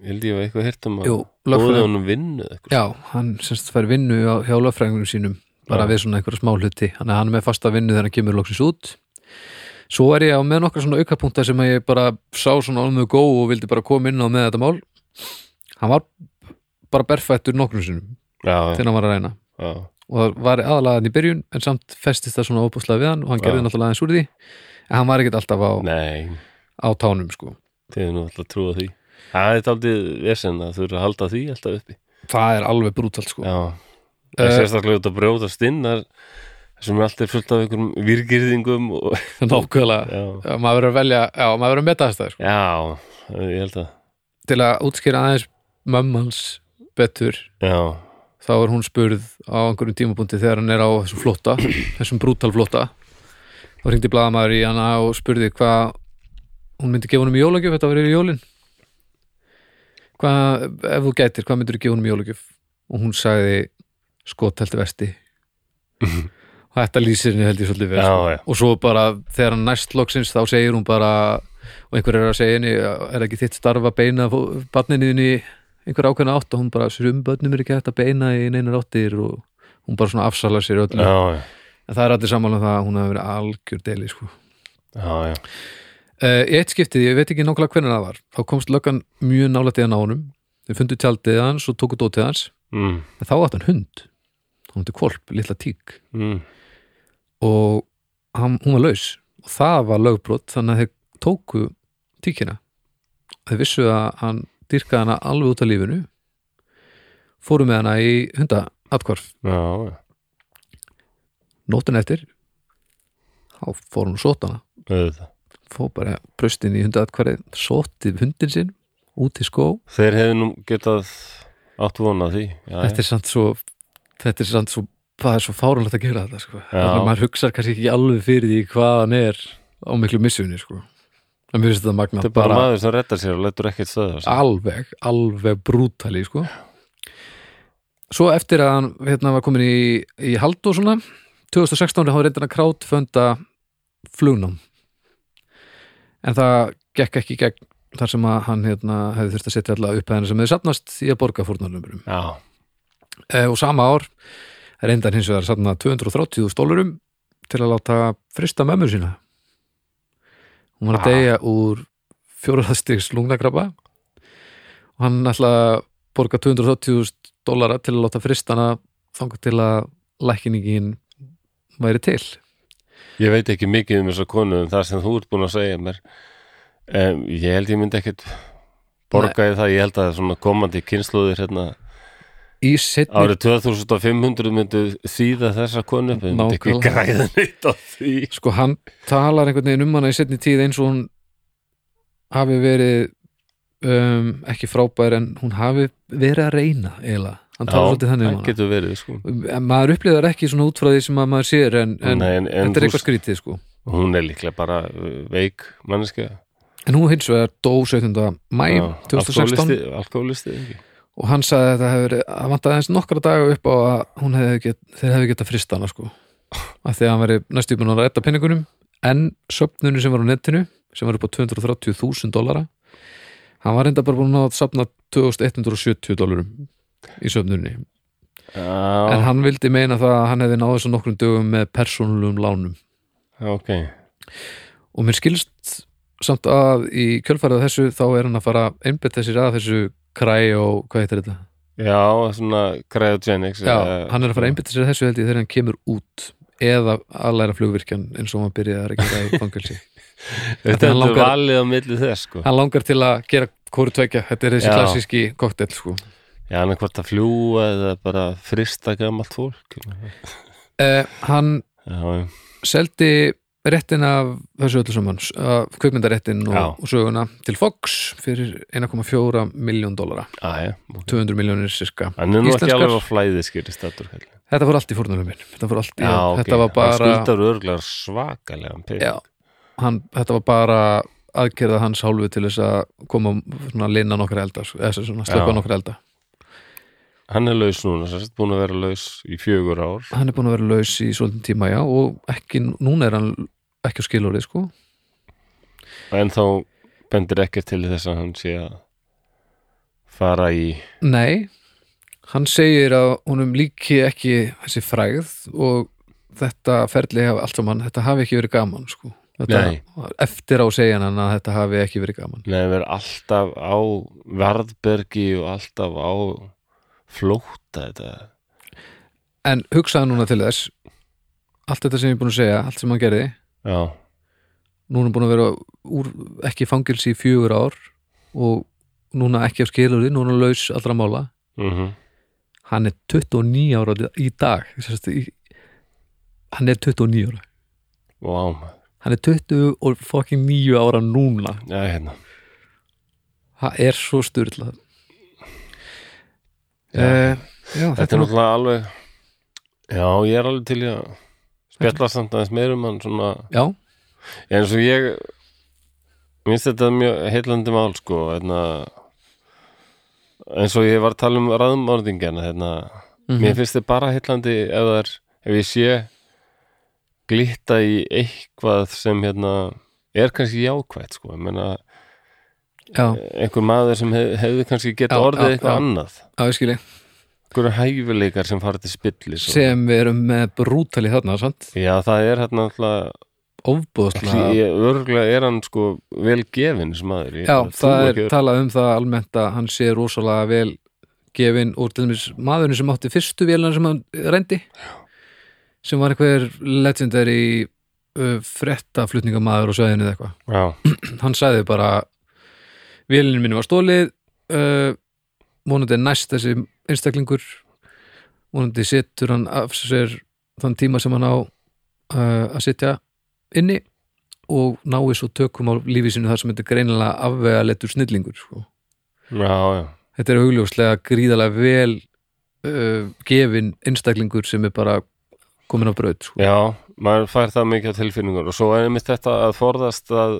Speaker 1: held ég var eitthvað heyrt um að
Speaker 2: Jú,
Speaker 1: bóði
Speaker 2: lögfræðing-
Speaker 1: honum vinnu eða eitthvað.
Speaker 2: Já, hann semst fær vinnu á hjá lögfræðingunum sínum bara
Speaker 1: Já.
Speaker 2: við svona einhverja smá hluti hann er hann er með fasta vinnu þegar hann kemur loksins út Svo er ég á með nokkra svona aukapunkta sem að ég bara sá svona alveg gó og vildi bara koma inn á með þetta mál Hann var bara berfættur nokkrum sinnum
Speaker 1: Já,
Speaker 2: þegar hann var að reyna
Speaker 1: já,
Speaker 2: og það var aðalaðan í byrjun en samt festist það svona óbúslega við hann og hann gerði
Speaker 1: Já.
Speaker 2: náttúrulega aðeins úr því en hann var ekkert alltaf á,
Speaker 1: nei
Speaker 2: á tánum sko
Speaker 1: þið er nú alltaf að trúa því Það er aldrei vesinn að þurfa að halda því alltaf uppi
Speaker 2: það er alveg brútalt sko
Speaker 1: Já, það er
Speaker 2: Eh,
Speaker 1: sérstaklega út að brjóðast inn þar sem allt er fullt af einhverjum virgirðingum og,
Speaker 2: <laughs> nákvæmlega,
Speaker 1: já.
Speaker 2: já, maður verður að velja já, maður verður að meta þess það sko.
Speaker 1: já, ég held að
Speaker 2: til að útskýra aðeins mömmans betur
Speaker 1: Já,
Speaker 2: þá er hún spurð á einhverjum tímapunkti þegar hann er á þessum
Speaker 1: <clears throat>
Speaker 2: flotta þessum brútal flotta þá hringdi blaðamaður í hana og spurði hvað hún myndi gefa honum í jólagjöf þetta var yfir jólin hvað, ef þú gætir, hvað myndir þú gefa honum í jólagjöf og hún sagði skotelti
Speaker 1: <laughs>
Speaker 2: vesti og þetta lýsir henni held ég svolítið vel
Speaker 1: já,
Speaker 2: sko.
Speaker 1: já,
Speaker 2: og svo bara þegar hann næst loksins þá segir hún bara og einhver er að segja henni er ekki þitt starfa beina barninuðinni einhver ákveðna átt og hún bara sum börnum er ekki hægt að beina í neinar áttir og hún bara svona afsala sér öllu
Speaker 1: já, já,
Speaker 2: en það er allir sammála um það að hún hafi verið algjör deli sko.
Speaker 1: já, já.
Speaker 2: uh, í eitt skiptið, ég veit ekki nákvæmlega hvernig það var þá komst löggan mjög nálættið að honum þau fundu tjaldið hans og tóku dótið hans
Speaker 1: Mm,
Speaker 2: en þá átt hann hund hann hundi kvolp, litla tík
Speaker 1: mm,
Speaker 2: og hann, hún var laus og það var lögbrot þannig að þeir tóku tíkina þeir vissu að hann dyrkaði hana alveg út af lífinu fóru með hana í hundaatkvarf
Speaker 1: já, já.
Speaker 2: nótun eftir þá fór hún sót hana
Speaker 1: auðvitað.
Speaker 2: fór bara bröstin í hundaatkvarfið sótið hundin sinn út í skó
Speaker 1: Þeir hefðu nú getað átt vona því já,
Speaker 2: þetta er samt svo þetta er samt svo, það er svo fáránlegt að gera þetta sko.
Speaker 1: Já.
Speaker 2: þannig að maður hugsa kannski ekki alveg fyrir því hvað hann er á miklu missunni sko. en mér finnst þetta magna
Speaker 1: Þetta er bara, maður sem rettar sér og letur ekkert stöða sig.
Speaker 2: alveg, alveg brútali sko. svo eftir að hann hérna, var komin í, í hald og svona 2016 hann reyndan að krátfönda flugnám en það gekk ekki í gegn þar sem að hann hérna, hefði þurft að setja alla upphæðina sem hefði safnast í að borga fórnarlumurum
Speaker 1: Já,
Speaker 2: e, og sama ár reyndan hins vegar safna 230 stólurum til að láta frista mömmu sína hún var að
Speaker 1: Ah.
Speaker 2: deyja úr fjóraðastigs lungnakrabba og hann ætlaði að borga 230 dólara til að láta frista hana þangað til að lækningin væri til
Speaker 1: ég veit ekki mikið um þessa konu en það sem þú ert búin að segja mér um, ég held ég myndi ekkert borgaði það, ég held að svona komandi kynsluðir hérna
Speaker 2: í setni,
Speaker 1: Árið 2500 myndu þýða þessa konu upp, þau myndu ekki
Speaker 2: Nákvæmlega.
Speaker 1: græða neitt á því.
Speaker 2: sko hann talar einhvern veginn um hana í setni tíð eins og hún hafi verið um, ekki frábær en hún hafi verið að reyna eiginlega, hann talar svolítið þannig um
Speaker 1: það
Speaker 2: hana
Speaker 1: getur verið, sko.
Speaker 2: En maður upplýðar ekki svona út frá því sem að maður sér en, en,
Speaker 1: Nei, en, en
Speaker 2: þetta er
Speaker 1: þú-
Speaker 2: eitthvað skrítið sko
Speaker 1: hún er líklega bara uh, veik manneskja.
Speaker 2: en hún hins vegar dó 17. mæ 2016
Speaker 1: Alkoholisti, ekki.
Speaker 2: og hann sagði að það hefur að vantaði aðeins nokkra daga upp á að hún hefði get, þeir hefði getað frista hana sko af því að hann veri næstu búin að rætta penningunum en söpnunum sem var á netinu sem var upp á 230.000 dólara hann var reynda bara búin að sapna 2170 dólarum í söpnunni en
Speaker 1: Já,
Speaker 2: hann vildi meina það að hann hefði náðu þessu nokkrum dögum með persónulegum lánum
Speaker 1: ok.
Speaker 2: og mér skilst samt að í kjölfarið á þessu þá er hann að fara einbytta sér að þessu kræ og hvað heitir þetta?
Speaker 1: Já, svona cryogenics.
Speaker 2: Já,
Speaker 1: eða-
Speaker 2: hann er að fara einbytta sér að þessu held ég þegar hann kemur út eða að læra flugvirkjan eins og hann byrjaði að gera
Speaker 1: <laughs>
Speaker 2: í fangelsi
Speaker 1: <laughs> Þetta er
Speaker 2: hann
Speaker 1: langar...
Speaker 2: langar-
Speaker 1: valið á milli þess, sko.
Speaker 2: hann langar til að gera kóru tvekja þetta er þessi
Speaker 1: Já.
Speaker 2: klassíski koktel sko.
Speaker 1: Já, hann er hvort að fljúa eða bara frista gamalt fólk.
Speaker 2: eh, hann
Speaker 1: Já, já.
Speaker 2: seldi réttin af þessu öllu saman af kvikmyndaréttin
Speaker 1: Já.
Speaker 2: og, og söguna til Fox fyrir 1,4 miljón dólara
Speaker 1: Á, já. ok.
Speaker 2: 200 miljónir sirka
Speaker 1: Hann er nú ekki
Speaker 2: Íslenskar?
Speaker 1: alveg á flæði, skilist þetta.
Speaker 2: þetta fór allt í fórnum minn þetta, fór allt í,
Speaker 1: Já, ok.
Speaker 2: þetta var bara
Speaker 1: Hann skuldar örglar svakalega pening.
Speaker 2: Já, hann, þetta var bara aðgerða hans hálfu til þess að koma svona að linna nokkra elda sko, eða svona að slöpa
Speaker 1: Já.
Speaker 2: nokkra elda
Speaker 1: Hann er laus núna, sérst búin að vera laus í fjögur ár.
Speaker 2: hann er búin að vera laus í svolítið tíma já og ekki, núna er hann ekki á skilorið sko
Speaker 1: En þá bendir ekkert til þess að hann sé að fara í...
Speaker 2: nei, hann segir að honum líki ekki þessi frægð og þetta ferli hafi allt saman, þetta hafi ekki verið gaman sko
Speaker 1: Nei.
Speaker 2: þetta, eftir á segjan hann að þetta hafi ekki verið gaman
Speaker 1: Nei, hann verður alltaf á varðbergi og alltaf á flóta þetta.
Speaker 2: en hugsaði núna til þess allt þetta sem ég er búin að segja, allt sem hann gerði
Speaker 1: Já,
Speaker 2: núna búin að vera úr, ekki í fangelsi í fjögur ár og núna ekki á skilurði, núna laus allra mála
Speaker 1: mhm,
Speaker 2: hann er 29 ára í dag sérst, í, hann er 29 ára
Speaker 1: Vá, wow.
Speaker 2: hann er 20 og fucking 9 ára núna
Speaker 1: já, hérna
Speaker 2: það er svo styrlað já,
Speaker 1: Já.
Speaker 2: Eh, já
Speaker 1: Þetta er náttúrulega alveg Já, ég er alveg til í að spjalla samt aðeins meir um hann svona
Speaker 2: já,
Speaker 1: eins og ég minnst þetta mjög heillandi mál sko hérna, eins og ég var að tala um raðmörðingjana hérna,
Speaker 2: mhm.
Speaker 1: mér finnst þetta bara heillandi ef, það er, ef ég sé glitta í eitthvað sem hérna er kannski jákvætt sko, ég meina
Speaker 2: já,
Speaker 1: einhver maður sem hef, hefði kannski geta
Speaker 2: Já,
Speaker 1: orðið
Speaker 2: já,
Speaker 1: eitthvað
Speaker 2: já.
Speaker 1: annað
Speaker 2: já, ég skilji
Speaker 1: einhverju hæfileikar sem farið til spillis og-
Speaker 2: sem við erum með brútali þarna, sant?
Speaker 1: Já, það er hérna alltaf
Speaker 2: ofbúðslega
Speaker 1: örgulega er hann sko vel gefin sem maður ég,
Speaker 2: Já,
Speaker 1: trúi
Speaker 2: það er
Speaker 1: ekki öðru.
Speaker 2: talað um það almennt að hann sé rosalega vel gefin úr til dæmis maðurinn sem átti fyrstu vélan sem hann reyndi sem var einhver legendary uh, frettaflutningamaður og sæðinu eða eitthvað.
Speaker 1: Já,
Speaker 2: Hann sæði bara vélinu minni var stólið uh, vonandi er næst þessi einstaklingur vonandi setur hann af sér þann tíma sem hann á uh, að sitja inni og nái svo tökum á lífi sinu þar sem þetta er greinilega afvega letur snillingur sko.
Speaker 1: já, já,
Speaker 2: þetta er augljóslega gríðalega vel uh, gefin einstaklingur sem er bara komin á braut sko.
Speaker 1: já maður fær það mikið á tilfinningur og svo er einmitt þetta að forðast að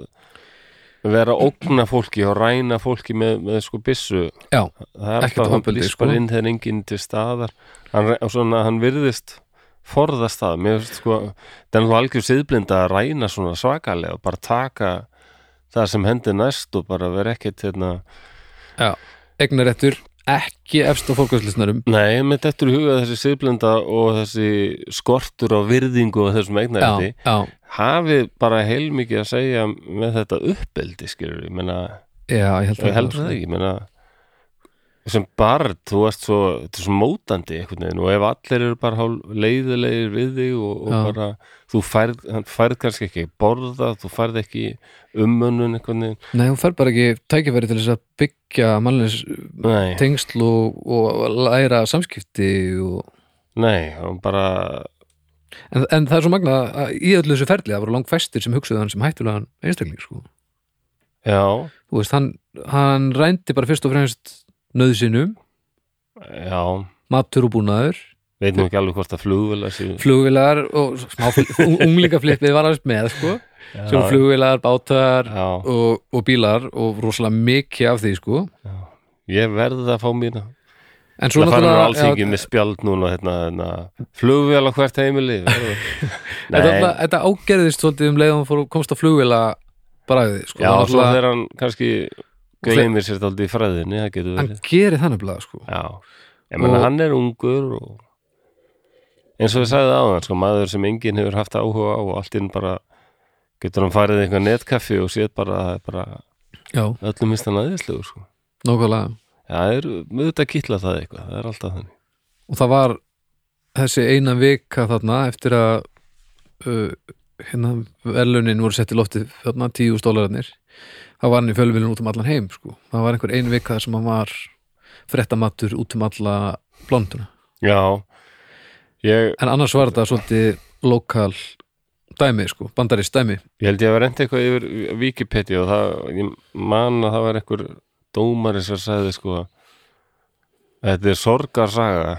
Speaker 1: vera að ógna fólki og ræna fólki með, með sko byssu
Speaker 2: Já,
Speaker 1: það er
Speaker 2: ekkert
Speaker 1: alltaf hann
Speaker 2: ofbeldi,
Speaker 1: býst
Speaker 2: sko.
Speaker 1: bara inn þegar enginn til staðar hann, og svona hann virðist forðast það, mér finnst sko það er nú algjör siðblinda að ræna svona svakalega og bara taka það sem hendi næst og bara vera ekkert hérna,
Speaker 2: eignarettur ekki efst á fólkvæslisnarum
Speaker 1: Nei, með þetta er hugað þessi siðblinda og þessi skortur á virðingu og þessum eignarði
Speaker 2: já, já,
Speaker 1: hafið bara heilmikið að segja með þetta uppeldi, skilur ég meina,
Speaker 2: já, ég held það,
Speaker 1: ég
Speaker 2: sko.
Speaker 1: heldur það ekki, ég meina sem barn, þú veist svo, þetta er svo mótandi einhvern veginn og ef allir eru bara hálf leiðilegir við þig og, og
Speaker 2: Já.
Speaker 1: bara þú færð, hann færð kannski ekki borða, þú færð ekki umönnun einhvern veginn,
Speaker 2: Nei, hún fær bara ekki tækifæri til þess að byggja mannleins
Speaker 1: nei
Speaker 2: tengsl og, og læra samskipti og,
Speaker 1: nei, hann bara
Speaker 2: en, en það er svo magna að í öllu þessu ferli það voru langt fæstir sem hugsaðu hann sem hættulegan einstakling sko.
Speaker 1: já,
Speaker 2: þú veist, hann, hann rændi bara fyrst og fremst nöðsinum,
Speaker 1: já
Speaker 2: matur og búnaður
Speaker 1: veit nú ekki alveg hvort að flugvila séu
Speaker 2: flugvilar og smá
Speaker 1: <laughs>
Speaker 2: unglingaflippið var aðeins með sko. sem
Speaker 1: Já,
Speaker 2: flugvilar, bátar
Speaker 1: Já,
Speaker 2: og, og bílar og rosalega mikið af því sko.
Speaker 1: ég verði að fá mína
Speaker 2: en svo
Speaker 1: Það fara mér alls
Speaker 2: náttúrulega
Speaker 1: ekki með spjald núna hérna, hérna, flugvél á hvert heimili verður. Nei,
Speaker 2: <laughs> þetta, þetta- þetta ágerðist svolítið um leiðan fór og komst á flugvila bræðið sko.
Speaker 1: já,
Speaker 2: Það
Speaker 1: svo
Speaker 2: náttúrulega-
Speaker 1: þegar hann kannski gleymir sér þáldi í fræðinni, það getur
Speaker 2: hann
Speaker 1: verið
Speaker 2: gerir þannig blað sko.
Speaker 1: Já, ég menna
Speaker 2: Og-
Speaker 1: hann er ungur og eins og ég sagði á hann, sko, maður sem enginn hefur haft áhuga á og allt inn bara getur hann farið í eitthvað netkaffi og séð bara, það er bara
Speaker 2: já,
Speaker 1: öllum finnst hann aðeinslegur, sko
Speaker 2: nákvæmlega
Speaker 1: Já, það er, auðvitað kýtla það eitthvað, það er alltaf þannig
Speaker 2: og það var þessi eina vika þarna eftir að uh, hérna verlunin voru sett í lofti þarna, tíu stólararnir það var hann í fjölumilin út um allan heim sko. það var einhver ein vika þar sem hann var frettamattur út um alla blonduna,
Speaker 1: Já, ég,
Speaker 2: en annars var þetta svolítið lokal dæmi sko, bandarist dæmi
Speaker 1: Ég held ég að vera enda eitthvað yfir Wikipedia og það, ég man að það var einhver dómari sem sagði sko að þetta er sorgarsaga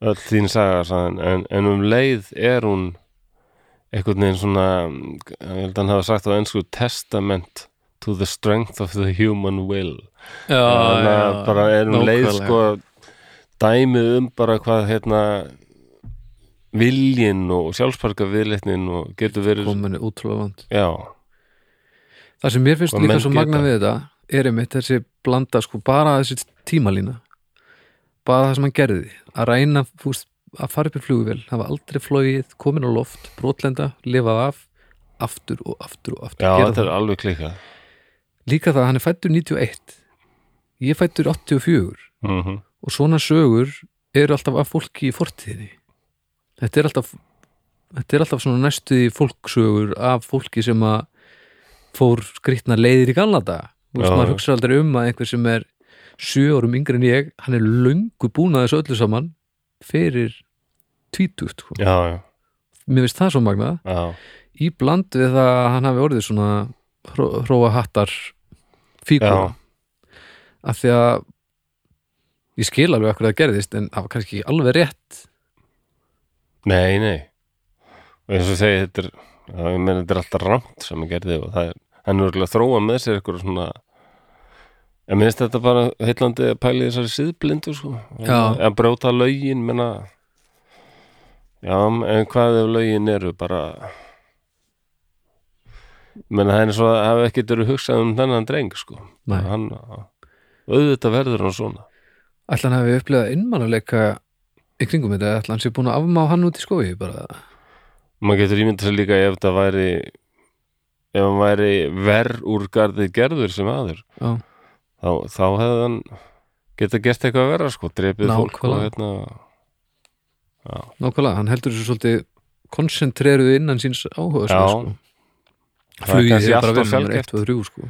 Speaker 1: öll þín saga sagðan, en, en um leið er hún einhvern veginn svona ég held að hann hafa sagt á ennsku testament to the strength of the human will
Speaker 2: Ah, já,
Speaker 1: þannig að bara er um leið
Speaker 2: nákvæmlega.
Speaker 1: sko dæmið um bara hvað hérna viljinn og sjálfsparka viðleitnin og getur verið
Speaker 2: komin útrúlega vant
Speaker 1: Já,
Speaker 2: Það sem mér finnst
Speaker 1: Og
Speaker 2: líka
Speaker 1: menn
Speaker 2: svo magna
Speaker 1: geta.
Speaker 2: við þetta er einmitt þessi blanda sko bara þessi tímalína bara það sem hann gerði að reyna fúst, að fara upp í flugvél hafa aldrei flogið, komin á loft brotlenda, lifað af aftur og aftur og aftur
Speaker 1: já
Speaker 2: Gera
Speaker 1: þetta er
Speaker 2: það.
Speaker 1: alveg klikkað
Speaker 2: Líka það að hann er fættur 91 ég er fættur 84
Speaker 1: mm -hmm.
Speaker 2: og svona sögur eru alltaf af fólki í fortíðinni þetta er alltaf þetta er alltaf svona næstu því fólksögur af fólki sem að fór skrýtna leiðir í gamla daga Þú veist,
Speaker 1: Já,
Speaker 2: maður
Speaker 1: já.
Speaker 2: hugsa aldrei um að einhver sem er sjö árum yngri en ég hann er löngu búin að þessu öllu saman fyrir tvítugt sko.
Speaker 1: já, já,
Speaker 2: mér finnst það svo magnað
Speaker 1: já,
Speaker 2: í bland við það að hann hafi orðið svona hró- hróa hattar
Speaker 1: já,
Speaker 2: fíkura af því að ég skil alveg okkur það gerðist en það var kannski ekki alveg rétt
Speaker 1: nei, nei og eins og ég segi þetta er já, ég meina þetta er alltaf rangt sem ég gerði og það er, hann er örugglega að þróa með sér eitthvað svona en minnst þetta bara heillandi að pæli þessari síðblindu sko
Speaker 2: Já.
Speaker 1: að brjóta lögin, menna já, en hvað ef lögin eru bara menna það er eins og að hafa ekkert verið hugsað um þennan dreng sko
Speaker 2: Nei.
Speaker 1: hann, auðvitað verður hann svona
Speaker 2: ætla hann hafi upplegað innmannuleika í kringum þetta, ætla hann sé búin að afmá hann út í skofi bara,
Speaker 1: maður getur ímyndað sér líka ef það væri ef hann væri verð úr garði gerður sem aður
Speaker 2: já,
Speaker 1: þá, þá hefði hann geta gert eitthvað verra sko, drepið fólk og
Speaker 2: Nákvæmlega.
Speaker 1: hérna
Speaker 2: nákvæmlega, hann heldur þessu svolítið koncentreruð innan síns áhuga
Speaker 1: já,
Speaker 2: sko.
Speaker 1: það er
Speaker 2: flugið
Speaker 1: kannski
Speaker 2: er bara
Speaker 1: allt
Speaker 2: vel
Speaker 1: of
Speaker 2: nummer
Speaker 1: sjálfgætt
Speaker 2: 1 og 3 sko.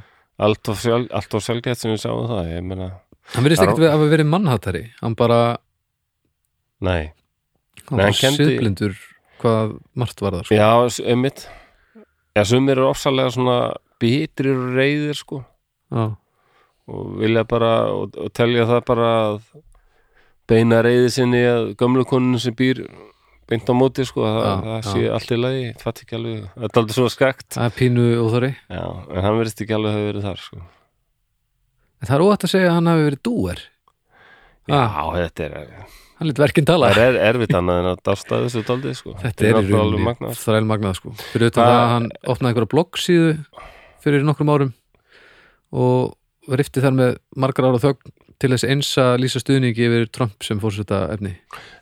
Speaker 1: allt of sjálf- allt of sjálfgætt sem við sáum það ég meina,
Speaker 2: hann verðist
Speaker 1: Það er
Speaker 2: ekkert að hafa verið mannhattari hann bara,
Speaker 1: nei,
Speaker 2: hann
Speaker 1: Nei,
Speaker 2: var
Speaker 1: hann kenndi-
Speaker 2: siðblindur hvað margt var það sko.
Speaker 1: já, s- einmitt já, sumir eru ofsalega svona bitrir og reyðir sko
Speaker 2: já,
Speaker 1: og vilja bara og, og telja það bara að beina reyði sinni að gömlu konun sem býr beint á móti sko, það,
Speaker 2: Já,
Speaker 1: það
Speaker 2: já.
Speaker 1: sé allt í lagi, ég fatt ekki alveg þetta er aldrei svona skakt
Speaker 2: það er pínu óþari
Speaker 1: já, en hann verðist ekki alveg hafa verið þar sko.
Speaker 2: en það er óætt að segja að hann hafi verið dúer
Speaker 1: já,
Speaker 2: Ah.
Speaker 1: þetta er,
Speaker 2: hann lit verkinn tala
Speaker 1: það er erfitt annað en að dásta þessu daldi sko.
Speaker 2: Þetta er í
Speaker 1: náttúrulega alveg
Speaker 2: rauninni
Speaker 1: magnað.
Speaker 2: þræl magnað sko fyrir utan
Speaker 1: Það-
Speaker 2: það að hann opnaði einhverja bloggsíðu fyrir nokkrum árum og rifti þar með margar ára þögn til þess eins að lýsa stuðningi yfir Trump sem fórseta efni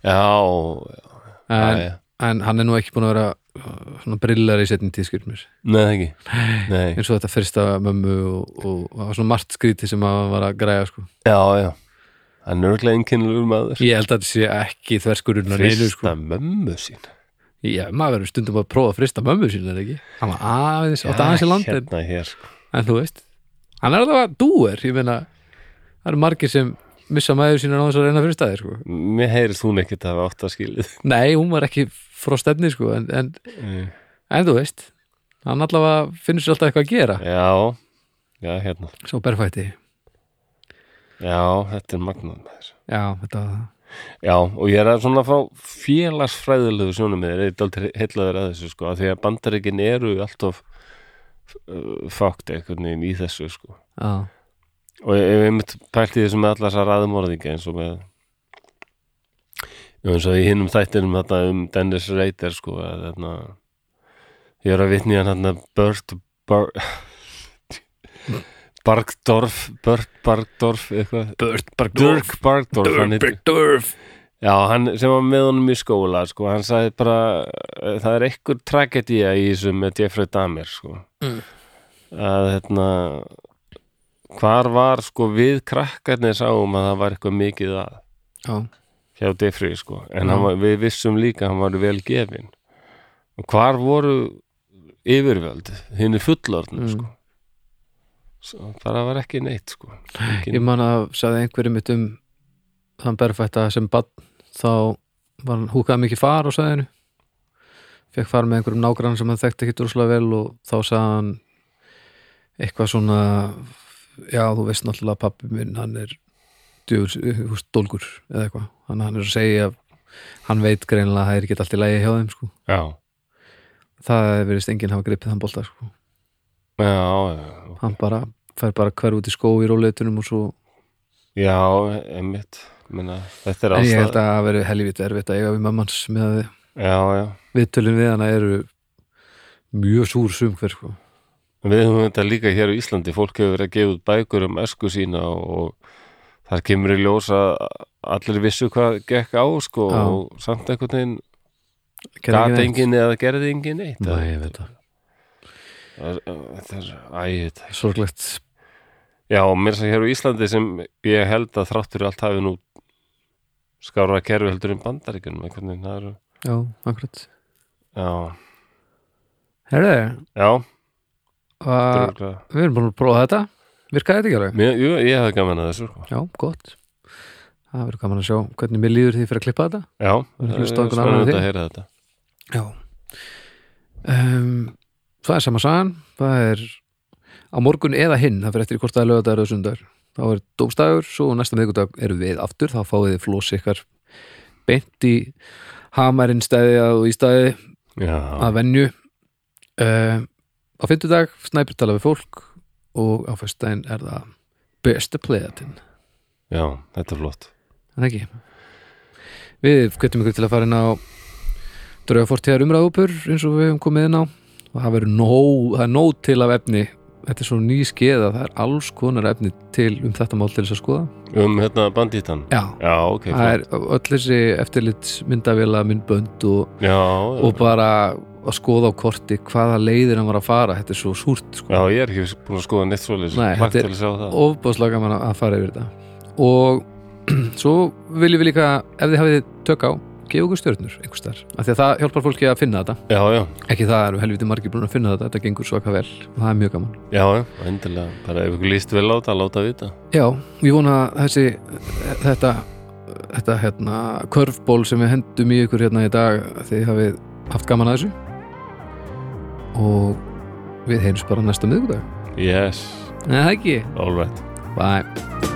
Speaker 1: já, já,
Speaker 2: en,
Speaker 1: já,
Speaker 2: en hann er nú ekki búin að vera uh, svona brillar í setjum tíðskjörnir
Speaker 1: nei það ekki nei,
Speaker 2: eins og þetta fyrsta mömmu og, og, og svona margt skríti sem að var að græja sko
Speaker 1: já, já hann er örglega einkennilur maður
Speaker 2: ég held að þetta sé ekki þverskurinn að neinu sko
Speaker 1: fyrsta mömmu sín
Speaker 2: já, maður verður stundum að prófa að frista mömmu sín er ekki hann var aðeins, átti aðeins í landin
Speaker 1: hérna hér sko.
Speaker 2: en þú veist hann er alveg að dúer, ég meina það eru margir sem missa maður sína á þess að reyna fyrir staði sko.
Speaker 1: mér heyrist hún ekkert að hafa átt að skilið
Speaker 2: nei, hún var ekki frá stefni sko, en, en, en þú veist hann allavega finnur sér alltaf eitthvað að gera
Speaker 1: já, já, hérna
Speaker 2: svo berfætti,
Speaker 1: Já, þetta er magnað maður.
Speaker 2: já, þetta var það
Speaker 1: Já, og ég er að svona frá félagsfræðilegu sjónum með þér, eitthvað heillaður að þessu sko, af því að bandaríkin eru alltof uh, fakt einhvern veginn í þessu sko.
Speaker 2: já,
Speaker 1: Og ég hef einmitt pælt í þessu með allar þessar raðmorðinga eins og með Já, eins og í hinum þættinum þarna um Dennis Reiter sko, að þarna ég er að vitni hann þarna Bert Bar <laughs> Bargdorf Bert Bargdorf eitthvað
Speaker 2: Burt
Speaker 1: Dirk Bargdorf hann heitir.
Speaker 2: Dörf
Speaker 1: Já, hann sem var með honum í skóla sko, hann sagði bara eh, það er einhver tragedía í þessu með Jeffrey Dahmer sko.
Speaker 2: Mm.
Speaker 1: að hérna hvar var sko við krakkarnir sáum að það var eitthvað mikið að
Speaker 2: já,
Speaker 1: hjá Jeffrey sko
Speaker 2: Já.
Speaker 1: en hann, var- við vissum líka að hann var vel gefin og hvar voru yfirvöld, hinn er fullorðnum
Speaker 2: Mm.
Speaker 1: sko Svo, bara var ekki neitt sko
Speaker 2: ég
Speaker 1: Engin,
Speaker 2: man að sagði einhverjum mitt um þann berfætta sem bann þá var hann húkaði mikið far á sæðinu fekk far með einhverjum nágrann sem hann þekkti ekki droslega vel og þá sagði hann eitthvað svona já þú veist náttúrulega að pappi minn hann er djöfur, dólgur eða eitthvað, hann, hann er að segja hann veit greinilega að það er ekki allt í lægi hjá þeim sko,
Speaker 1: já,
Speaker 2: það verðist enginn hafa gripið hann bolta sko,
Speaker 1: já, já
Speaker 2: hann bara fær bara hver út í skó í róleitunum og svo
Speaker 1: Já, einmitt Menna, þetta er
Speaker 2: en ég held
Speaker 1: ástæð
Speaker 2: að það verið helvítið erfitt að eiga við mammans með að við-
Speaker 1: Já, já
Speaker 2: viðtölin við hana eru mjög súr sum hver sko
Speaker 1: Við höfum þetta líka hér á Íslandi fólk hefur verið að gefa út bækur um esku sína og, og þar kemur í ljós að allir vissu hvað gekk á sko
Speaker 2: Já.
Speaker 1: og samt einhvern veginn
Speaker 2: Gerði
Speaker 1: gat
Speaker 2: ekki neitt.
Speaker 1: enginn eða gerði enginn neitt
Speaker 2: Nei, ég veit það
Speaker 1: Það er- Þetta er ægit
Speaker 2: Sorglegt
Speaker 1: Já, og mér sem hér á Íslandi sem ég held að þrátt fyrir allt hafi nú skára kerfi heldur um bandaríkunum einhvern veginn það eru
Speaker 2: Já, akkurat
Speaker 1: Já,
Speaker 2: Herðu,
Speaker 1: já,
Speaker 2: uh,
Speaker 1: dröglega
Speaker 2: við erum búin að prófa þetta virkaði þetta ekki alveg?
Speaker 1: Mér, jú, ég hafði gaman að þessu sko.
Speaker 2: Já, gott Það verður gaman að sjá hvernig mér líður því fyrir að klippa þetta
Speaker 1: Já,
Speaker 2: Við
Speaker 1: það er
Speaker 2: hlusta á einhvern annan en
Speaker 1: spennandi
Speaker 2: þig.
Speaker 1: að heyra þetta
Speaker 2: Já um, Það er sama sagan Það er á morgun eða hinn það fyrir eftir í hvort það er lögadagur eða sundar þá er dómstagur, svo næsta miðgudag erum við aftur, þá fáið þið flósi ykkar beint í hamarinn stæði og í stæði
Speaker 1: Já,
Speaker 2: að venju uh, á fimmtudag snæpir tala við fólk og á fyrstæðin er það besta playatinn,
Speaker 1: já, þetta er flott
Speaker 2: en ekki við kvittum ykkur til að fara inn á draugafortíðar umræðupur eins og við hefum komið inn á og það verður nóg, það er nóg til af efni þetta er svo ný skeða, það er alls konar efni til um þetta mál til þess að skoða
Speaker 1: Um hérna bandítan
Speaker 2: já,
Speaker 1: Já, ok,
Speaker 2: það
Speaker 1: flott
Speaker 2: er öll þessi eftirlits myndavila, myndbönd og
Speaker 1: Já,
Speaker 2: og bara að skoða á korti hvaða leiðir hann var að fara þetta er svo súrt
Speaker 1: já,
Speaker 2: sko.
Speaker 1: ég er ekki búin að skoða neitt svoleiðis
Speaker 2: Nei,
Speaker 1: Plagt
Speaker 2: þetta er-
Speaker 1: til að sjá það
Speaker 2: ofbáslega gaman að- að fara yfir þetta og <clears throat> svo viljum við líka ef þið hafið tök á, gefa okkur stjörnur einhvers þar, af því að það hjálpar fólki að finna þetta
Speaker 1: Já, já,
Speaker 2: ekki það eru helviti margir búin að finna þetta þetta gengur svaka vel og það er mjög gaman
Speaker 1: já, já, endilega Bara ef ykkur líst vel á þetta, láta vita
Speaker 2: Já, ég vona að þessi þetta, þetta hérna körfból sem við hendum í ykkur hérna í dag að þið hafið haft gaman að þessu og við heyrjum bara næsta miðgudag
Speaker 1: Yes,
Speaker 2: Nei, það ekki
Speaker 1: all right
Speaker 2: Bye